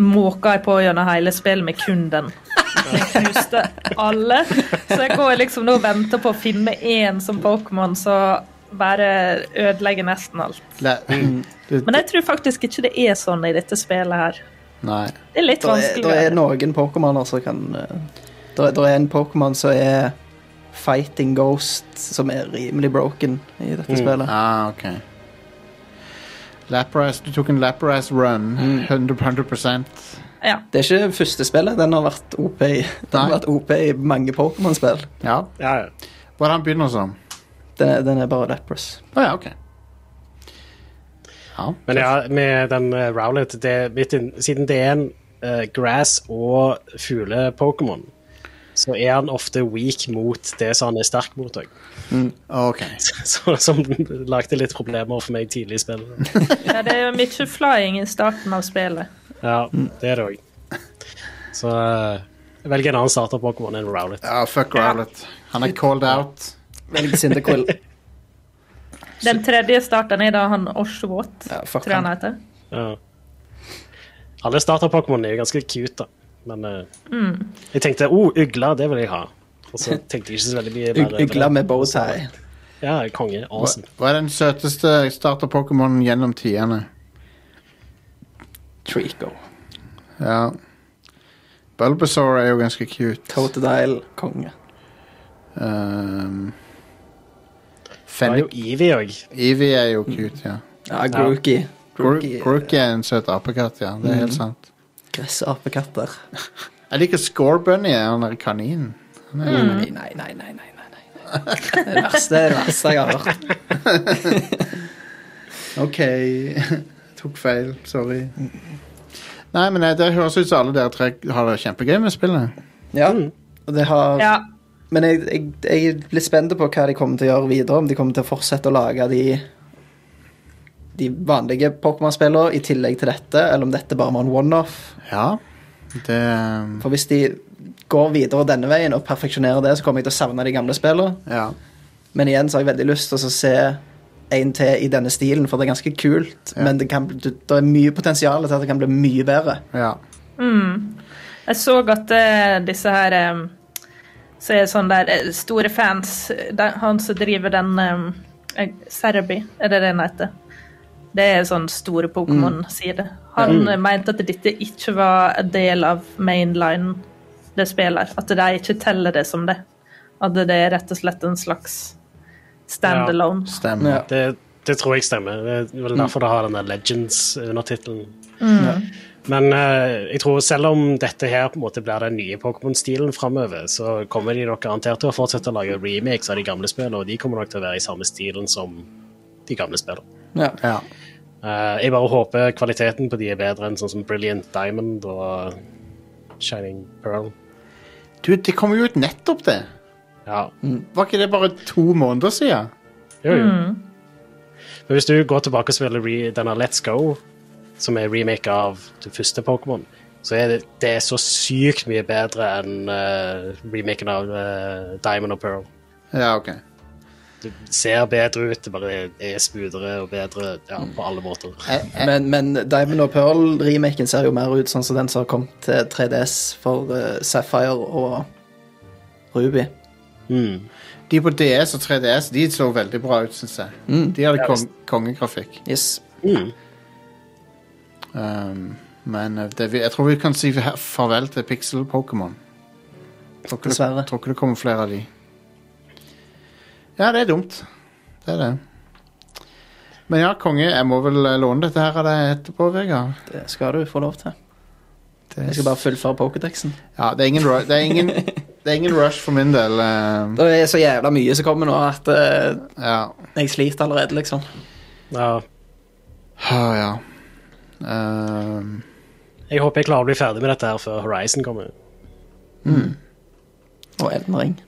Speaker 3: måka jeg på gjennom hele spillet med kun den. Jeg knuste alle. Så jeg går liksom nå og venter på å finne én som Pokémon, så bare ødelegger nesten alt.
Speaker 1: le, du,
Speaker 3: Men jeg tror faktisk ikke det er sånn i dette spillet her.
Speaker 1: nei.
Speaker 3: Det er litt
Speaker 4: Det er, der er
Speaker 3: vanskeligere.
Speaker 4: noen Pokémoner som kan Det er, en Pokémon som er Fighting Ghost, som er rimelig broken i dette spillet.
Speaker 1: Ah, ok. Lapras, du tok en Lapras run. 100, 100
Speaker 3: Ja.
Speaker 4: Det er ikke første spillet. Den har vært OP i, den har
Speaker 1: Nei.
Speaker 4: vært OP i mange Pokémon-spill.
Speaker 1: Ja.
Speaker 2: Ja, ja.
Speaker 1: Hva er det han begynner som?
Speaker 4: Den, er- den er bare Lepros.
Speaker 1: Å ja, ok. Ja.
Speaker 2: Men ja, med den eh, Rowlet det, mitt inn- Siden det er en eh, grass- og fugle-Pokémon, så er han ofte weak mot det som han er sterk mot òg.
Speaker 1: Ok.
Speaker 2: Som lagde litt problemer for meg tidlig i spillet.
Speaker 3: ja, det er mye flying i starten av spillet.
Speaker 2: Ja, det er det òg. Så eh, velg en annen starter-Pokémon enn Rowlet.
Speaker 1: Ja, fuck Rowlet. Han er called out.
Speaker 4: Velg Cyndaquil.
Speaker 3: Den tredje starten er da han Oshwot,
Speaker 4: Ja, fuck
Speaker 3: tror jeg
Speaker 4: han.
Speaker 3: han heter.
Speaker 2: Ja. Alle starter-Pokémonene er jo ganske cute, da. Men eh, jeg tenkte å, oh, ugla, det vil jeg ha. Og så tenkte jeg ikke så veldig mye mer.
Speaker 4: Ug-
Speaker 2: over det.
Speaker 4: Ugla med bowtie.
Speaker 2: Ja, konge.
Speaker 1: Hva,
Speaker 2: Awesome.
Speaker 1: hva er den søteste starter-pokémonen gjennom tidene?
Speaker 4: Trico.
Speaker 1: Ja. Bulbasaur er jo ganske cute.
Speaker 4: Totodile. Konge.
Speaker 1: Um,
Speaker 2: Det var jo
Speaker 1: Fennik
Speaker 2: Eevee òg.
Speaker 1: Evie er jo cute, ja.
Speaker 4: Ja, Grookie.
Speaker 1: Grook-
Speaker 4: Grookie.
Speaker 1: Grookey er en søt apekatt, ja.
Speaker 2: Mhm.
Speaker 1: Det er helt sant.
Speaker 4: Gressapekatter.
Speaker 1: Jeg liker Scorebunny, han er kaninen.
Speaker 4: Nei, nei, nei, nei, nei. nei, nei. Det er det verste, det verste jeg har hørt.
Speaker 1: OK. Tok feil. Sorry. Nei, men eh, det høres ut som alle dere tre har det kjempegøy med spillet.
Speaker 4: Ja, og det har
Speaker 3: Ja,
Speaker 4: Men jeg, jeg, jeg er litt spent på hva de kommer til å gjøre videre. Om de kommer til å fortsette å lage de, de vanlige Pokémon-spillene i tillegg til dette, eller om dette bare var en one-off.
Speaker 1: Ja, det eh,
Speaker 4: For hvis de går videre denne veien og perfeksjonerer det, så kommer jeg til å savne de gamle spillene.
Speaker 1: Ja.
Speaker 4: Men igjen så har jeg veldig lyst til å se en til i denne stilen, for det er ganske kult.
Speaker 1: Ja.
Speaker 4: Men det, kan, bli- det er mye potensial til at det kan bli mye bedre.
Speaker 1: ja.
Speaker 3: Jeg så at eh, disse her eh, så er det sånn der eh, store fans de, Han som driver den eh, Cerebi, er det det den heter? Det er sånn store Pokémon-side. Han eh, mente at dette ikke var en del av mainline det spiller. At de ikke teller det som det. At det er rett og slett en slags standalone.
Speaker 1: Stemmer.
Speaker 4: Ja.
Speaker 2: Det, det tror jeg stemmer. Det er vel derfor det har den der Legends-undertittelen. Men eh, jeg tror selv om dette her på en måte blir den nye Pokémon-stilen framover, så kommer de nok garantert til å fortsette å lage remakes av de gamle spillene, og de kommer nok til å være i samme stilen som de gamle spillene.
Speaker 4: Ja.
Speaker 1: Ja.
Speaker 2: Eh, jeg bare håper kvaliteten på de er bedre enn sånn som Brilliant Diamond og Shining Pearl.
Speaker 1: Du, det kom jo ut nettopp, det.
Speaker 2: Ja.
Speaker 1: Var ikke det bare to måneder siden?
Speaker 2: Jo, jo. Men hvis du går tilbake og spiller re denne Let's Go, som er remake av det første Pokémon, så er det, det er så sykt mye bedre enn eh, remaken av eh, Diamond og Pearl.
Speaker 1: Ja, OK.
Speaker 2: Det ser bedre ut, det bare er smoothere og bedre ja, på alle måter.
Speaker 1: Jeg, jeg,
Speaker 4: Men, men Diamond og Pearl-remaken ser jo mer ut sånn som den som har kommet til 3DS for eh, Sapphire og Ruby.
Speaker 2: Mm.
Speaker 1: de på DS og 3DS de så veldig bra ut, syns jeg. De hadde kong, kongegrafikk.
Speaker 4: Yes.
Speaker 2: Mm.
Speaker 1: Um, men eh, det, vi- jeg tror vi kan si her- farvel til pixel-Pokémon. Tror ikke det-
Speaker 4: Dessverre.
Speaker 1: Tror ikke det kommer flere av de. Ja, det er dumt. Det er det. Men ja, konge, jeg må vel eh, låne dette her av deg etterpå, Vegard.
Speaker 4: Det skal du få lov til.
Speaker 1: Det,
Speaker 4: Jeg skal bare fullføre Pokédexen.
Speaker 1: ja, det, er ingen, ru- det, er ingen, det er ingen rush for min del. eh,
Speaker 4: Det er så jævla mye som kommer nå at eh,
Speaker 1: ja.
Speaker 4: jeg sliter allerede, liksom.
Speaker 2: Ja.
Speaker 1: Ah, ja. Um,
Speaker 2: Jeg håper jeg klarer å bli ferdig med dette her før Horizon kommer.
Speaker 4: Og Elden Ring.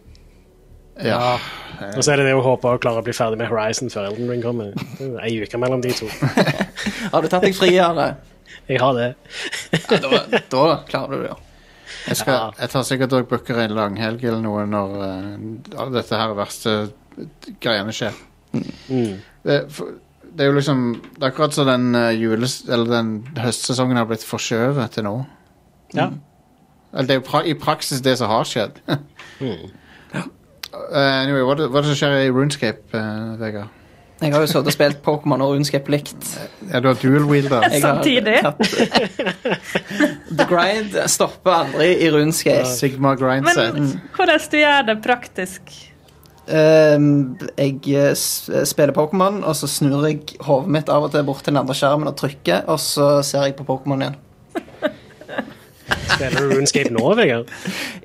Speaker 1: ja. Eh.
Speaker 2: Og så er det det å håpe å klare å bli ferdig med Horizon før Elden Ring kommer. Det er Ei uke mellom de to.
Speaker 4: Har du tatt deg fri, Are?
Speaker 2: Jeg har det.
Speaker 4: Ja, da, da klarer du det, ja.
Speaker 1: Jeg, skal, jeg tar sikkert og booker en langhelg eller noe når eh, all dette her verste greiene skjer.
Speaker 2: Mm.
Speaker 1: Det, for, det er jo liksom Det er akkurat som den, eh, jules, eller den høstsesongen har blitt forskjøvet til nå. Mm.
Speaker 2: Ja.
Speaker 1: Eller det er jo pra i praksis det som har skjedd.
Speaker 2: Mm.
Speaker 1: Eh, anyway, hva er det, hva er det som skjer i Runescape, eh, Vegard?
Speaker 4: Jeg har jo sittet og spilt Pokémon og Runescape likt.
Speaker 1: Ja, du har dual wielder.
Speaker 4: Jeg har
Speaker 3: Samtidig.
Speaker 4: tatt- The Grind stopper aldri i Runescape.
Speaker 1: Sigma grindset. Mm.
Speaker 3: Men hvordan du gjør det praktisk?
Speaker 4: Ehm, jeg eh, s- spiller Pokémon, og så snur jeg hodet mitt av og til bort til den andre skjermen og trykker, og så ser jeg på Pokémon igjen.
Speaker 2: Spiller du RuneScape nå, Vegard?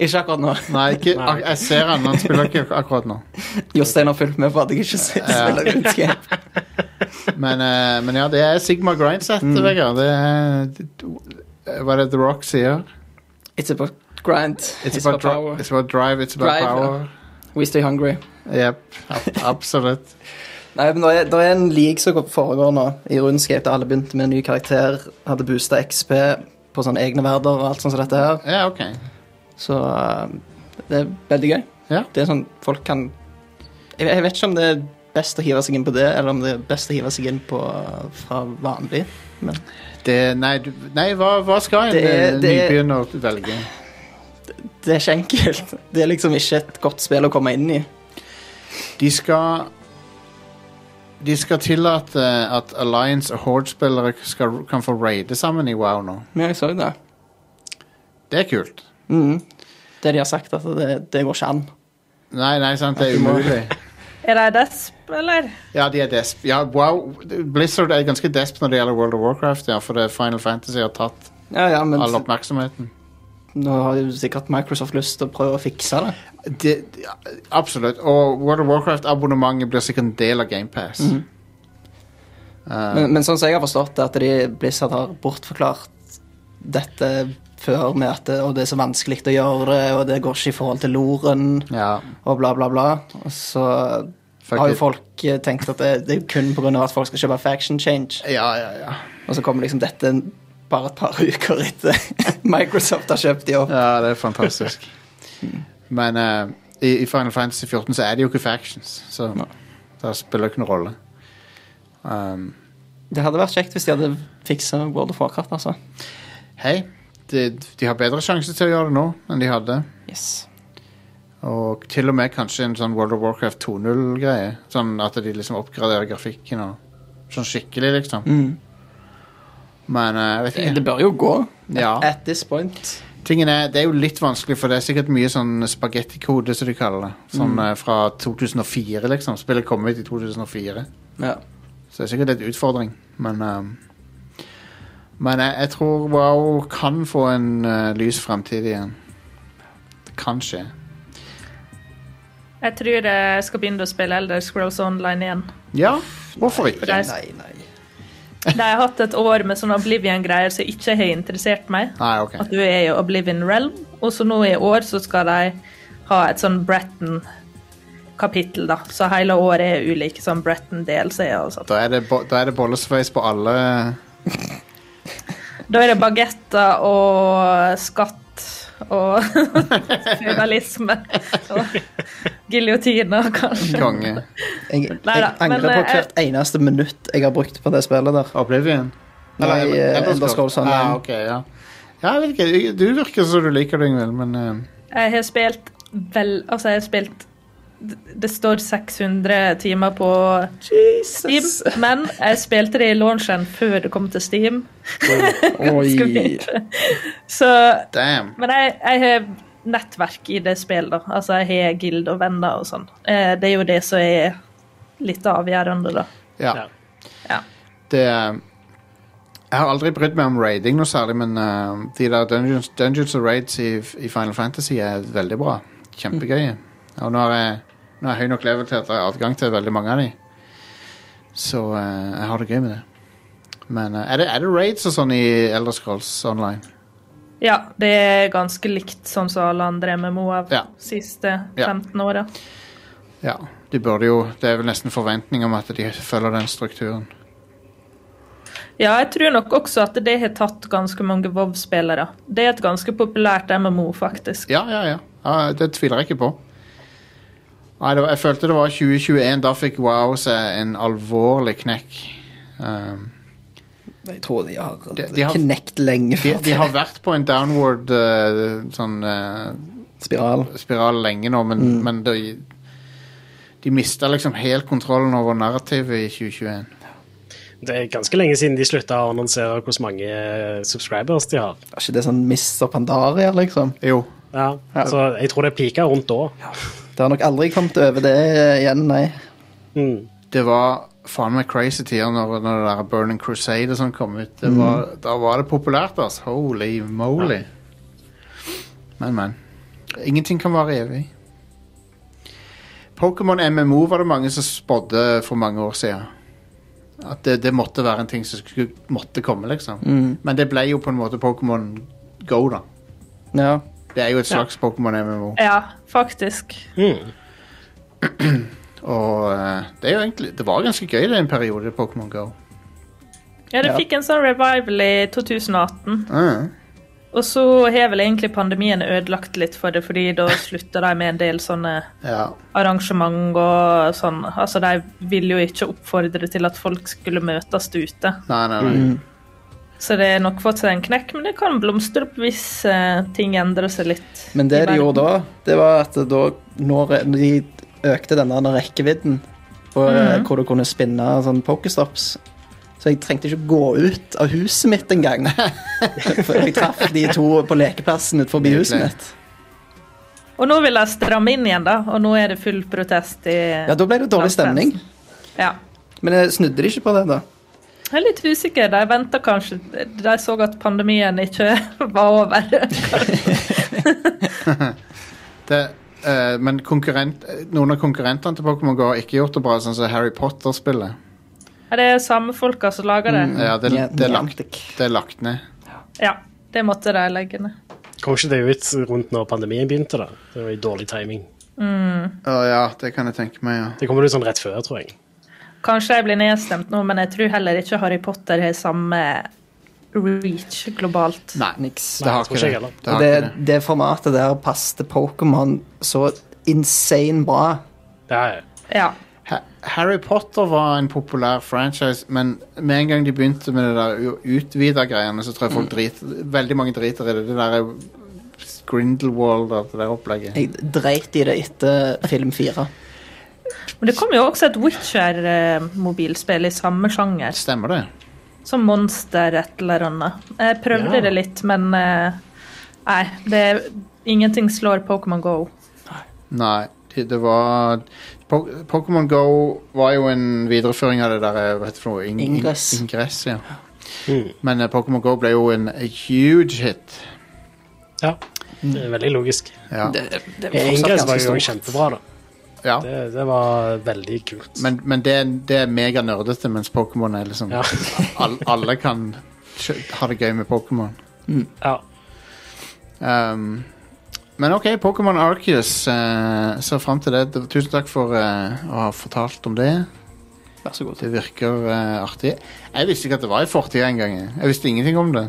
Speaker 4: Ikke akkurat nå.
Speaker 1: Nei, ikke, ak jeg ser han, men han spiller ikke ak akkurat nå.
Speaker 4: Jostein har fulgt med på at jeg ikke s- spiller Runescape.
Speaker 1: Men, eh, men ja, det er Sigma Grindset,
Speaker 4: Mm.
Speaker 1: Vegard. Det er det- Hva er det The Rock sier?
Speaker 4: It's about grind.
Speaker 1: It's, about, dri-
Speaker 4: power.
Speaker 1: it's about drive, it's about
Speaker 4: Drive, ja.
Speaker 1: power.
Speaker 4: We stay hungry.
Speaker 1: Yep. ab- Absolutt.
Speaker 4: Nei, men det er, det er en league som foregår nå i Runescape, der alle begynte med en ny karakter, hadde boosta XP på sånne egne verder og alt sånt som dette her.
Speaker 1: Ja, OK.
Speaker 4: Så eh, det er veldig gøy.
Speaker 1: Ja.
Speaker 4: Det er sånn folk kan jeg, jeg vet ikke om det er best å hive seg inn på det, eller om det er best å hive seg inn på fra vanlig.
Speaker 1: Det, nei, du, nei hva, hva skal en
Speaker 4: Det er-
Speaker 1: eh,
Speaker 4: det er-
Speaker 1: nybegynner velge?
Speaker 4: Det er ikke enkelt. Det er liksom ikke et godt spill å komme inn i.
Speaker 1: De skal De skal tillate at Alliance og Horde-spillere skal- kan få raide sammen i WoW nå.
Speaker 4: Men jeg så det.
Speaker 1: Det er kult.
Speaker 4: Mhm. Det de har sagt, at det, det går ikke an.
Speaker 1: Nei, nei, sant, det er umulig.
Speaker 3: Er de desp, eller?
Speaker 1: Ja, de er desp. Ja, wow. Blizzard er ganske desp når det gjelder World of Warcraft, ja, for det Final Fantasy har tatt
Speaker 4: Ja, ja, men
Speaker 1: all oppmerksomheten.
Speaker 4: nå har jo sikkert Microsoft lyst til å prøve å fikse det.
Speaker 1: Det, ja, absolutt. Og World of Warcraft-abonnementet blir sikkert en del av Eh, GamePass.
Speaker 4: Mhm.
Speaker 1: Uh,
Speaker 4: Men, men sånn som jeg har forstått det, at de Blizzard har bortforklart dette før med at det, og det er så vanskelig å gjøre det, og det går ikke i forhold til loren,
Speaker 1: Ja,
Speaker 4: og bla, bla, bla. Og så
Speaker 1: Fuck
Speaker 4: har
Speaker 1: it.
Speaker 4: jo folk eh, tenkt at det, det er kun pga. at folk skal kjøpe Faction Change,
Speaker 1: ja, ja. ja.
Speaker 4: og så kommer liksom dette bare et par uker etter Microsoft har kjøpt de opp.
Speaker 1: Ja, det er fantastisk. Men eh, i, i Final Fantasy 14 så er det jo ikke factions, så
Speaker 4: Nei.
Speaker 1: det spiller ikke noen rolle. Um,
Speaker 4: Det hadde vært kjekt hvis de hadde fiksa World of Warcraft, altså.
Speaker 1: Hei, de, de har bedre sjanse til å gjøre det nå enn de hadde.
Speaker 4: Yes.
Speaker 1: Og til og med kanskje en sånn World of Warcraft 2.0-greie. Sånn at de liksom oppgraderer grafikken og sånn skikkelig, liksom. Men eh, jeg vet
Speaker 4: Mm. Det
Speaker 1: ikke.
Speaker 4: bør jo gå.
Speaker 1: Ja.
Speaker 4: At this point.
Speaker 1: Tingen er, det er jo litt vanskelig, for det er sikkert mye sånn spagettikode, som de kaller det. Sånn eh, fra 2004, liksom. Spillet kom ut i 2004.
Speaker 4: Ja.
Speaker 1: Så det er sikkert en utfordring, men ehm, Men jeg, jeg tror WoW kan få en eh, lys fremtid igjen. Det kan skje.
Speaker 3: Jeg tror jeg skal begynne å spille Elder Scrolls Online igjen.
Speaker 1: Ja, hvorfor ikke?
Speaker 3: Nei.
Speaker 4: Nei, nei.
Speaker 3: De har hatt et år med sånne Oblivion-greier som ikke har interessert meg.
Speaker 1: Nei, ok.
Speaker 3: At du er i Oblivion Realm, og så nå i år så skal de ha et sånn Bretton-kapittel, da. Så hele året er ulike sånn Bretton-delseer og sånt.
Speaker 1: Da er det, bo- da er det bollesveis på alle
Speaker 3: Da er det bagetter og skatt og feudalisme og giljotiner, kanskje.
Speaker 1: konge.
Speaker 4: Jeg,
Speaker 3: Neida,
Speaker 4: jeg angrer
Speaker 3: men,
Speaker 4: på
Speaker 3: eh,
Speaker 4: hvert eneste minutt jeg har brukt på det spillet der.
Speaker 1: Oblivion?
Speaker 4: Nei, eh, Elder Scrolls Online.
Speaker 1: Ah, ok, ja. ja, jeg vet ikke. Du virker som du liker det, Ingvild, men eh,
Speaker 3: Jeg har spilt vel Altså, jeg har spilt Det står 600 timer på Steam,
Speaker 4: Jesus!
Speaker 3: men jeg spilte det i launchen før det kom til Steam. Ganske
Speaker 4: Oi.
Speaker 3: mye. Så
Speaker 1: damn.
Speaker 3: Men jeg, jeg har nettverk i det spillet, da. Altså, jeg har guild og venner og sånn. Eh, Det er jo det som er litt avgjørende, da.
Speaker 1: Ja.
Speaker 2: Ja.
Speaker 3: Ja.
Speaker 1: Det eh, Jeg har aldri brydd meg om raiding noe særlig, men eh, de der dungeons, dungeons og raids i, i Final Fantasy er veldig bra. Kjempegøye. Og nå har jeg, nå er jeg høy nok level til at jeg har adgang til veldig mange av de. Så eh, jeg har det gøy med det. Men eh, er, det, er det raids og sånn i Elder Scrolls online?
Speaker 3: Ja, det er ganske likt sånn som alle andre MMO av
Speaker 1: Ja.
Speaker 3: siste
Speaker 1: Ja.
Speaker 3: 15 åra.
Speaker 1: Ja. De burde jo, det er vel nesten forventning om at de følger den strukturen.
Speaker 3: Ja, jeg tror nok også at det har tatt ganske mange WoW-spillere. Det er et ganske populært MMO, faktisk.
Speaker 1: Ja, ja, ja. ja det tviler jeg ikke på. Nei, det var, jeg følte det var 2021. Da fikk Wow seg en alvorlig knekk. Um,
Speaker 4: Jeg tror de har,
Speaker 1: De- de har-
Speaker 4: knekt
Speaker 1: de,
Speaker 4: lenge før
Speaker 1: de har vært på en downward eh, sånn
Speaker 4: spiral.
Speaker 1: eh, spiral lenge nå, men, men de, de mista liksom helt kontrollen over narrativet i 2021.
Speaker 2: Det er ganske lenge siden de slutta å annonsere hvor mange eh, subscribers de har.
Speaker 4: Er ikke det sånn Mr. Pandaria, liksom?
Speaker 1: Jo.
Speaker 2: Ja, Så jeg tror det pika rundt da.
Speaker 4: Det har nok aldri kommet over det igjen, nei.
Speaker 2: Mm.
Speaker 1: Det var faen meg crazy tider når, når det der Burning Crusade og sånn kom ut. Det var, Da var det populært, altså. Holy moly. Men, men. Ingenting kan vare evig. Pokémon MMO var det mange som spådde for mange år siden. At det, det måtte være en ting som skulle, måtte komme, liksom. Men det ble jo på en måte Pokémon Go, da.
Speaker 4: Ja.
Speaker 1: Det er jo et slags Pokémon MMO.
Speaker 3: Ja, faktisk.
Speaker 2: Mm.
Speaker 1: Og eh, det, er jo egentlig, det var ganske gøy det en periode, Pokémon Go.
Speaker 3: Ja, det
Speaker 4: Ja.
Speaker 3: fikk en sånn revival i 2018.
Speaker 1: Mm.
Speaker 3: Og så har vel egentlig pandemien ødelagt litt for det, fordi da slutta de med en del sånne
Speaker 1: Ja.
Speaker 3: arrangement og sånn. Altså, de ville jo ikke oppfordre til at folk skulle møtes ute.
Speaker 1: Nei, nei, nei.
Speaker 3: Så det har nok fått seg en knekk, men det kan blomstre opp hvis eh, ting endrer seg litt.
Speaker 4: Men det
Speaker 3: i
Speaker 4: de
Speaker 3: verden.
Speaker 4: gjorde da, det var at da når de økte denne rekkevidden, og, eh, hvor du kunne spinne sånn pokestops Så jeg trengte ikke gå ut av huset mitt engang. For jeg traff de to på lekeplassen utenfor huset
Speaker 1: Nydelig.
Speaker 4: mitt.
Speaker 3: Og nå vil jeg stramme inn igjen, da, og nå er det full protest i
Speaker 4: Ja, da ble det dårlig stemning.
Speaker 3: Ja.
Speaker 4: Men jeg snudde de ikke på det, da?
Speaker 3: Jeg er litt usikker. De venta kanskje De så at pandemien ikke var over.
Speaker 1: det, eh, men konkurrent, eh, noen av konkurrentene til Pokémon Go har ikke gjort det bra, sånn som Harry Potter-spillet.
Speaker 3: Mm. Ja, Det er samme folka som lager det.
Speaker 4: Mm,
Speaker 1: Ja, det,
Speaker 4: Ja,
Speaker 1: det, er lagt,
Speaker 4: Niantic.
Speaker 1: det er lagt ned.
Speaker 3: Ja. Det måtte de legge ned.
Speaker 2: Kom ikke det ut rundt når pandemien begynte? da? Det var jo dårlig timing.
Speaker 1: Å ja, det kan jeg tenke meg, ja.
Speaker 2: Det kommer ut sånn rett før, tror jeg.
Speaker 3: Kanskje jeg blir nedstemt nå, men jeg tror heller ikke Harry Potter har samme reach globalt.
Speaker 1: Nei,
Speaker 4: Niks.
Speaker 1: det har
Speaker 2: jeg tror
Speaker 1: ikke
Speaker 2: ikke
Speaker 1: det.
Speaker 2: heller.
Speaker 1: Det har
Speaker 4: det,
Speaker 1: ikke det.
Speaker 4: det formatet der passet Pokémon så insane bra.
Speaker 2: Det er,
Speaker 3: Ja.
Speaker 1: Ha- Harry Potter var en populær franchise, men med en gang de begynte med det der utvida greiene, så tror jeg folk drit, veldig mange driter i det. Det der er Grindelwald og det der opplegget.
Speaker 4: Jeg dreit i det etter film fire.
Speaker 3: Men det kom jo også et Witcher-mobilspill i samme sjanger.
Speaker 1: Stemmer det?
Speaker 3: Som monster et eller annet. Jeg prøvde
Speaker 2: Ja.
Speaker 3: det litt, men eh, nei. Det, ingenting slår Pokémon Go.
Speaker 1: Nei. Det, det var Po- Pokémon Go var jo en videreføring av det der eh, hva heter det for noe? Ing- ing-
Speaker 4: Ingress.
Speaker 1: Ingress, ja.
Speaker 2: Mm.
Speaker 1: Men eh, Pokémon Go ble jo en huge hit.
Speaker 2: ja.
Speaker 1: Mm.
Speaker 2: Det er veldig logisk.
Speaker 1: Ja.
Speaker 2: Ingress var jo kjempebra, da.
Speaker 1: ja.
Speaker 2: Det, det var veldig kult.
Speaker 1: Men, men det, det er mega nerdete, mens Pokémon er liksom
Speaker 2: Ja.
Speaker 1: all, Alle kan skj- ha det gøy med Pokémon.
Speaker 2: ja.
Speaker 1: Um, men OK, Pokémon Arceus eh, ser fram til det. D- Tusen takk for eh, å ha fortalt om det.
Speaker 4: Vær så god.
Speaker 1: Det virker eh, artig. Jeg visste ikke at det var i fortida engang. jeg. Jeg visste ingenting om det.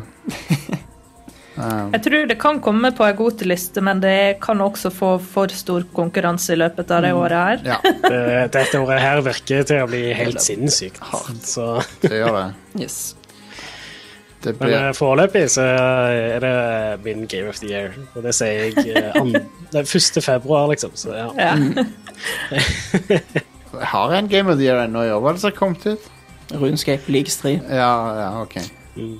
Speaker 1: um,
Speaker 3: Jeg tror det kan komme på ei god liste, men det kan også få for stor konkurranse i løpet av det året her.
Speaker 1: ja,
Speaker 2: Det, dette året her virker til å bli helt sinnssykt. Så,
Speaker 1: det gjør det.
Speaker 4: Yes.
Speaker 1: Det
Speaker 2: men eh,
Speaker 1: blir
Speaker 2: foreløpig så er det min Game of the Year. Og det sier jeg eh, an, det er 1. februar, liksom. Så ja.
Speaker 3: Ja.
Speaker 2: eh,
Speaker 1: Har jeg en Game of the Year ennå i år? Hva er det som har kommet ut?
Speaker 4: Runescape Leagues 3.
Speaker 1: Ja, ja, OK.
Speaker 2: Mm.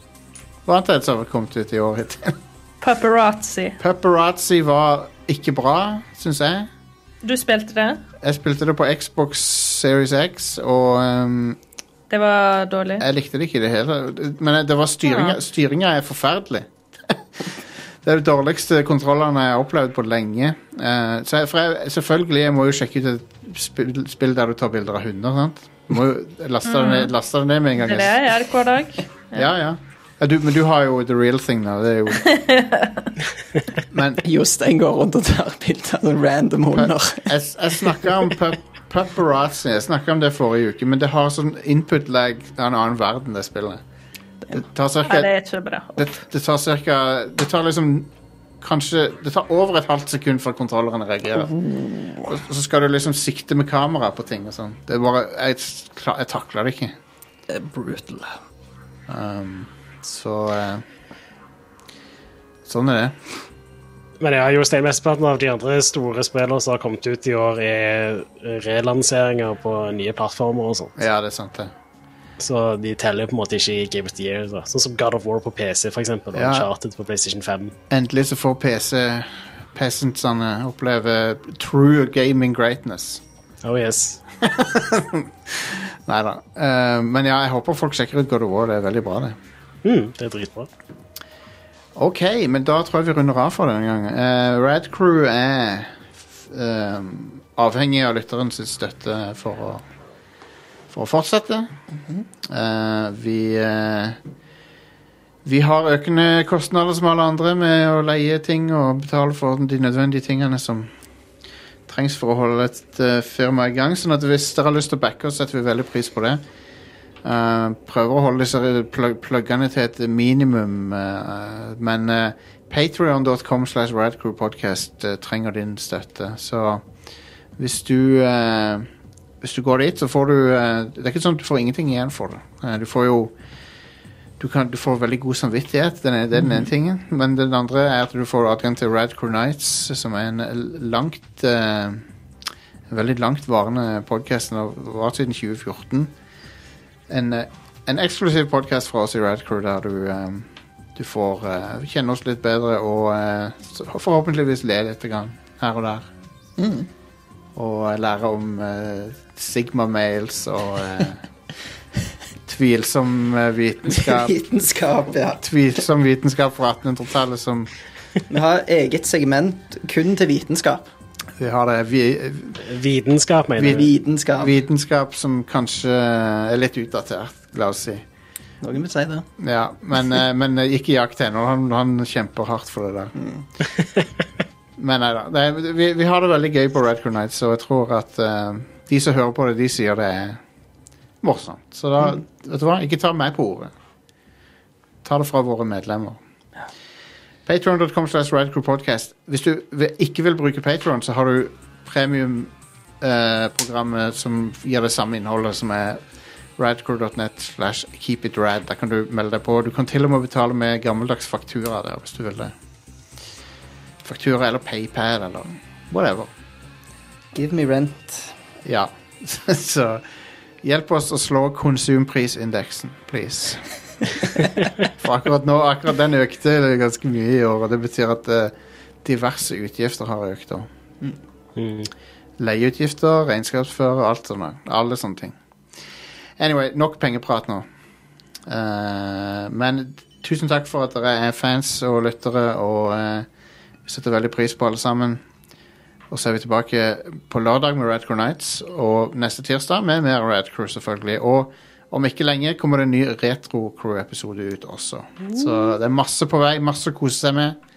Speaker 1: Hva annet er det som har kommet ut i år? hittil?
Speaker 3: Paparazzi.
Speaker 1: Paparazzi var ikke bra, syns jeg.
Speaker 3: Du spilte det?
Speaker 1: Jeg spilte det på Xbox Series X, og ehm,
Speaker 3: Det var dårlig.
Speaker 1: jeg likte det ikke i det hele. Men det var styringa,
Speaker 3: Ja.
Speaker 1: styringa er forferdelig. det er de dårligste kontrollene jeg har opplevd på lenge. Eh, så jeg, for jeg, selvfølgelig, jeg må jo sjekke ut et spill, spill der du tar bilder av hunder, sant? Du må jo laste det ned, laste det ned med en gang.
Speaker 3: Mhm. Det er det jeg gjør hver dag.
Speaker 1: Ja, ja. Ja, du, men du har jo the real thing nå. Det er jo Men
Speaker 4: Jostein går rundt og tar bilder av noen random hunder.
Speaker 1: jeg, jeg snakka om pap paparazzi Jeg snakket om det forrige uke, men det har sånn input lag av en annen verden, det spillet. Det tar
Speaker 3: Nei, det
Speaker 1: cirka,
Speaker 3: er ikke bra.
Speaker 1: det, det tar cirka Det tar liksom Kanskje Det tar over et halvt sekund før kontrolleren reagerer. Og så skal du liksom sikte med kamera på ting og sånn. Det er bare Jeg, kla- jeg takla det ikke.
Speaker 4: Det er brutal.
Speaker 1: Um, så eh, Sånn er det.
Speaker 2: Men ja, Jostein, mesteparten av de andre store spillene som har kommet ut i år, er relanseringer på nye plattformer og sånn.
Speaker 1: Ja, det er sant, det.
Speaker 2: Så de teller på en måte ikke i Game of the Year. Da. Sånn som God of War på PC, for eksempel, og
Speaker 1: Ja.
Speaker 2: Uncharted på PlayStation 5.
Speaker 1: Endelig så får PC Peasantene oppleve true gaming greatness.
Speaker 2: Oh yes.
Speaker 1: Nei da. Eh, men ja, jeg håper folk sjekker ut God of War. Det er veldig bra, det.
Speaker 2: Mm, det er dritbra.
Speaker 1: OK, men da tror jeg vi runder av for denne gangen. Uh, Rad Crew er f- ehm, avhengig av lytterens støtte for å, for å fortsette. Eh, vi eh, Vi har økende kostnader som alle andre med å leie ting og betale for de nødvendige tingene som trengs for å holde et eh, firma i gang. Sånn at hvis dere har lyst til å backe oss, setter vi veldig pris på det. Eh, prøver å holde disse plug pluggene til et minimum, eh, men uh, patrion.com slash radcrewpodcast eh, trenger din støtte. Så hvis du eh, Hvis du går dit, så får du eh, Det er ikke sånn at du får ingenting igjen for det. Eh, du får jo du, kan, du får veldig god samvittighet, den er, det er den ene tingen. Men den andre er at du får adgang til Radcrew Nights, som er en langt eh, en veldig langtvarende podkast. Den har vart siden 2014. En, eh, en eksklusiv podkast fra oss i Radcrew der du, eh, du får eh, kjenne oss litt bedre og eh, så forhåpentligvis le litt grann her og der. Og eh, lære om eh, Sigma-mails og eh, tvilsom eh, vitenskap.
Speaker 4: Vitenskap, ja.
Speaker 1: Tvilsom vitenskap fra 1800-tallet som
Speaker 4: Vi har eget segment kun til vitenskap.
Speaker 1: vi har det. Vi, eh,
Speaker 2: Vitenskap, mener du?
Speaker 4: Vitenskap.
Speaker 1: eh, vitenskap som kanskje er litt utdatert, la oss si.
Speaker 4: Noen vil si det.
Speaker 1: Ja, men, eh, men eh, ikke jakt henne. Han, han kjemper hardt for det der. men nei da. Det, er- vi, vi har det veldig gøy på Red Crew Nights, og jeg tror at eh, de som hører på det, de sier det er morsomt. Så da, vet du hva, ikke ta meg på ordet. Ta det fra våre medlemmer. Patreon.com slash Red Crew Podcast. Hvis du vi- ikke vil bruke Patreon, så har du premiumprogrammet som gir det samme innholdet, som er radcrew.net slash keepitrad. Der kan du melde deg på. Du kan til og med betale med gammeldags faktura der, hvis du vil det. Faktura eller PayPal eller whatever.
Speaker 4: Give me rent.
Speaker 1: Ja. Så hjelp oss å slå konsumprisindeksen, please. For akkurat nå, akkurat den økte ganske mye i år, og det betyr at eh, diverse utgifter har økt òg.
Speaker 2: Mm.
Speaker 1: Leieutgifter, regnskapsfører, alt sånne. Alle sånne ting. Anyway, nok pengeprat nå. Eh, men tusen takk for at dere er fans og lyttere, og eh, vi setter veldig pris på alle sammen. Og så er vi tilbake på lørdag med Radcrew Nights, og neste tirsdag med mer Radcrew, selvfølgelig. Og om ikke lenge kommer det en ny Retro-crew-episode ut også. Så det er masse på vei, masse å kose seg med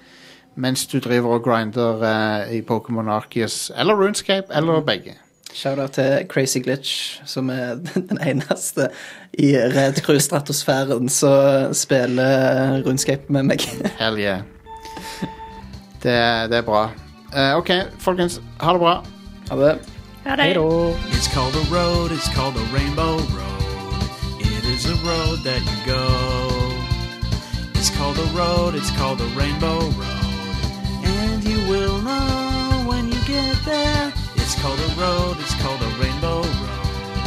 Speaker 1: mens du driver og grinder eh, i Pokémon Arceus eller RuneScape eller begge.
Speaker 4: Shout-out til Crazy Glitch, som er den eneste i Red Crew-stratosfæren som spiller RuneScape med meg.
Speaker 1: Hell yeah. Det, er- det er bra. Eh, OK, folkens. Ha det bra.
Speaker 4: Ha det.
Speaker 3: Ja,
Speaker 2: Hei
Speaker 3: det
Speaker 2: da.
Speaker 9: It's called a road, it's called a rainbow road. It is a road that you go. It's called a road, it's called a rainbow road. And you will know when you get there. It's called a road, it's called a rainbow road.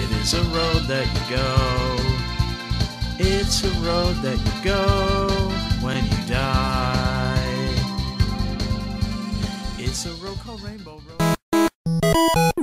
Speaker 9: It is a road that you go. It's a road that you go when you die. It's a road called Rainbow Road.